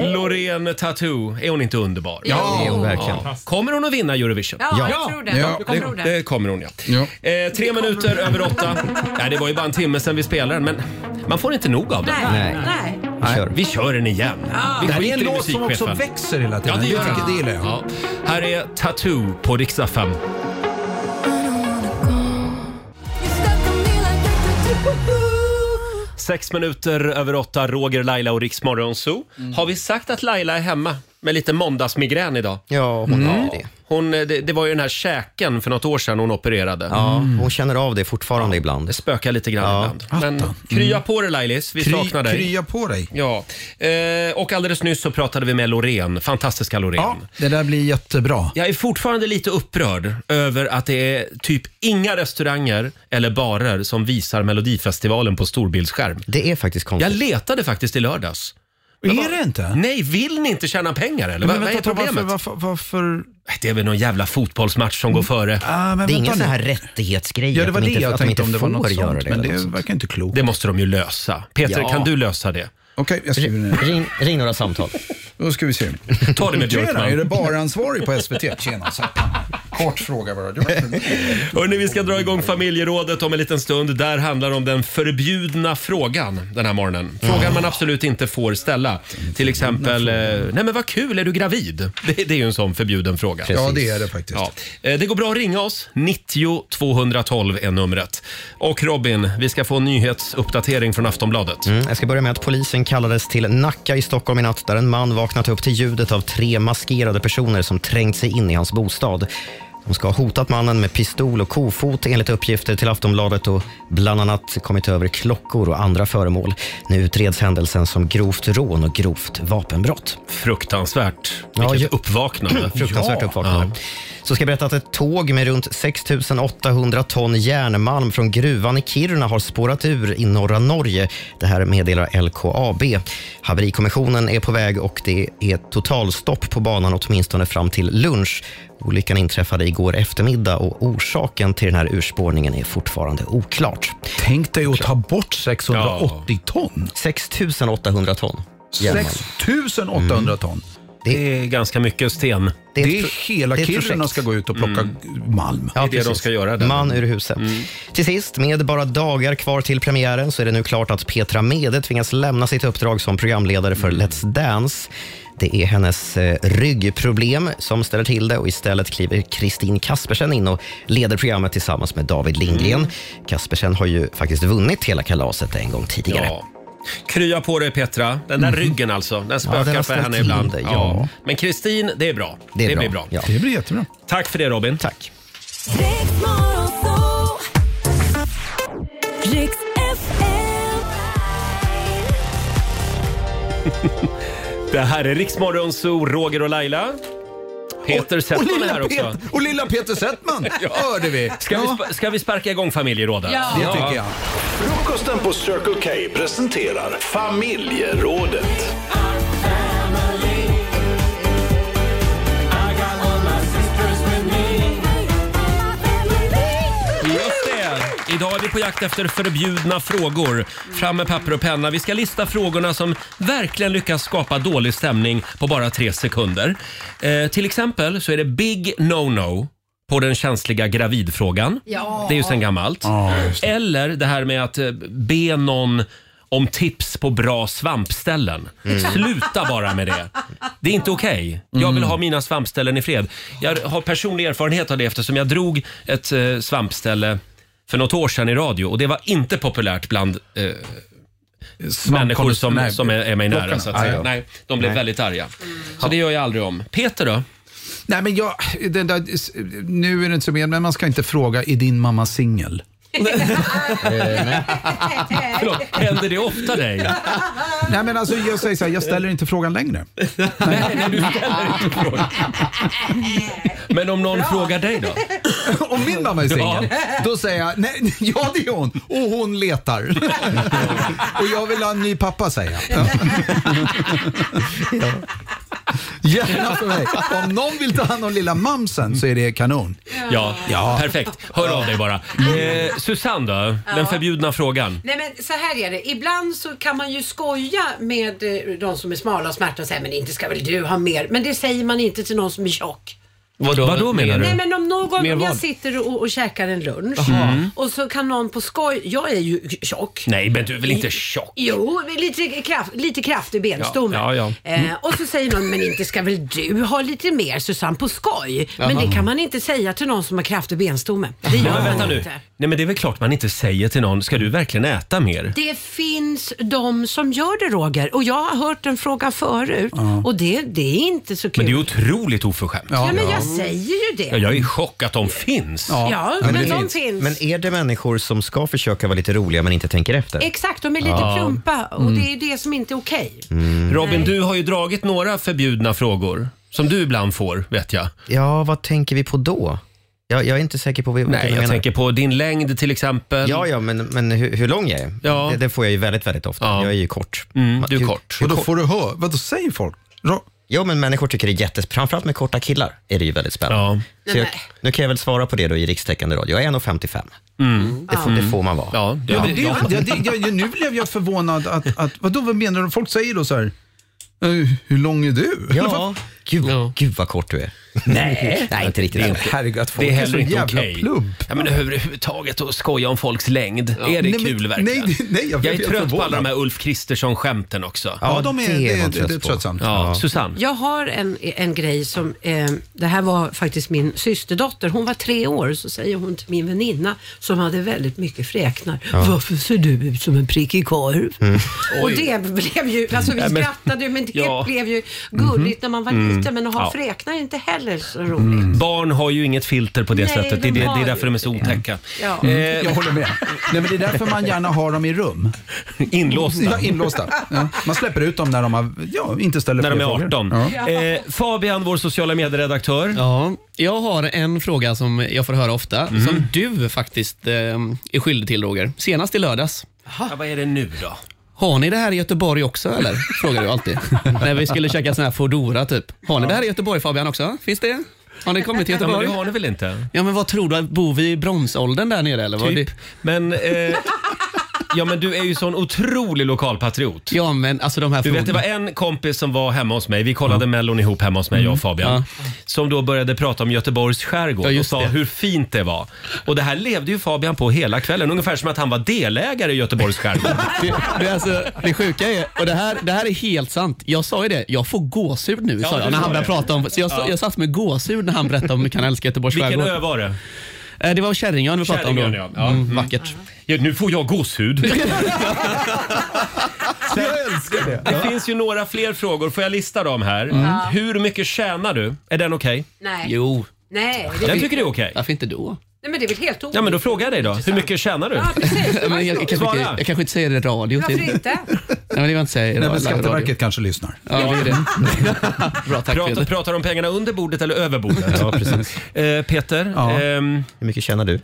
[SPEAKER 1] Loreen Tattoo, är hon inte underbar?
[SPEAKER 7] Ja, det är hon verkligen.
[SPEAKER 1] Kommer hon att vinna Eurovision?
[SPEAKER 7] Ja, jag Ja. tror det. Jag tror det.
[SPEAKER 1] det. kommer hon ja. Eh, tre minuter över åtta. Nej, det var ju bara en timme sedan vi spelade den, men man får inte nog av den.
[SPEAKER 7] Nej. Nej.
[SPEAKER 1] Nej, vi kör den igen.
[SPEAKER 10] Ah.
[SPEAKER 1] vi
[SPEAKER 10] Det här är
[SPEAKER 1] skiter
[SPEAKER 10] en
[SPEAKER 1] i
[SPEAKER 10] låt som
[SPEAKER 1] musikchefen.
[SPEAKER 10] också växer hela tiden.
[SPEAKER 1] Ja, det
[SPEAKER 10] Jag
[SPEAKER 1] gör
[SPEAKER 10] tycker
[SPEAKER 1] den.
[SPEAKER 10] det gillar jag.
[SPEAKER 1] Ja. Här är Tattoo på riksdag 5. Sex minuter över åtta, Roger, Laila och Riksmorgon Zoo.
[SPEAKER 10] Mm.
[SPEAKER 1] Har vi sagt att Laila är hemma med lite måndagsmigrän idag?
[SPEAKER 2] Ja,
[SPEAKER 10] Mm.
[SPEAKER 2] hon är det.
[SPEAKER 1] Hon, eh, det, det var ju den här käken för något år sedan hon opererade.
[SPEAKER 2] Ja, Mm. Hon känner av det fortfarande ibland. Det
[SPEAKER 1] spökar lite grann ibland. Men
[SPEAKER 10] Mm.
[SPEAKER 1] krya på dig Lailis, vi
[SPEAKER 2] Kry-
[SPEAKER 1] saknar dig.
[SPEAKER 2] krya
[SPEAKER 10] på dig.
[SPEAKER 1] Ja. Eh, och alldeles nyss så pratade vi med Loreen, fantastiska Loreen.
[SPEAKER 10] Det där blir jättebra.
[SPEAKER 1] Jag är fortfarande lite upprörd över att det är typ inga restauranger eller barer som visar Melodifestivalen på
[SPEAKER 10] Mm.
[SPEAKER 1] storbildsskärm.
[SPEAKER 2] Det är faktiskt konstigt.
[SPEAKER 1] Jag letade faktiskt i lördags.
[SPEAKER 10] Är
[SPEAKER 1] vad-
[SPEAKER 10] det inte?
[SPEAKER 1] Nej, vill ni inte tjäna pengar eller? Vad-
[SPEAKER 10] Men
[SPEAKER 1] vad är
[SPEAKER 10] vänta,
[SPEAKER 1] problemet? Äh,
[SPEAKER 10] varför, varför, varför...
[SPEAKER 1] Det är väl någon jävla fotbollsmatch som går före.
[SPEAKER 10] Ah, men Det är vänta ingen nu. sån här
[SPEAKER 2] rättighetsgrej.
[SPEAKER 10] Ja, det var det jag tänkte om det var något sånt. Men det verkar inte klokt.
[SPEAKER 1] Det måste de ju lösa. Peter,
[SPEAKER 2] Ja.
[SPEAKER 1] kan du lösa det?
[SPEAKER 10] Okej, jag skriver ner.
[SPEAKER 2] Ring, ring några samtal.
[SPEAKER 10] Då ska vi se.
[SPEAKER 1] Ta det med
[SPEAKER 10] Tjena,
[SPEAKER 1] Björkman.
[SPEAKER 10] är du baransvarig på SVT? Tjena, så. Kort fråga bara. Du
[SPEAKER 1] Hörrni, vi ska dra igång familjerådet om en liten stund. Där handlar det om den förbjudna frågan den här morgonen. Frågan man absolut inte får ställa. Till exempel, eh, nej men vad kul, är du gravid? Det, det är ju en sån förbjuden fråga.
[SPEAKER 10] Precis. Ja, det är det faktiskt.
[SPEAKER 1] Ja. Eh, Det går bra att ringa oss. 90 212 är numret. Och Robin, vi ska få en nyhetsuppdatering från Aftonbladet.
[SPEAKER 2] Mm, jag ska börja med att polisen kallades till Nacka i Stockholm i natt där en man vaknat upp till ljudet av tre maskerade personer som trängt sig in i hans bostad. De ska ha hotat mannen med pistol och kofot enligt uppgifter till Aftonbladet och bland annat kommit över klockor och andra föremål. Nu utreds händelsen som grovt rån och grovt vapenbrott.
[SPEAKER 1] Fruktansvärt.
[SPEAKER 2] Ja,
[SPEAKER 1] Vilket
[SPEAKER 2] ju-
[SPEAKER 1] uppvaknande.
[SPEAKER 2] Fruktansvärt uppvaknande. Så ska jag berätta att ett tåg med runt 6 800 ton järnmalm från gruvan i Kiruna har spårat ur i norra Norge. Det här meddelar LKAB. Haverikommissionen är på väg och det är totalstopp på banan åtminstone fram till lunch. Olyckan inträffade igår eftermiddag och orsaken till den här urspårningen är fortfarande oklart.
[SPEAKER 10] Tänk dig att ta bort 680 ton.
[SPEAKER 2] 6 800 ton. järnmalm.
[SPEAKER 10] 6 800 ton.
[SPEAKER 1] Det, är ganska mycket sten.
[SPEAKER 10] Det är, Mm. hela
[SPEAKER 2] det är ett
[SPEAKER 10] Kiruna
[SPEAKER 2] projekt.
[SPEAKER 10] ska gå ut och plocka malm.
[SPEAKER 1] det är det de ska göra där.
[SPEAKER 2] Man ur huset.
[SPEAKER 1] Mm.
[SPEAKER 2] Till sist, med bara dagar kvar till premiären så är det nu klart att Petra Mede tvingas lämna sitt uppdrag som programledare för
[SPEAKER 1] Mm.
[SPEAKER 2] Let's Dance. Det är hennes eh, ryggproblem som ställer till det och istället kliver Kristin Kaspersen in och leder programmet tillsammans med David Lindgren.
[SPEAKER 1] Mm.
[SPEAKER 2] Kaspersen har ju faktiskt vunnit hela kalaset en gång tidigare.
[SPEAKER 1] Ja. Krya på dig Petra. Den där
[SPEAKER 2] Mhm.
[SPEAKER 1] ryggen alltså. Den spökar
[SPEAKER 2] den har
[SPEAKER 1] för
[SPEAKER 2] ställt
[SPEAKER 1] henne
[SPEAKER 2] till
[SPEAKER 1] ibland.
[SPEAKER 2] det, ja.
[SPEAKER 1] Men Kristin, det är bra.
[SPEAKER 2] Det är bra,
[SPEAKER 1] blir bra.
[SPEAKER 2] ja.
[SPEAKER 10] Det blir jättebra.
[SPEAKER 1] Tack för det Robin.
[SPEAKER 2] Tack.
[SPEAKER 1] Det här är Riksmorgon Zoo, Roger och Laila. Peter Settman är
[SPEAKER 10] lilla
[SPEAKER 1] här också.
[SPEAKER 10] Pet- och lilla Peter Settman hörde vi.
[SPEAKER 1] Ska, vi
[SPEAKER 10] Ja.
[SPEAKER 1] spa- ska vi sparka igång familjerådet?
[SPEAKER 10] Ja. Det tycker jag.
[SPEAKER 5] Frukosten på Circle K presenterar familjerådet.
[SPEAKER 1] Just det. Idag är vi på jakt efter förbjudna frågor. Fram med papper och penna. Vi ska lista frågorna som verkligen lyckas skapa dålig stämning på bara tre sekunder. Eh, till exempel så är det big no-no på den känsliga gravidfrågan.
[SPEAKER 7] Ja.
[SPEAKER 1] Det är ju sedan gammalt. Eller det här med att eh, be någon om tips på bra svampställen.
[SPEAKER 10] Mm.
[SPEAKER 1] Sluta bara med det. Det är inte okej. Jag
[SPEAKER 10] Mm.
[SPEAKER 1] vill ha mina svampställen i fred. Jag har personlig erfarenhet av det eftersom jag drog ett eh, svampställe för något år sedan i radio och det var inte populärt bland eh, människor som,
[SPEAKER 10] nej,
[SPEAKER 1] som är, är mig nära.
[SPEAKER 10] plockarna.
[SPEAKER 1] Så att säga.
[SPEAKER 10] Ah, ja.
[SPEAKER 1] Nej, de blev
[SPEAKER 10] Nej. Mm.
[SPEAKER 1] väldigt arga. Så det gör jag aldrig om. Peter då?
[SPEAKER 10] Nej, men jag, den där, nu är det inte så med, men man ska inte fråga, är din mamma singel?
[SPEAKER 1] Förlåt, händer det ofta dig?
[SPEAKER 10] Nej, men alltså jag säger så här, jag ställer inte frågan längre.
[SPEAKER 1] Men om någon frågar dig då?
[SPEAKER 10] Om min mamma är singel,
[SPEAKER 1] Ja.
[SPEAKER 10] då säger jag, nej, ja det är hon, och hon letar. och jag vill ha en ny pappa, säger jag. Ja. Gärna för mig. Om någon vill ta hand om lilla mamsen så är det kanon.
[SPEAKER 1] Ja, perfekt. Hör av dig bara. Eh, Susanne då? Den förbjudna frågan.
[SPEAKER 3] Nej men så här är det. Ibland så kan man ju skoja med eh, de som är smala och smärta och säga men inte ska väl du ha mer. Men det säger man inte till någon som är tjock.
[SPEAKER 1] Vadå, Vadå menar du?
[SPEAKER 3] Nej men om någon,
[SPEAKER 1] Mer
[SPEAKER 3] om jag
[SPEAKER 1] vad?
[SPEAKER 3] sitter och, och käkar en lunch
[SPEAKER 1] Jaha. Mm.
[SPEAKER 3] och så kan någon på skoj, jag är ju tjock.
[SPEAKER 1] Nej, men du är väl inte tjock?
[SPEAKER 3] Jo, lite kraft, lite kraft i benstomen.
[SPEAKER 1] Ja, ja, ja. Mm.
[SPEAKER 3] Eh, och så säger någon, men inte ska väl du ha lite mer Susanne på skoj? Men
[SPEAKER 1] Jaha.
[SPEAKER 3] det kan man inte säga till någon som har kraft i benstomen. Det
[SPEAKER 1] Nej,
[SPEAKER 3] gör
[SPEAKER 1] men
[SPEAKER 3] man
[SPEAKER 1] vänta nu.
[SPEAKER 3] inte.
[SPEAKER 1] Nej, men det är väl klart man inte säger till någon, ska du verkligen äta mer?
[SPEAKER 3] Det finns de som gör det Roger och jag har hört den frågan förut
[SPEAKER 1] Ja.
[SPEAKER 3] och det, det är inte så kul.
[SPEAKER 1] Men det är otroligt oförskämt.
[SPEAKER 3] Ja, men jag säger ju det.
[SPEAKER 1] Ja, jag är i chock att de finns.
[SPEAKER 3] Ja, Ja, men men de finns. finns.
[SPEAKER 2] Men är det människor som ska försöka vara lite roliga men inte tänker efter?
[SPEAKER 3] Exakt, de är lite
[SPEAKER 2] Ja.
[SPEAKER 3] plumpa och
[SPEAKER 2] Mm.
[SPEAKER 3] det är det som inte är okej.
[SPEAKER 1] Robin,
[SPEAKER 3] Nej.
[SPEAKER 1] du har ju dragit några förbjudna frågor som du ibland får, vet jag.
[SPEAKER 2] Ja, vad tänker vi på då? Jag, jag är inte säker på vad vad
[SPEAKER 1] Nej, jag
[SPEAKER 2] menar.
[SPEAKER 1] tänker på din längd till exempel.
[SPEAKER 2] Ja, ja, men, men hur, hur lång jag är,
[SPEAKER 1] Ja.
[SPEAKER 2] det, det får jag ju väldigt, väldigt ofta. Jag är ju kort.
[SPEAKER 1] Mm, du är kort.
[SPEAKER 2] Hur,
[SPEAKER 1] Och då
[SPEAKER 2] får du höra? Vad då säger folk? Jo, men människor tycker det är jättes... Framförallt med korta killar är det ju väldigt spännande. Så jag, nu kan jag väl svara på det då i rikstäckande radio. Jag är 1,55.
[SPEAKER 1] Mm.
[SPEAKER 2] Det, får, det får man vara. Ja,
[SPEAKER 10] Ja, det, ja, det, det, jag- jag, nu blev jag förvånad. Att, att, vadå, vad menar du? Folk säger då så här, "Eh, hur lång är du? Eller vad-
[SPEAKER 2] Ja, gud, gud vad kort du är.
[SPEAKER 1] Nej.
[SPEAKER 2] Nej inte riktigt.
[SPEAKER 1] Det är inte-
[SPEAKER 10] Herregud, att folk
[SPEAKER 1] det är
[SPEAKER 10] är
[SPEAKER 1] heller
[SPEAKER 10] så
[SPEAKER 1] inte
[SPEAKER 10] jävla
[SPEAKER 1] okej.
[SPEAKER 10] plump.
[SPEAKER 1] Ja, men överhuvudtaget att skoja om folks längd.
[SPEAKER 10] Ja.
[SPEAKER 1] Är det
[SPEAKER 10] Nej, men-
[SPEAKER 1] kul verkligen?
[SPEAKER 10] nej, nej, jag
[SPEAKER 1] jag är
[SPEAKER 10] blev
[SPEAKER 1] trött på
[SPEAKER 10] förvånad.
[SPEAKER 1] alla de här Ulf Kristersson-skämten också.
[SPEAKER 10] Ja, de är- det är det är man trött det är på. tröttsamt.
[SPEAKER 1] Ja.
[SPEAKER 10] Ja.
[SPEAKER 1] Susanne?
[SPEAKER 3] Jag har en, en grej som, eh, det här var faktiskt min systerdotter, hon var tre år, så säger hon till min väninna som hade väldigt mycket fräknar.
[SPEAKER 7] Ja.
[SPEAKER 3] Varför ser du ut som en prickig korv?
[SPEAKER 7] Mm.
[SPEAKER 3] Och det blev ju, alltså vi
[SPEAKER 7] Nej, men-
[SPEAKER 3] skrattade ju, men det
[SPEAKER 1] Ja.
[SPEAKER 3] blev ju gulligt när man var
[SPEAKER 1] Mm.
[SPEAKER 3] liten, men att ha
[SPEAKER 1] Ja. Mm.
[SPEAKER 3] fräknar är inte heller så roligt.
[SPEAKER 1] Barn har ju inget filter på det
[SPEAKER 3] Nej,
[SPEAKER 1] sättet. Det är,
[SPEAKER 3] de
[SPEAKER 1] det,
[SPEAKER 3] har
[SPEAKER 1] det är
[SPEAKER 3] ju
[SPEAKER 1] därför de är så otäcka. Eh,
[SPEAKER 3] Ja.
[SPEAKER 10] Mm, jag håller med. Nej, men det är därför man gärna har dem i rum.
[SPEAKER 1] Inlåsta.
[SPEAKER 10] Ja, inlåsta. Ja. Man släpper ut dem när de har, ja, inte ställer
[SPEAKER 1] När de
[SPEAKER 10] fler
[SPEAKER 1] är
[SPEAKER 10] frågor.
[SPEAKER 1] 18.
[SPEAKER 10] Ja.
[SPEAKER 1] Eh, Fabian, vår sociala medieredaktör.
[SPEAKER 8] Ja, Mhm. jag har en fråga som jag får höra ofta, som du faktiskt eh, är skyldig till Roger. Senast i lördags.
[SPEAKER 1] Ja, vad är det nu då?
[SPEAKER 8] Har ni det här i Göteborg också eller? Frågar du alltid. När vi skulle käka sån här Foodora typ. Har ni det här i Göteborg Fabian också? Finns det? Har ni kommit till
[SPEAKER 1] Ja, men
[SPEAKER 8] Göteborg?
[SPEAKER 1] det har ni väl inte?
[SPEAKER 8] Ja men vad tror du? Bor vi i bronsåldern där nere eller? Vad
[SPEAKER 1] Typ.
[SPEAKER 8] det-
[SPEAKER 1] Men, eh, ja, men du är ju sån otrolig lokalpatriot.
[SPEAKER 8] Ja, men alltså de här
[SPEAKER 1] Du vet, det var
[SPEAKER 8] frågorna-
[SPEAKER 1] en kompis som var hemma hos mig. Vi kollade Mellon ihop hemma hos mig, jag och Fabian. Som då började prata om Göteborgs skärgård och sa hur fint det var. Och det här levde ju Fabian på hela kvällen. Ungefär som att han var delägare i Göteborgs skärgård.
[SPEAKER 8] Det, det, är alltså, det sjuka är, och det här, det här är helt sant. Jag sa ju det, jag får gåshud nu
[SPEAKER 1] Ja,
[SPEAKER 8] sa
[SPEAKER 1] du
[SPEAKER 8] jag när
[SPEAKER 1] sa
[SPEAKER 8] han började
[SPEAKER 1] det.
[SPEAKER 8] prata om, så jag, sa-
[SPEAKER 1] Ja.
[SPEAKER 8] jag satt med gåshud när han berättade om hur mycket han älskar Göteborgs
[SPEAKER 1] Vilken
[SPEAKER 8] skärgård.
[SPEAKER 1] ö var det?
[SPEAKER 8] Eh, Det var Käringön vi pratade om då.
[SPEAKER 1] Käringön, ja. Ja.
[SPEAKER 8] Mm, vackert.
[SPEAKER 1] Ja, nu får jag gåshud.
[SPEAKER 10] Jag älskar det.
[SPEAKER 1] Det finns ju några fler frågor. Får jag lista dem här?
[SPEAKER 3] Ja.
[SPEAKER 1] Hur mycket tjänar du? Är den okej?
[SPEAKER 3] Nej.
[SPEAKER 1] Jo.
[SPEAKER 3] Nej, det,
[SPEAKER 1] Jag tycker det är okej.
[SPEAKER 8] Varför inte då?
[SPEAKER 3] nej, men det är väl helt orimligt.
[SPEAKER 1] Ja, men då frågar jag dig då. Hur mycket tjänar du?
[SPEAKER 3] Ja, precis.
[SPEAKER 8] Men jag, jag, kanske
[SPEAKER 1] Svara.
[SPEAKER 8] inte, jag kanske inte säger det i radio. till-
[SPEAKER 3] Varför inte?
[SPEAKER 8] Nej, men det var inte säga i
[SPEAKER 10] Nej, men
[SPEAKER 8] radio.
[SPEAKER 10] Skatteverket kanske lyssnar.
[SPEAKER 8] Ja, det är det. Bra, tack
[SPEAKER 1] Pratar,
[SPEAKER 8] Peter.
[SPEAKER 1] pratar de pengarna under bordet eller över bordet?
[SPEAKER 2] Ja, precis.
[SPEAKER 1] Eh, Peter, ehm,
[SPEAKER 2] Hur mycket tjänar du?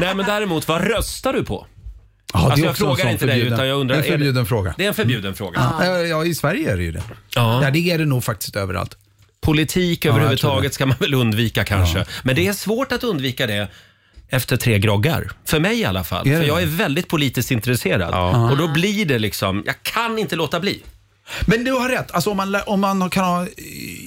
[SPEAKER 1] nej men däremot, vad röstar du på?
[SPEAKER 10] Ja, det är
[SPEAKER 1] alltså, jag
[SPEAKER 10] också en
[SPEAKER 1] frågar
[SPEAKER 10] sån
[SPEAKER 1] inte dig
[SPEAKER 10] förbjuden-
[SPEAKER 1] utan jag undrar.
[SPEAKER 10] en
[SPEAKER 1] är det-
[SPEAKER 10] förbjuden fråga. Mm.
[SPEAKER 1] Det är en förbjuden fråga.
[SPEAKER 10] Ja, ja, i Sverige är det ju det.
[SPEAKER 1] Ja.
[SPEAKER 10] Ja, det är det nog faktiskt överallt.
[SPEAKER 1] Politik
[SPEAKER 10] Ja, jag tror
[SPEAKER 1] överhuvudtaget
[SPEAKER 10] det.
[SPEAKER 1] ska man väl undvika kanske. Men det är svårt att undvika det efter tre groggar. För mig i alla fall.
[SPEAKER 10] Är det
[SPEAKER 1] För jag
[SPEAKER 10] det? Ah.
[SPEAKER 1] är väldigt politiskt intresserad. Och då blir det liksom, jag kan inte låta bli.
[SPEAKER 10] Men du har rätt. Alltså, om man, lär- om man kan ha,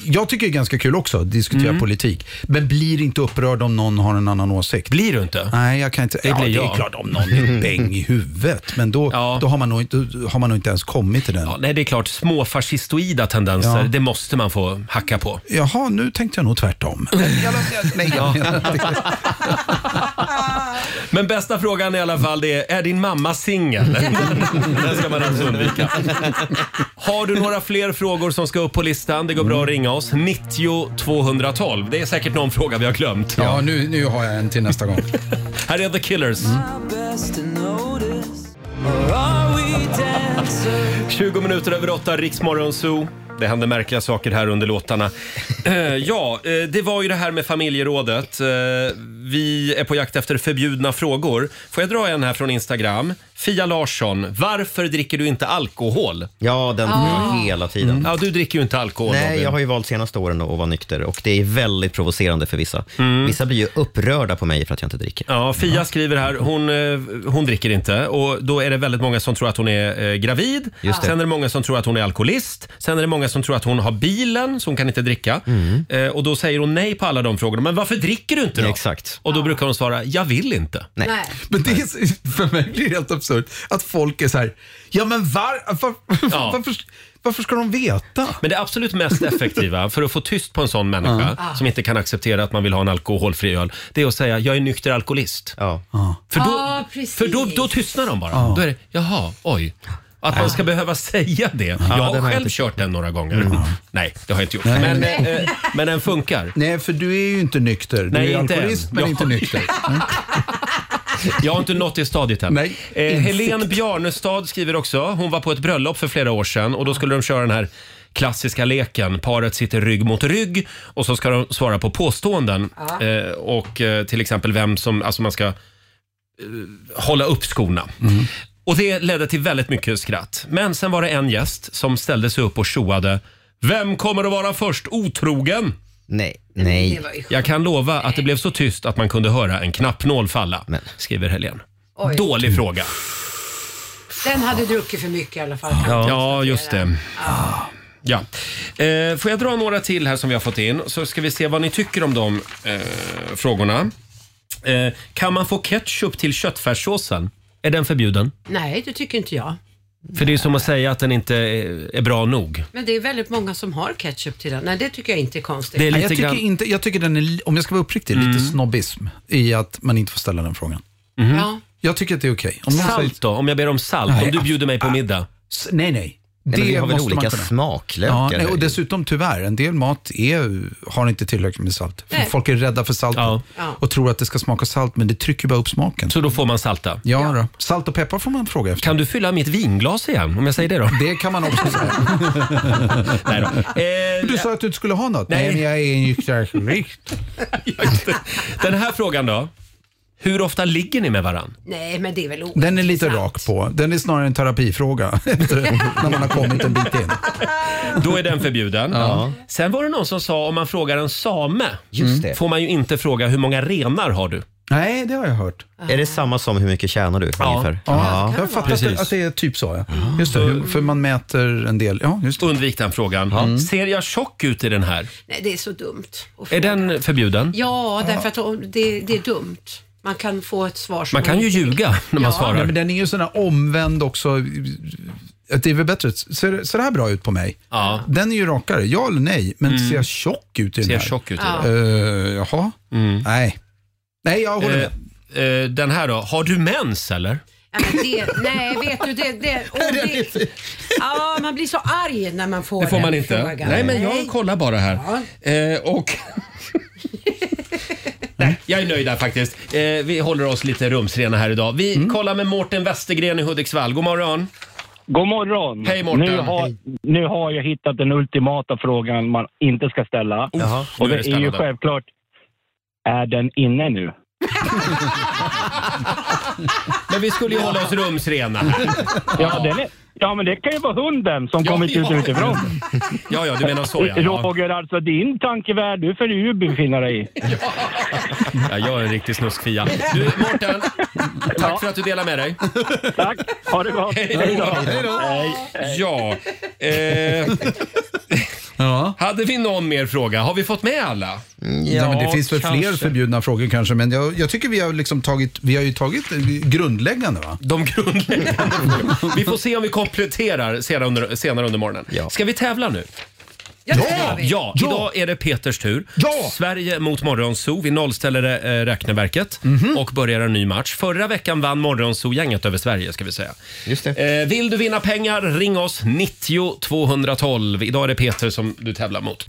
[SPEAKER 10] jag tycker det är ganska kul också att diskutera politik. Men blir inte upprörd om någon har en annan åsikt.
[SPEAKER 1] Blir du inte?
[SPEAKER 10] Nej, jag kan inte.
[SPEAKER 1] Det
[SPEAKER 10] ja,
[SPEAKER 1] blir
[SPEAKER 10] det
[SPEAKER 1] jag.
[SPEAKER 10] är klart om någon är bäng i huvudet. Men då, då, har man nog, inte- då har man nog inte ens kommit till den.
[SPEAKER 1] Ja, nej, det är klart, små fascistoida tendenser,
[SPEAKER 10] Ja.
[SPEAKER 1] det måste man få hacka på.
[SPEAKER 10] Jaha, nu tänkte jag nog tvärtom.
[SPEAKER 1] Ja. Men bästa frågan i alla fall det är, är din mamma singel? Den ska man alltså undvika. Har du några fler frågor som ska upp på listan? Det går bra att ringa oss. 90 212. Det är säkert någon fråga vi har glömt.
[SPEAKER 10] Ja, nu, nu har jag en till nästa gång.
[SPEAKER 1] Här är The Killers. 20 minuter över 8, Riksmorgon Zoo. Det händer märkliga saker här under låtarna. Eh, ja, eh, det var ju det här med familjerådet. Eh, vi är på jakt efter förbjudna frågor. Får jag dra en här från Instagram? Fia Larsson, varför dricker du inte alkohol?
[SPEAKER 2] Ja, den får jag
[SPEAKER 1] Ah.
[SPEAKER 2] hela tiden.
[SPEAKER 1] Ja, du dricker ju inte alkohol
[SPEAKER 2] Nej,
[SPEAKER 1] Robin.
[SPEAKER 2] jag har ju valt senaste åren att vara nykter och det är väldigt provocerande för vissa. Vissa blir ju upprörda på mig för att jag inte dricker.
[SPEAKER 1] Mm. Ja, Fia skriver här, hon, eh, hon dricker inte och då är det väldigt många som tror att hon är eh, gravid.
[SPEAKER 2] Just det.
[SPEAKER 1] Sen är det många som tror att hon är alkoholist. Sen är det många som tror att hon har bilen så hon kan inte dricka.
[SPEAKER 2] Mm.
[SPEAKER 1] Eh, och då säger hon nej på alla de frågorna. Men varför dricker du inte då?
[SPEAKER 2] exakt.
[SPEAKER 1] Och då brukar hon svara, jag vill inte.
[SPEAKER 2] Nej.
[SPEAKER 10] Men det är, så- för mig blir det helt absurt att folk är så här, ja men var, var,
[SPEAKER 1] Ja.
[SPEAKER 10] varför, varför ska de veta?
[SPEAKER 1] Men det absolut mest effektiva för att få tyst på en sån människa
[SPEAKER 10] Ja.
[SPEAKER 1] som inte kan acceptera att man vill ha en alkoholfri öl, det är att säga jag är nykter alkoholist. För, då,
[SPEAKER 3] Ja, precis.
[SPEAKER 1] för då, då tystnar de bara. Då är det, jaha, oj. Att man ska behöva säga det. Jag
[SPEAKER 10] den har
[SPEAKER 1] har
[SPEAKER 10] jag
[SPEAKER 1] själv
[SPEAKER 10] inte- Mm.
[SPEAKER 1] kört den några gånger. Nej, det har jag inte gjort.
[SPEAKER 10] Nej.
[SPEAKER 1] Men, eh, men den funkar.
[SPEAKER 10] Nej, för du är ju inte nykter. Du
[SPEAKER 1] Nej,
[SPEAKER 10] är
[SPEAKER 1] inte
[SPEAKER 10] alkoholist,
[SPEAKER 1] än.
[SPEAKER 10] men
[SPEAKER 1] Ja.
[SPEAKER 10] inte nykter. Mm.
[SPEAKER 1] Jag har inte nått det stadiet än.
[SPEAKER 10] Nej,
[SPEAKER 1] eh,
[SPEAKER 10] insikt.
[SPEAKER 1] Helene Bjarnestad skriver också. Hon var på ett bröllop för flera år sedan och då skulle de köra den här klassiska leken. Paret sitter rygg mot rygg och så ska de svara på påståenden.
[SPEAKER 7] Ja.
[SPEAKER 1] Eh, och eh, till exempel vem som, alltså man ska eh, hålla upp skorna.
[SPEAKER 10] Mm.
[SPEAKER 1] Och det ledde till väldigt mycket skratt. Men sen var det en gäst som ställde sig upp och tjoade. Vem kommer att vara först otrogen?
[SPEAKER 2] Nej, nej.
[SPEAKER 1] Jag kan lova att det blev så tyst att man kunde höra en knappnål falla, skriver Helene.
[SPEAKER 3] Oj.
[SPEAKER 1] Dålig fråga.
[SPEAKER 3] Den hade druckit för mycket i alla fall.
[SPEAKER 1] Ja, just det. Ja. Eh, får jag dra några till här som vi har fått in, så ska vi se vad ni tycker om de eh, frågorna. Eh, kan man få ketchup till köttfärssåsen? Är den förbjuden?
[SPEAKER 3] Nej, det tycker inte jag.
[SPEAKER 1] För det är som att säga att den inte är, är bra nog.
[SPEAKER 3] Men det är väldigt många som har ketchup till den. Nej, det tycker jag inte är konstigt.
[SPEAKER 10] Nej, jag, tycker inte, jag tycker den är, om jag ska vara uppriktig,
[SPEAKER 1] Mm.
[SPEAKER 10] lite snobbism i att man inte får ställa den frågan.
[SPEAKER 3] Ja.
[SPEAKER 10] Jag tycker att det är okej. Om någon säger-
[SPEAKER 1] Salt då? Om jag ber om salt?
[SPEAKER 10] Nej,
[SPEAKER 1] om du bjuder mig på middag?
[SPEAKER 10] S- Nej, nej.
[SPEAKER 1] Nej, men vi har väl
[SPEAKER 10] måste man
[SPEAKER 1] olika
[SPEAKER 10] kunna.
[SPEAKER 1] smaklökar
[SPEAKER 10] Ja, nej,
[SPEAKER 1] här
[SPEAKER 10] och
[SPEAKER 1] ju.
[SPEAKER 10] dessutom tyvärr, en del mat är, har inte tillräckligt med salt.
[SPEAKER 3] Nej.
[SPEAKER 10] Folk är rädda för salt
[SPEAKER 3] Ja.
[SPEAKER 10] och tror att det ska smaka salt, men det trycker bara upp smaken.
[SPEAKER 1] Så då får man salta?
[SPEAKER 10] Ja, Då. Salt och peppar får man fråga efter.
[SPEAKER 1] Kan du fylla mitt vinglas igen, om jag säger det då?
[SPEAKER 10] Det kan man också säga.
[SPEAKER 1] nej då. Eh,
[SPEAKER 10] du sa att du inte skulle ha något.
[SPEAKER 1] Nej.
[SPEAKER 10] men jag är en nykter alkoholist.
[SPEAKER 1] Den här frågan då? Hur ofta ligger ni med varann?
[SPEAKER 3] Nej, men det är väl o...
[SPEAKER 10] Den är lite rak på. Den är snarare en terapifråga när man har kommit en bit in.
[SPEAKER 1] Då är den förbjuden. Sen var det någon som sa om man frågar en same
[SPEAKER 2] Just det.
[SPEAKER 1] får man ju inte fråga hur många renar har du?
[SPEAKER 10] Nej, det har jag hört.
[SPEAKER 2] Är det samma som hur mycket tjänar du ungefär?
[SPEAKER 10] Jag har fattat
[SPEAKER 1] Precis.
[SPEAKER 10] att- att det är typ så. Ja. Just det, hur- för man mäter en del. Ja, just det.
[SPEAKER 1] Undvik den frågan. Mm. Ser jag tjock ut i den här?
[SPEAKER 3] Nej, det är så dumt. att
[SPEAKER 1] Är
[SPEAKER 3] fråga.
[SPEAKER 1] den förbjuden?
[SPEAKER 3] Ja, därför att om- det, det är dumt. Man kan få ett svar som
[SPEAKER 1] Man kan ju
[SPEAKER 3] inte-
[SPEAKER 1] ljuga när man
[SPEAKER 3] Ja.
[SPEAKER 1] svarar.
[SPEAKER 10] Nej, men den är ju sån här omvänd också. Att det är väl bättre. Ser, ser det här bra ut på mig?
[SPEAKER 1] Ja.
[SPEAKER 10] Den är ju rakare. Ja eller nej? Men
[SPEAKER 1] Mm.
[SPEAKER 10] ser jag tjock ut i den
[SPEAKER 1] Ser jag
[SPEAKER 10] här?
[SPEAKER 1] tjock ut Mm. i
[SPEAKER 10] ja.
[SPEAKER 1] den?
[SPEAKER 10] jaha? Nej. Nej, jag håller med.
[SPEAKER 1] Eh, eh, den här då? Har du mens eller?
[SPEAKER 3] Ja, men det, nej, vet du, det... det, och det ja, man blir så arg när man får
[SPEAKER 1] Det får
[SPEAKER 3] den
[SPEAKER 1] man inte.
[SPEAKER 3] Frågan.
[SPEAKER 1] Nej, men jag kollar bara här. Eh, och... Nej, jag är nöjd där faktiskt. Eh, vi håller oss lite rumsrena här idag. Vi kollar med Mårten Westergren i Hudiksvall. God morgon!
[SPEAKER 13] God morgon!
[SPEAKER 1] Hej Mårten!
[SPEAKER 13] Nu har, nu har jag hittat den ultimata frågan man inte ska ställa.
[SPEAKER 1] Jaha,
[SPEAKER 13] och
[SPEAKER 1] nu
[SPEAKER 13] det
[SPEAKER 1] är det
[SPEAKER 13] är ju
[SPEAKER 1] spännande.
[SPEAKER 13] självklart, är den inne nu?
[SPEAKER 1] Men vi skulle ju hålla oss rumsrena här.
[SPEAKER 13] Ja, den är, ja men det kan ju vara hunden som kommit ut utifrån.
[SPEAKER 1] Ja, ja, du menar så Oh, ja. ja.
[SPEAKER 13] Roger, alltså din tankevärld, du får ju befinna dig i.
[SPEAKER 1] ja jag är en riktig snuskfia. Du, Mårten, tack för att du delar med dig.
[SPEAKER 13] Tack, ha det gott!
[SPEAKER 1] Hej då! Ja, eh, hade vi någon mer fråga? Har vi fått med alla?
[SPEAKER 10] Ja, men det finns väl fler
[SPEAKER 1] kanske.
[SPEAKER 10] förbjudna frågor kanske, men jag, jag tycker vi har, liksom tagit, vi har ju tagit grundläggande. Va?
[SPEAKER 1] De grundläggande frågorna. Vi får se om vi kompletterar senare under, senare under morgonen. Ska vi tävla nu?
[SPEAKER 3] Ja, det gör vi.
[SPEAKER 1] Ja, idag är det Peters tur. Sverige mot Morgonzoo. Vi nollställer eh, räkneverket
[SPEAKER 10] Mhm.
[SPEAKER 1] och börjar en ny match. Förra veckan vann Morgonzoo-gänget över Sverige ska vi säga. Just Eh, vill du vinna pengar, ring oss 90
[SPEAKER 10] Mm.
[SPEAKER 1] 212. Idag är det Peter som du tävlar mot.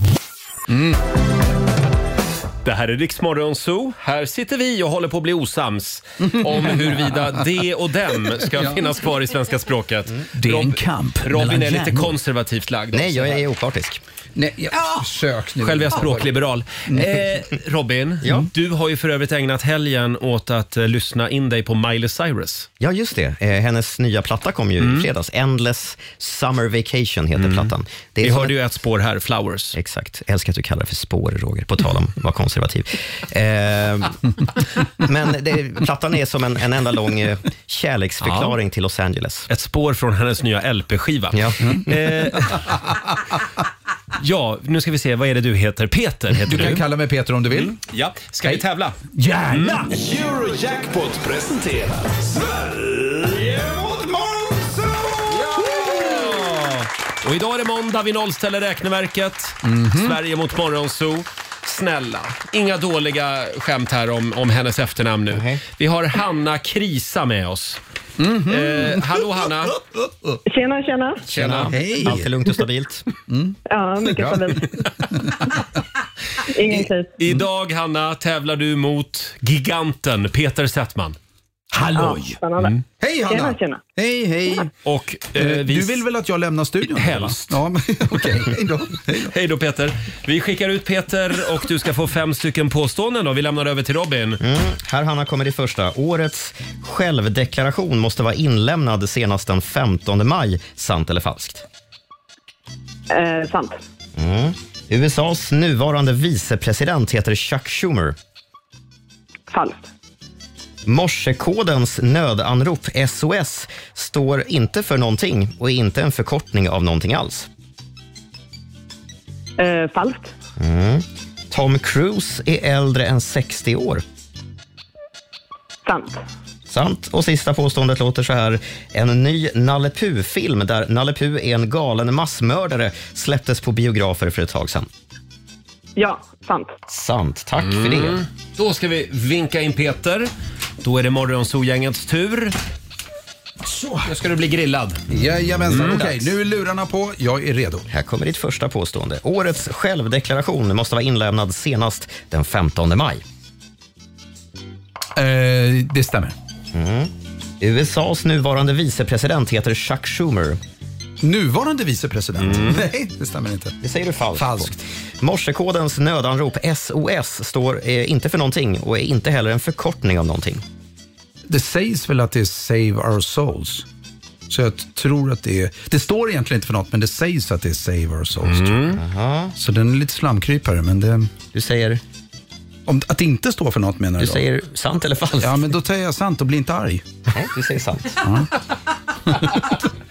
[SPEAKER 1] Det här är Riksmorgon Zoo. Här sitter vi och håller på att bli osams om huruvida de och dem ska
[SPEAKER 2] Ja.
[SPEAKER 1] finnas kvar i svenska språket.
[SPEAKER 10] Det är en
[SPEAKER 1] Rob-
[SPEAKER 10] kamp
[SPEAKER 1] Robin
[SPEAKER 10] mellan
[SPEAKER 1] är lite
[SPEAKER 10] hjärnor.
[SPEAKER 1] konservativt lagd.
[SPEAKER 10] Nej, jag är
[SPEAKER 1] opartisk.
[SPEAKER 10] Nej, jag, försök nu.
[SPEAKER 1] Själv är jag språkliberal. Eh, Robin, du har ju för övrigt ägnat helgen åt att eh, lyssna in dig på Miley Cyrus.
[SPEAKER 2] Ja, just det. Eh, hennes nya platta kom ju
[SPEAKER 10] Mm.
[SPEAKER 2] i fredags. Endless Summer Vacation heter plattan.
[SPEAKER 1] Vi hörde
[SPEAKER 2] ju
[SPEAKER 1] ett spår här, Flowers.
[SPEAKER 2] Exakt. Jag älskar att du kallar det för spår, Roger, på tal om att vara konservativ. Eh, men det, plattan är som en, en enda lång eh, kärleksförklaring till Los Angeles.
[SPEAKER 1] Ett spår från hennes nya LP-skiva.
[SPEAKER 2] Ja.
[SPEAKER 10] Mm.
[SPEAKER 1] Eh, ja, nu ska vi se. Vad är det du heter? Peter heter du.
[SPEAKER 10] Du kan kalla mig Peter om du vill.
[SPEAKER 1] Ja, ska vi tävla?
[SPEAKER 10] Gärna!
[SPEAKER 9] Eurojackpot presenterar Sverige mot Monzo!
[SPEAKER 1] Och idag är det måndag, vi nollställer räkneverket. Sverige mot Morgonzoo. Snälla, inga dåliga skämt här om, om hennes efternamn nu. Vi har Hanna Krisa med oss. Eh, hallå Hanna!
[SPEAKER 12] Tjena, tjena.
[SPEAKER 2] Hej. Allt är lugnt och stabilt.
[SPEAKER 12] Ja, mycket stabilt. Ingen kris.
[SPEAKER 1] Idag Hanna tävlar du mot giganten Peter Settman.
[SPEAKER 10] Halloj!
[SPEAKER 12] Mm.
[SPEAKER 10] Hej Hanna!
[SPEAKER 12] Tjena, tjena.
[SPEAKER 10] Hej, hej!
[SPEAKER 1] Och, eh, vi-
[SPEAKER 10] Du vill väl att jag lämnar studion?
[SPEAKER 1] Helst.
[SPEAKER 10] Ja, men, okej. Hej då.
[SPEAKER 1] Hej då Peter. Vi skickar ut Peter och du ska få fem stycken påståenden och vi lämnar över till Robin.
[SPEAKER 2] Mm. Här Hanna kommer det första. Årets självdeklaration måste vara inlämnad senast den 15 maj. Sant eller falskt?
[SPEAKER 12] Eh, sant.
[SPEAKER 2] Mm. USAs nuvarande vicepresident heter Chuck Schumer.
[SPEAKER 12] Falskt.
[SPEAKER 2] Morsekodens nödanrop SOS står inte för någonting och är inte en förkortning av någonting alls.
[SPEAKER 12] Eh, falskt.
[SPEAKER 2] Mm. Tom Cruise är äldre än 60 år.
[SPEAKER 12] Sant.
[SPEAKER 2] Sant. Och sista påståendet låter så här. En ny Nalle Puh-film där Nalle Puh är en galen massmördare släpptes på biografer för ett tag sedan.
[SPEAKER 12] Ja, sant.
[SPEAKER 2] Sant. Tack för det.
[SPEAKER 1] Då ska vi vinka in Peter. Då är det Morgonzoo-gängets tur. Nu ska du bli grillad.
[SPEAKER 10] Jajamensan,
[SPEAKER 2] Mm.
[SPEAKER 10] okej. Nu är lurarna på. Jag är redo.
[SPEAKER 2] Här kommer ditt första påstående. Årets självdeklaration måste vara inlämnad senast den 15 maj.
[SPEAKER 1] Eh,
[SPEAKER 10] det stämmer.
[SPEAKER 2] Mm. USAs nuvarande vicepresident heter Chuck Schumer.
[SPEAKER 10] Nuvarande vicepresident?
[SPEAKER 1] Mm.
[SPEAKER 10] Nej, det stämmer inte.
[SPEAKER 2] Det säger du falskt. Falskt. Morsekodens nödanrop SOS står eh, inte för någonting och är inte heller en förkortning av någonting.
[SPEAKER 10] Det sägs väl att det är Save Our Souls? Så jag tror att det är... Det står egentligen inte för något, men det sägs att det är Save Our Souls. tror
[SPEAKER 2] Mm.
[SPEAKER 10] jag. Så den är lite slamkrypare, men det...
[SPEAKER 2] Du säger?
[SPEAKER 10] Om, att det inte står för något menar
[SPEAKER 2] Du
[SPEAKER 10] då?
[SPEAKER 2] säger sant eller falskt?
[SPEAKER 10] Ja, men då säger jag sant och blir inte arg.
[SPEAKER 2] Nej, du säger sant.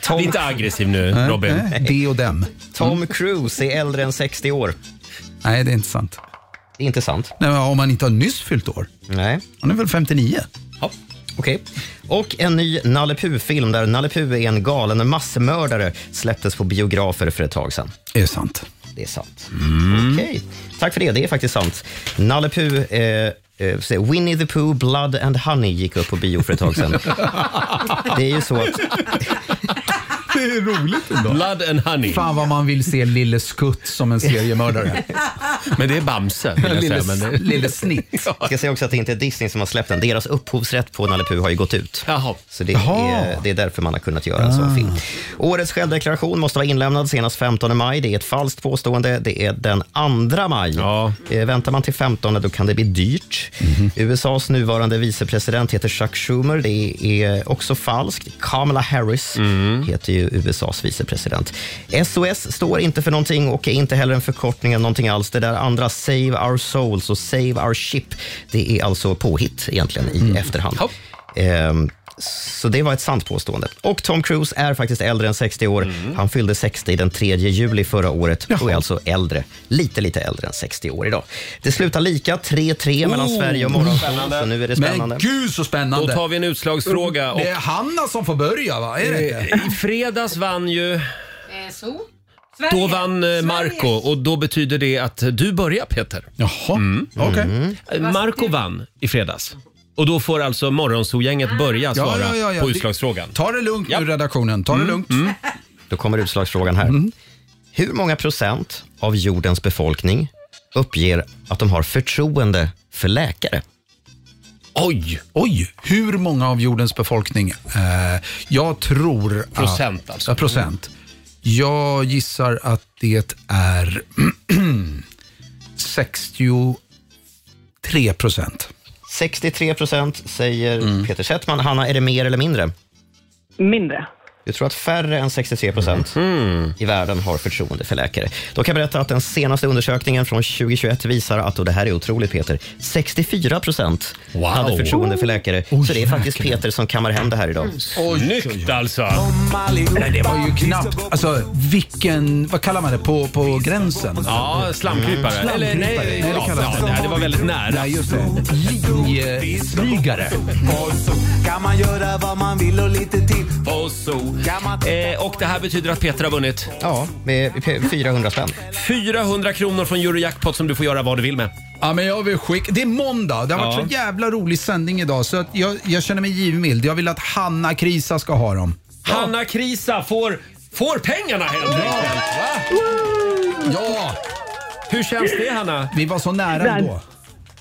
[SPEAKER 2] Tom...
[SPEAKER 1] Bli inte aggressiv nu,
[SPEAKER 10] Nej, nej, det och dem.
[SPEAKER 2] Tom Cruise är äldre än 60 år.
[SPEAKER 10] Nej, det är inte sant.
[SPEAKER 2] Det är inte sant.
[SPEAKER 10] Nej, men om man inte har nyss fyllt år.
[SPEAKER 2] Nej.
[SPEAKER 10] Han är väl 59?
[SPEAKER 2] Ja. Okej. Och en ny Nalle Puh-film där Nalle Puh är en galen massmördare släpptes på biografer för ett tag sedan.
[SPEAKER 10] Det är sant.
[SPEAKER 2] Det är sant. Okej. Tack för det. Det är faktiskt sant. Nalle Puh, eh, eh, se, Winnie the Pooh, Blood and Honey gick upp på bio för ett tag sedan. det är ju så att...
[SPEAKER 10] Det är roligt ändå.
[SPEAKER 1] Blood and honey.
[SPEAKER 10] Fan vad man vill se Lille Skutt som en seriemördare.
[SPEAKER 1] Men det är Bamse. vill jag
[SPEAKER 10] Lille-
[SPEAKER 1] säga, men det-
[SPEAKER 10] Lille Snitt.
[SPEAKER 2] Jag ska säga också att det inte är Disney som har släppt den. Deras upphovsrätt på Nalle Puh har ju gått ut. Så det är, det är därför man har kunnat göra en sån film. Årets självdeklaration måste vara inlämnad senast 15 maj. Det är ett falskt påstående. Det är den 2 maj. Eh, väntar man till 15 då kan det bli dyrt. USAs nuvarande vicepresident heter Chuck Schumer. Det är också falskt. Kamala Harris heter ju USAs vicepresident. SOS står inte för någonting och är inte heller en förkortning av någonting alls. Det där andra, Save Our Souls och Save Our Ship, det är alltså påhitt egentligen i efterhand. Ehm, så det var ett sant påstående. Och Tom Cruise är faktiskt äldre än 60 år.
[SPEAKER 10] Mm.
[SPEAKER 2] Han fyllde 60 den 3 juli förra året och är alltså äldre, lite, lite äldre än 60 år idag. Det slutar lika, 3-3 mellan
[SPEAKER 10] Oh,
[SPEAKER 2] Sverige och Morgonzoo.
[SPEAKER 10] spännande.
[SPEAKER 2] Så nu är det spännande.
[SPEAKER 10] Men gud så spännande.
[SPEAKER 1] Då tar vi en utslagsfråga. Och,
[SPEAKER 10] Det är Hanna som får börja, va? Är det inte?
[SPEAKER 1] eh, I fredags vann ju...
[SPEAKER 3] Så.
[SPEAKER 1] Då vann eh, Marco och då betyder det att du börjar Peter.
[SPEAKER 10] Jaha, Mm. okej.
[SPEAKER 1] Eh, Marco vann i fredags. Och då får alltså Morgonzoo-gänget börja svara
[SPEAKER 10] ja, ja, ja.
[SPEAKER 1] på
[SPEAKER 10] Det-
[SPEAKER 1] utslagsfrågan.
[SPEAKER 10] Ta det lugnt nu redaktionen. Ta det lugnt. Mm.
[SPEAKER 2] Då kommer utslagsfrågan här. Hur många procent av jordens befolkning uppger att de har förtroende för läkare.
[SPEAKER 1] Oj!
[SPEAKER 10] Oj! Hur många av jordens befolkning? Eh, jag tror... att-
[SPEAKER 1] Procent, alltså.
[SPEAKER 10] Ja, procent. Jag gissar att det är 63 procent.
[SPEAKER 2] 63 procent säger
[SPEAKER 10] Mm.
[SPEAKER 2] Peter Settman. Hanna, är det mer eller mindre?
[SPEAKER 12] Mindre.
[SPEAKER 2] Du tror att färre än 63 procent
[SPEAKER 1] Mhm.
[SPEAKER 2] i världen har förtroende för läkare. Då kan jag berätta att den senaste undersökningen från 2021 visar att, och det här är otroligt Peter, 64 procent hade förtroende för läkare. så det är faktiskt Peter som kammar hem det här idag.
[SPEAKER 1] Mm. Snyggt alltså!
[SPEAKER 10] Nej, det var ju knappt... Alltså, vilken... Vad kallar man det? På, på gränsen?
[SPEAKER 1] Ja, slamkrypare.
[SPEAKER 10] Mm.
[SPEAKER 1] Eller nej,
[SPEAKER 10] Slamkrypare.
[SPEAKER 1] ja,
[SPEAKER 10] det kallas
[SPEAKER 1] ja, nej, det var väldigt nära.
[SPEAKER 10] Nej, just det. Linjesmygare.
[SPEAKER 5] Kan man göra vad man vill och lite till.
[SPEAKER 1] Och så. Eh, och det här betyder att Peter har vunnit?
[SPEAKER 2] Ja, med 400 spänn.
[SPEAKER 1] 400 kronor från Eurojackpot som du får göra vad du vill med.
[SPEAKER 10] Ja, men jag vill skicka... Det är måndag. Det har varit
[SPEAKER 1] Ja.
[SPEAKER 10] så jävla rolig sändning idag så att jag, jag känner mig givmild. Jag vill att Hanna Krisa ska ha dem.
[SPEAKER 1] Hanna Krisa får, får pengarna helt enkelt!
[SPEAKER 10] Ja!
[SPEAKER 1] Hur känns det Hanna?
[SPEAKER 10] Vi var så nära ändå.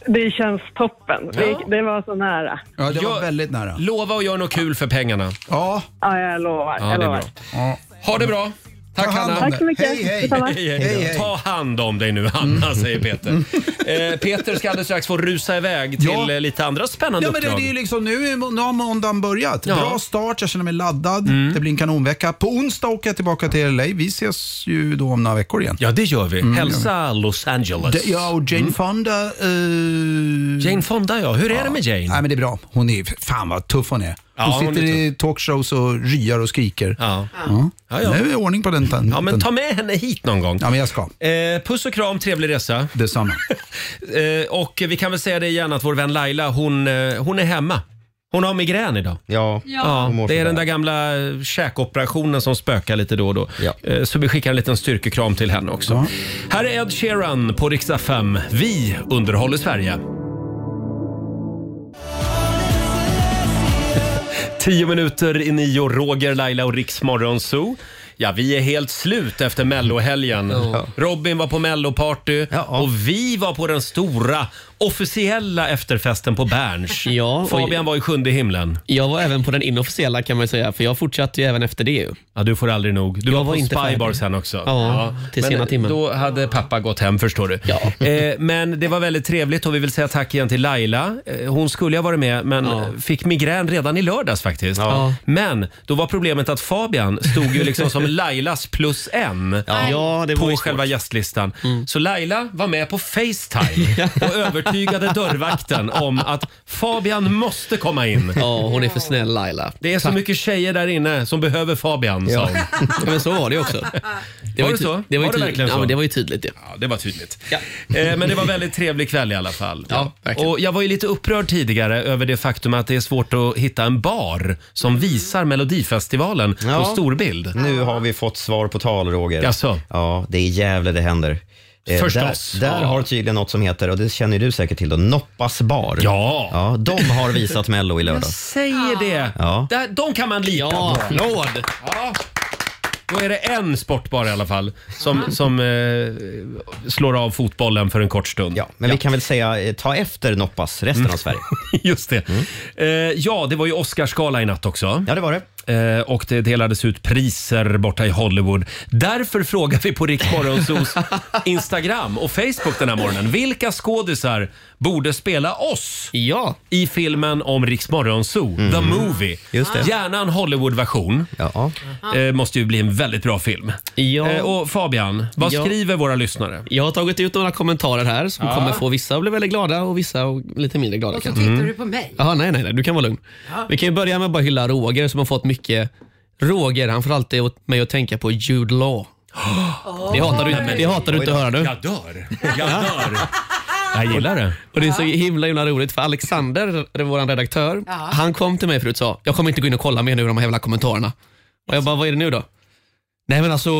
[SPEAKER 12] Det känns toppen. Det,
[SPEAKER 1] Ja.
[SPEAKER 12] det var så nära.
[SPEAKER 10] Ja, det var väldigt nära.
[SPEAKER 1] Lova och gör något kul för pengarna.
[SPEAKER 10] Ja.
[SPEAKER 12] Ja, jag lovar.
[SPEAKER 1] Ja,
[SPEAKER 12] jag
[SPEAKER 1] det är
[SPEAKER 12] lovar.
[SPEAKER 1] bra. Ha det bra! Tack
[SPEAKER 12] hand
[SPEAKER 1] Hanna!
[SPEAKER 12] om Tack så dig. mycket. Hej, hej. Detsamma.
[SPEAKER 10] Hej, Mm. hej.
[SPEAKER 1] Ta hand om dig nu Hanna, säger Peter. Eh, Peter ska alldeles strax få rusa iväg till
[SPEAKER 10] Ja.
[SPEAKER 1] eh, lite andra spännande
[SPEAKER 10] Ja, men det,
[SPEAKER 1] uppdrag.
[SPEAKER 10] det är ju liksom, nu, är- nu har måndagen börjat.
[SPEAKER 1] Ja. Mm.
[SPEAKER 10] Bra start, jag känner mig laddad. Det blir en kanonvecka. På onsdag åker jag tillbaka till LA. Vi ses ju då om några veckor igen.
[SPEAKER 1] Ja, det gör vi.
[SPEAKER 10] Mm.
[SPEAKER 1] Hälsa Los Angeles.
[SPEAKER 10] Det- Ja, och Jane Fonda... eh,
[SPEAKER 1] mm. Jane Fonda, ja. Hur är det med Jane?
[SPEAKER 10] Nej, men det är bra. Hon är, fan vad tuff hon är.
[SPEAKER 1] Ja,
[SPEAKER 10] Hon
[SPEAKER 1] hon
[SPEAKER 10] sitter
[SPEAKER 1] är
[SPEAKER 10] i talkshows och ryar och skriker.
[SPEAKER 1] Ja.
[SPEAKER 10] Ja.
[SPEAKER 1] Ja, ja.
[SPEAKER 10] Nu är det ordning på den tanten.
[SPEAKER 1] Ja, men ta med henne hit någon gång.
[SPEAKER 10] Ja, men jag ska.
[SPEAKER 1] Eh, puss och kram, trevlig resa.
[SPEAKER 10] Detsamma.
[SPEAKER 1] eh, och vi kan väl säga det igen att vår vän Laila, hon, eh, hon är hemma. Hon har migrän idag.
[SPEAKER 2] Ja,
[SPEAKER 1] Ja,
[SPEAKER 2] hon mår
[SPEAKER 1] det är
[SPEAKER 2] sådär.
[SPEAKER 1] den där gamla eh, käkoperationen som spökar lite då och då. Eh, Så vi skickar en liten styrkekram till henne också. Här är Ed Sheeran på Riksa 5. Vi underhåller Sverige. Tio minuter i nio, Roger, Laila och Riks Zoo. Ja, vi är helt slut efter mellohelgen. Robin var på melloparty och vi var på den stora officiella efterfesten på Berns.
[SPEAKER 8] Ja, och-
[SPEAKER 1] Fabian var i sjunde himlen.
[SPEAKER 8] Jag var även på den inofficiella kan man ju säga, för jag fortsatte ju även efter det. ju.
[SPEAKER 1] Ja, du får aldrig nog. Du
[SPEAKER 8] Jag
[SPEAKER 1] var,
[SPEAKER 8] var
[SPEAKER 1] på
[SPEAKER 8] inte
[SPEAKER 1] Spybar
[SPEAKER 8] färdig.
[SPEAKER 1] sen också.
[SPEAKER 8] Ja, till
[SPEAKER 1] men
[SPEAKER 8] sena timmen.
[SPEAKER 1] Då hade pappa gått hem förstår du. Eh, men det var väldigt trevligt och vi vill säga tack igen till Laila. Eh, Hon skulle ha varit med men fick migrän redan i lördags faktiskt.
[SPEAKER 8] Ja.
[SPEAKER 1] Men då var problemet att Fabian stod ju liksom som Lailas plus en
[SPEAKER 8] Ja. Ja, det var
[SPEAKER 1] på
[SPEAKER 8] ju Mm.
[SPEAKER 1] själva gästlistan. Så Laila var med på Facetime och övertygade dörrvakten om att Fabian måste komma in.
[SPEAKER 8] Ja, hon är för snäll Laila.
[SPEAKER 1] Det är så
[SPEAKER 8] Tack.
[SPEAKER 1] mycket tjejer där inne som behöver Fabian, sa
[SPEAKER 8] Ja.
[SPEAKER 1] hon.
[SPEAKER 8] Ja, men så var det ju också. Det
[SPEAKER 1] var
[SPEAKER 8] ju
[SPEAKER 1] det
[SPEAKER 8] ty-
[SPEAKER 1] så?
[SPEAKER 8] Det
[SPEAKER 1] Var
[SPEAKER 8] var, ju
[SPEAKER 1] det
[SPEAKER 8] tydligt.
[SPEAKER 1] verkligen så?
[SPEAKER 8] Ja, men det var ju tydligt. Ja.
[SPEAKER 1] Ja, det var tydligt. Eh, Men det var väldigt trevlig kväll i alla fall.
[SPEAKER 8] Ja, verkligen.
[SPEAKER 1] och jag var ju lite upprörd tidigare över det faktum att det är svårt att hitta en bar som visar Melodifestivalen på storbild.
[SPEAKER 2] Nu har vi fått svar på tal, Roger.
[SPEAKER 1] Jaså?
[SPEAKER 2] Ja, det är i Gävle det händer. Eh,
[SPEAKER 1] Förstås.
[SPEAKER 2] Där, där
[SPEAKER 1] Ja.
[SPEAKER 2] har tydligen något som heter, och det känner ju du säkert till, då, Noppas bar.
[SPEAKER 1] Ja.
[SPEAKER 2] ja de har visat Mello i
[SPEAKER 1] Jag
[SPEAKER 2] lördags.
[SPEAKER 1] säger det!
[SPEAKER 2] Ja.
[SPEAKER 1] Där, de kan man lita
[SPEAKER 8] Ja,
[SPEAKER 1] på.
[SPEAKER 8] applåd!
[SPEAKER 1] Ja. Då är det en sportbar i alla fall som, som eh, slår av fotbollen för en kort stund. Ja,
[SPEAKER 2] Men vi kan väl säga, eh, ta efter Noppas resten av Sverige.
[SPEAKER 1] Just det. Eh, ja, det var ju Oscarsgala i natt också.
[SPEAKER 2] Ja, det var
[SPEAKER 1] det. Eh, och det delades ut priser borta i Hollywood. Därför frågar vi på Riksmorgonsos Instagram och Facebook den här morgonen. Vilka skådisar borde spela oss
[SPEAKER 8] ja.
[SPEAKER 1] i filmen om Riksmorgonso, The Movie?
[SPEAKER 2] Just det.
[SPEAKER 1] Gärna en Hollywood-version. Eh, måste ju bli en väldigt bra film.
[SPEAKER 8] Ja.
[SPEAKER 1] Eh, och Fabian, vad
[SPEAKER 8] Ja.
[SPEAKER 1] skriver våra lyssnare?
[SPEAKER 8] Jag har tagit ut några kommentarer här som
[SPEAKER 1] Ja.
[SPEAKER 8] kommer få vissa att bli väldigt glada och vissa och lite mindre glada.
[SPEAKER 3] Och så
[SPEAKER 8] kanske.
[SPEAKER 3] tittar
[SPEAKER 1] Mm.
[SPEAKER 3] du på mig.
[SPEAKER 8] Jaha, nej, nej, nej, du kan vara lugn.
[SPEAKER 3] Ja.
[SPEAKER 8] Vi kan ju börja med att bara hylla Roger som har fått mycket. Roger, han får alltid åt mig att tänka på Jude Law. Det hatar du,
[SPEAKER 1] Nej, men-
[SPEAKER 8] det hatar du inte att höra nu.
[SPEAKER 1] Jag dör. Jag dör. Jag gillar det.
[SPEAKER 8] Och det är så himla, himla roligt för Alexander, vår redaktör,
[SPEAKER 1] Ja.
[SPEAKER 8] han kom till mig förut och sa jag kommer inte gå in och kolla mer nu i de här jävla kommentarerna. Och jag bara, vad är det nu då? Nej men alltså,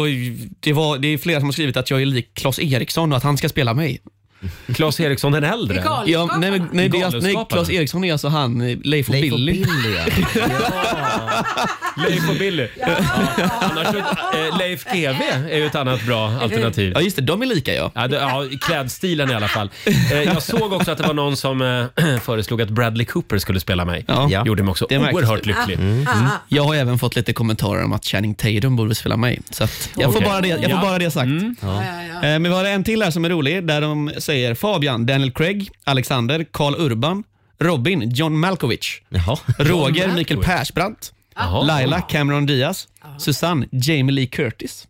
[SPEAKER 8] det, var, det är flera som har skrivit att jag är lik Klas Eriksson och att han ska spela mig.
[SPEAKER 1] Claes Eriksson den äldre?
[SPEAKER 8] Ja, nej, men- nej, det är, alltså- nej,
[SPEAKER 1] Galenskaparna.
[SPEAKER 8] Claes Eriksson är alltså han, eh, Leif och
[SPEAKER 1] Leif och
[SPEAKER 8] Billy.
[SPEAKER 1] Billy, Leif och Billy. Annars, så- eh, Leif GW är ju ett annat bra alternativ. Ja just det, de är lika ja. Ja, det, ja i klädstilen i alla fall. Eh, jag såg också att det var någon som eh, föreslog att Bradley Cooper skulle spela mig.
[SPEAKER 8] Ja.
[SPEAKER 1] Gjorde mig också
[SPEAKER 8] Det märks.
[SPEAKER 1] oerhört lycklig.
[SPEAKER 8] Mm. Mm. Jag har även fått lite kommentarer om att Channing Tatum borde spela mig. Så att jag,
[SPEAKER 1] Okej.
[SPEAKER 8] får bara det, jag får
[SPEAKER 1] Ja. Mm.
[SPEAKER 8] bara det sagt. Eh, Men vi har en till här som är rolig, där de säger Fabian, Daniel Craig, Alexander, Karl Urban, Robin, John Malkovich, Roger,
[SPEAKER 1] John
[SPEAKER 8] Mikael
[SPEAKER 1] Malkovich.
[SPEAKER 8] Persbrandt,
[SPEAKER 1] Jaha.
[SPEAKER 8] Laila, Cameron Diaz, Susanne, Jamie Lee Curtis.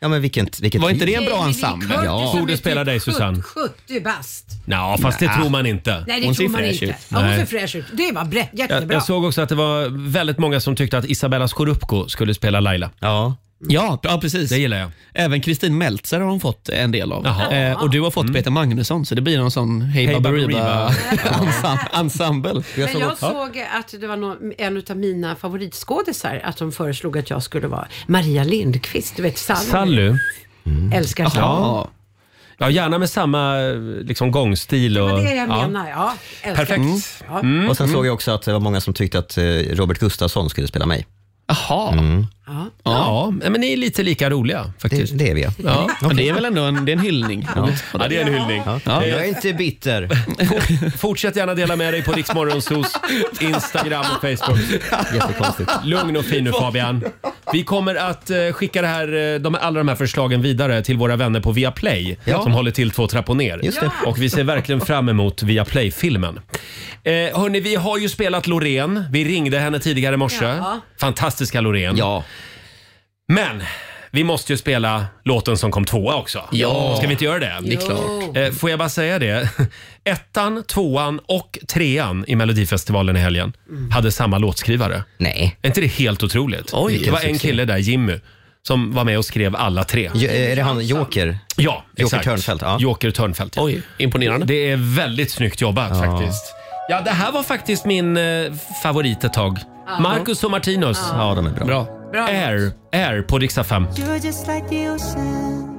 [SPEAKER 2] Ja, men vilket, vilket
[SPEAKER 8] Var inte det en
[SPEAKER 3] Jamie
[SPEAKER 8] bra
[SPEAKER 3] Lee
[SPEAKER 8] ensemble?
[SPEAKER 3] Curtis som är
[SPEAKER 1] Borde spela
[SPEAKER 3] typ
[SPEAKER 1] dig, Susanne.
[SPEAKER 3] 70 bast.
[SPEAKER 1] Ja, fast det
[SPEAKER 8] Nja.
[SPEAKER 1] tror man inte.
[SPEAKER 3] Nej, det tror man inte. Ja, hon ser fräsch ut. Det var brett,
[SPEAKER 1] Jag,
[SPEAKER 3] jättebra.
[SPEAKER 1] jag såg också att det var väldigt många som tyckte att Isabella Scorupco skulle spela Laila.
[SPEAKER 2] Ja.
[SPEAKER 8] Ja, ja, precis.
[SPEAKER 1] Det gillar jag.
[SPEAKER 8] Även Kristin Meltzer har hon fått en del av.
[SPEAKER 1] Jaha. Mm.
[SPEAKER 8] Eh, och du har fått Peter Magnusson, så det blir någon sån Hey
[SPEAKER 1] Hey
[SPEAKER 8] Baberiba
[SPEAKER 1] Baberiba.
[SPEAKER 8] ensem- ensemble.
[SPEAKER 3] Men jag såg att det var någon, en av mina favoritskådisar, att de föreslog att jag skulle vara Maria Lindqvist. Du vet Sally.
[SPEAKER 1] Sally.
[SPEAKER 3] Älskar Sally.
[SPEAKER 1] Ja. ja, gärna med samma liksom, gångstil. Och,
[SPEAKER 3] Det är det jag
[SPEAKER 1] ja.
[SPEAKER 3] menar. Ja. Älskar.
[SPEAKER 1] Perfekt. Mm.
[SPEAKER 3] Ja.
[SPEAKER 2] Och sen såg jag också att det var många som tyckte att eh, Robert Gustafsson skulle spela mig.
[SPEAKER 8] Jaha.
[SPEAKER 3] Ja.
[SPEAKER 1] Ja. men ni är lite lika roliga faktiskt.
[SPEAKER 2] Det, det är vi.
[SPEAKER 8] Ja, men det är väl ändå en, det är en hyllning. Ja.
[SPEAKER 1] Ja, det är en hyllning.
[SPEAKER 2] Ja. Jag är inte bitter.
[SPEAKER 1] Fortsätt gärna dela med dig på Riksmorgonsos Instagram och Facebook.
[SPEAKER 2] Jättekonstigt.
[SPEAKER 1] Lugn och fin nu Fabian. Vi kommer att eh, skicka det här, eh, de, alla de här förslagen vidare till våra vänner på Viaplay
[SPEAKER 2] Ja.
[SPEAKER 1] som håller till två trappor ner.
[SPEAKER 2] Just det.
[SPEAKER 1] Och vi ser verkligen fram emot Viaplay-filmen. Eh, hörni, vi har ju spelat Loreen. Vi ringde henne tidigare i morse.
[SPEAKER 3] Ja.
[SPEAKER 1] Fantastiska Loreen. Ja. Men vi måste ju spela låten som kom tvåa också.
[SPEAKER 8] Ja.
[SPEAKER 1] Ska vi inte göra det?
[SPEAKER 8] Det är klart.
[SPEAKER 1] Eh, Får jag bara säga det? Ettan, tvåan och trean i Melodifestivalen i helgen hade samma låtskrivare.
[SPEAKER 2] Nej.
[SPEAKER 1] Är inte det helt otroligt?
[SPEAKER 2] Oj.
[SPEAKER 1] det var en
[SPEAKER 2] Vilken succé.
[SPEAKER 1] kille där, Jimmy, som var med och skrev alla tre.
[SPEAKER 2] Jo, eh, är det han Joker?
[SPEAKER 1] Ja,
[SPEAKER 2] Joker
[SPEAKER 1] exakt.
[SPEAKER 2] Törnfeldt, ja.
[SPEAKER 1] Joker Törnfeldt. Ja.
[SPEAKER 8] Oj, imponerande.
[SPEAKER 1] Det är väldigt snyggt jobbat
[SPEAKER 2] Ja.
[SPEAKER 1] faktiskt. Ja, det här var faktiskt min eh, favorit ett tag.
[SPEAKER 7] Ja.
[SPEAKER 1] Marcus och Martinus.
[SPEAKER 2] Ja, de är bra.
[SPEAKER 1] Bra. Air, Air på riksdag 5.
[SPEAKER 7] You're just like the ocean.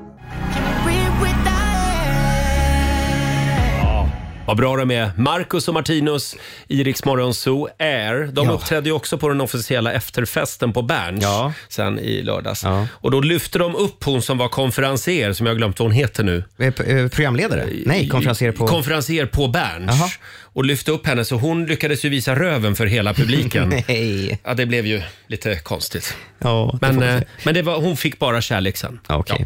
[SPEAKER 1] Vad bra de är. Marcus och Martinus i Rix Morgon Zoo Air. De uppträdde ju också på den officiella efterfesten på Berns sen i lördags. Och då lyfte de upp hon som var konferenser som jag har glömt vad hon heter nu.
[SPEAKER 2] Eh, Programledare? Nej, konferenser på...
[SPEAKER 1] Konferenser på Berns.
[SPEAKER 2] Jaha.
[SPEAKER 1] Och lyfte upp henne så hon lyckades ju visa röven för hela publiken.
[SPEAKER 2] Nej.
[SPEAKER 1] Ja, det blev ju lite konstigt.
[SPEAKER 2] Ja, det
[SPEAKER 1] Men,
[SPEAKER 2] får man
[SPEAKER 1] eh,
[SPEAKER 2] säga.
[SPEAKER 1] men det var, hon fick bara kärlek sen.
[SPEAKER 2] Okej.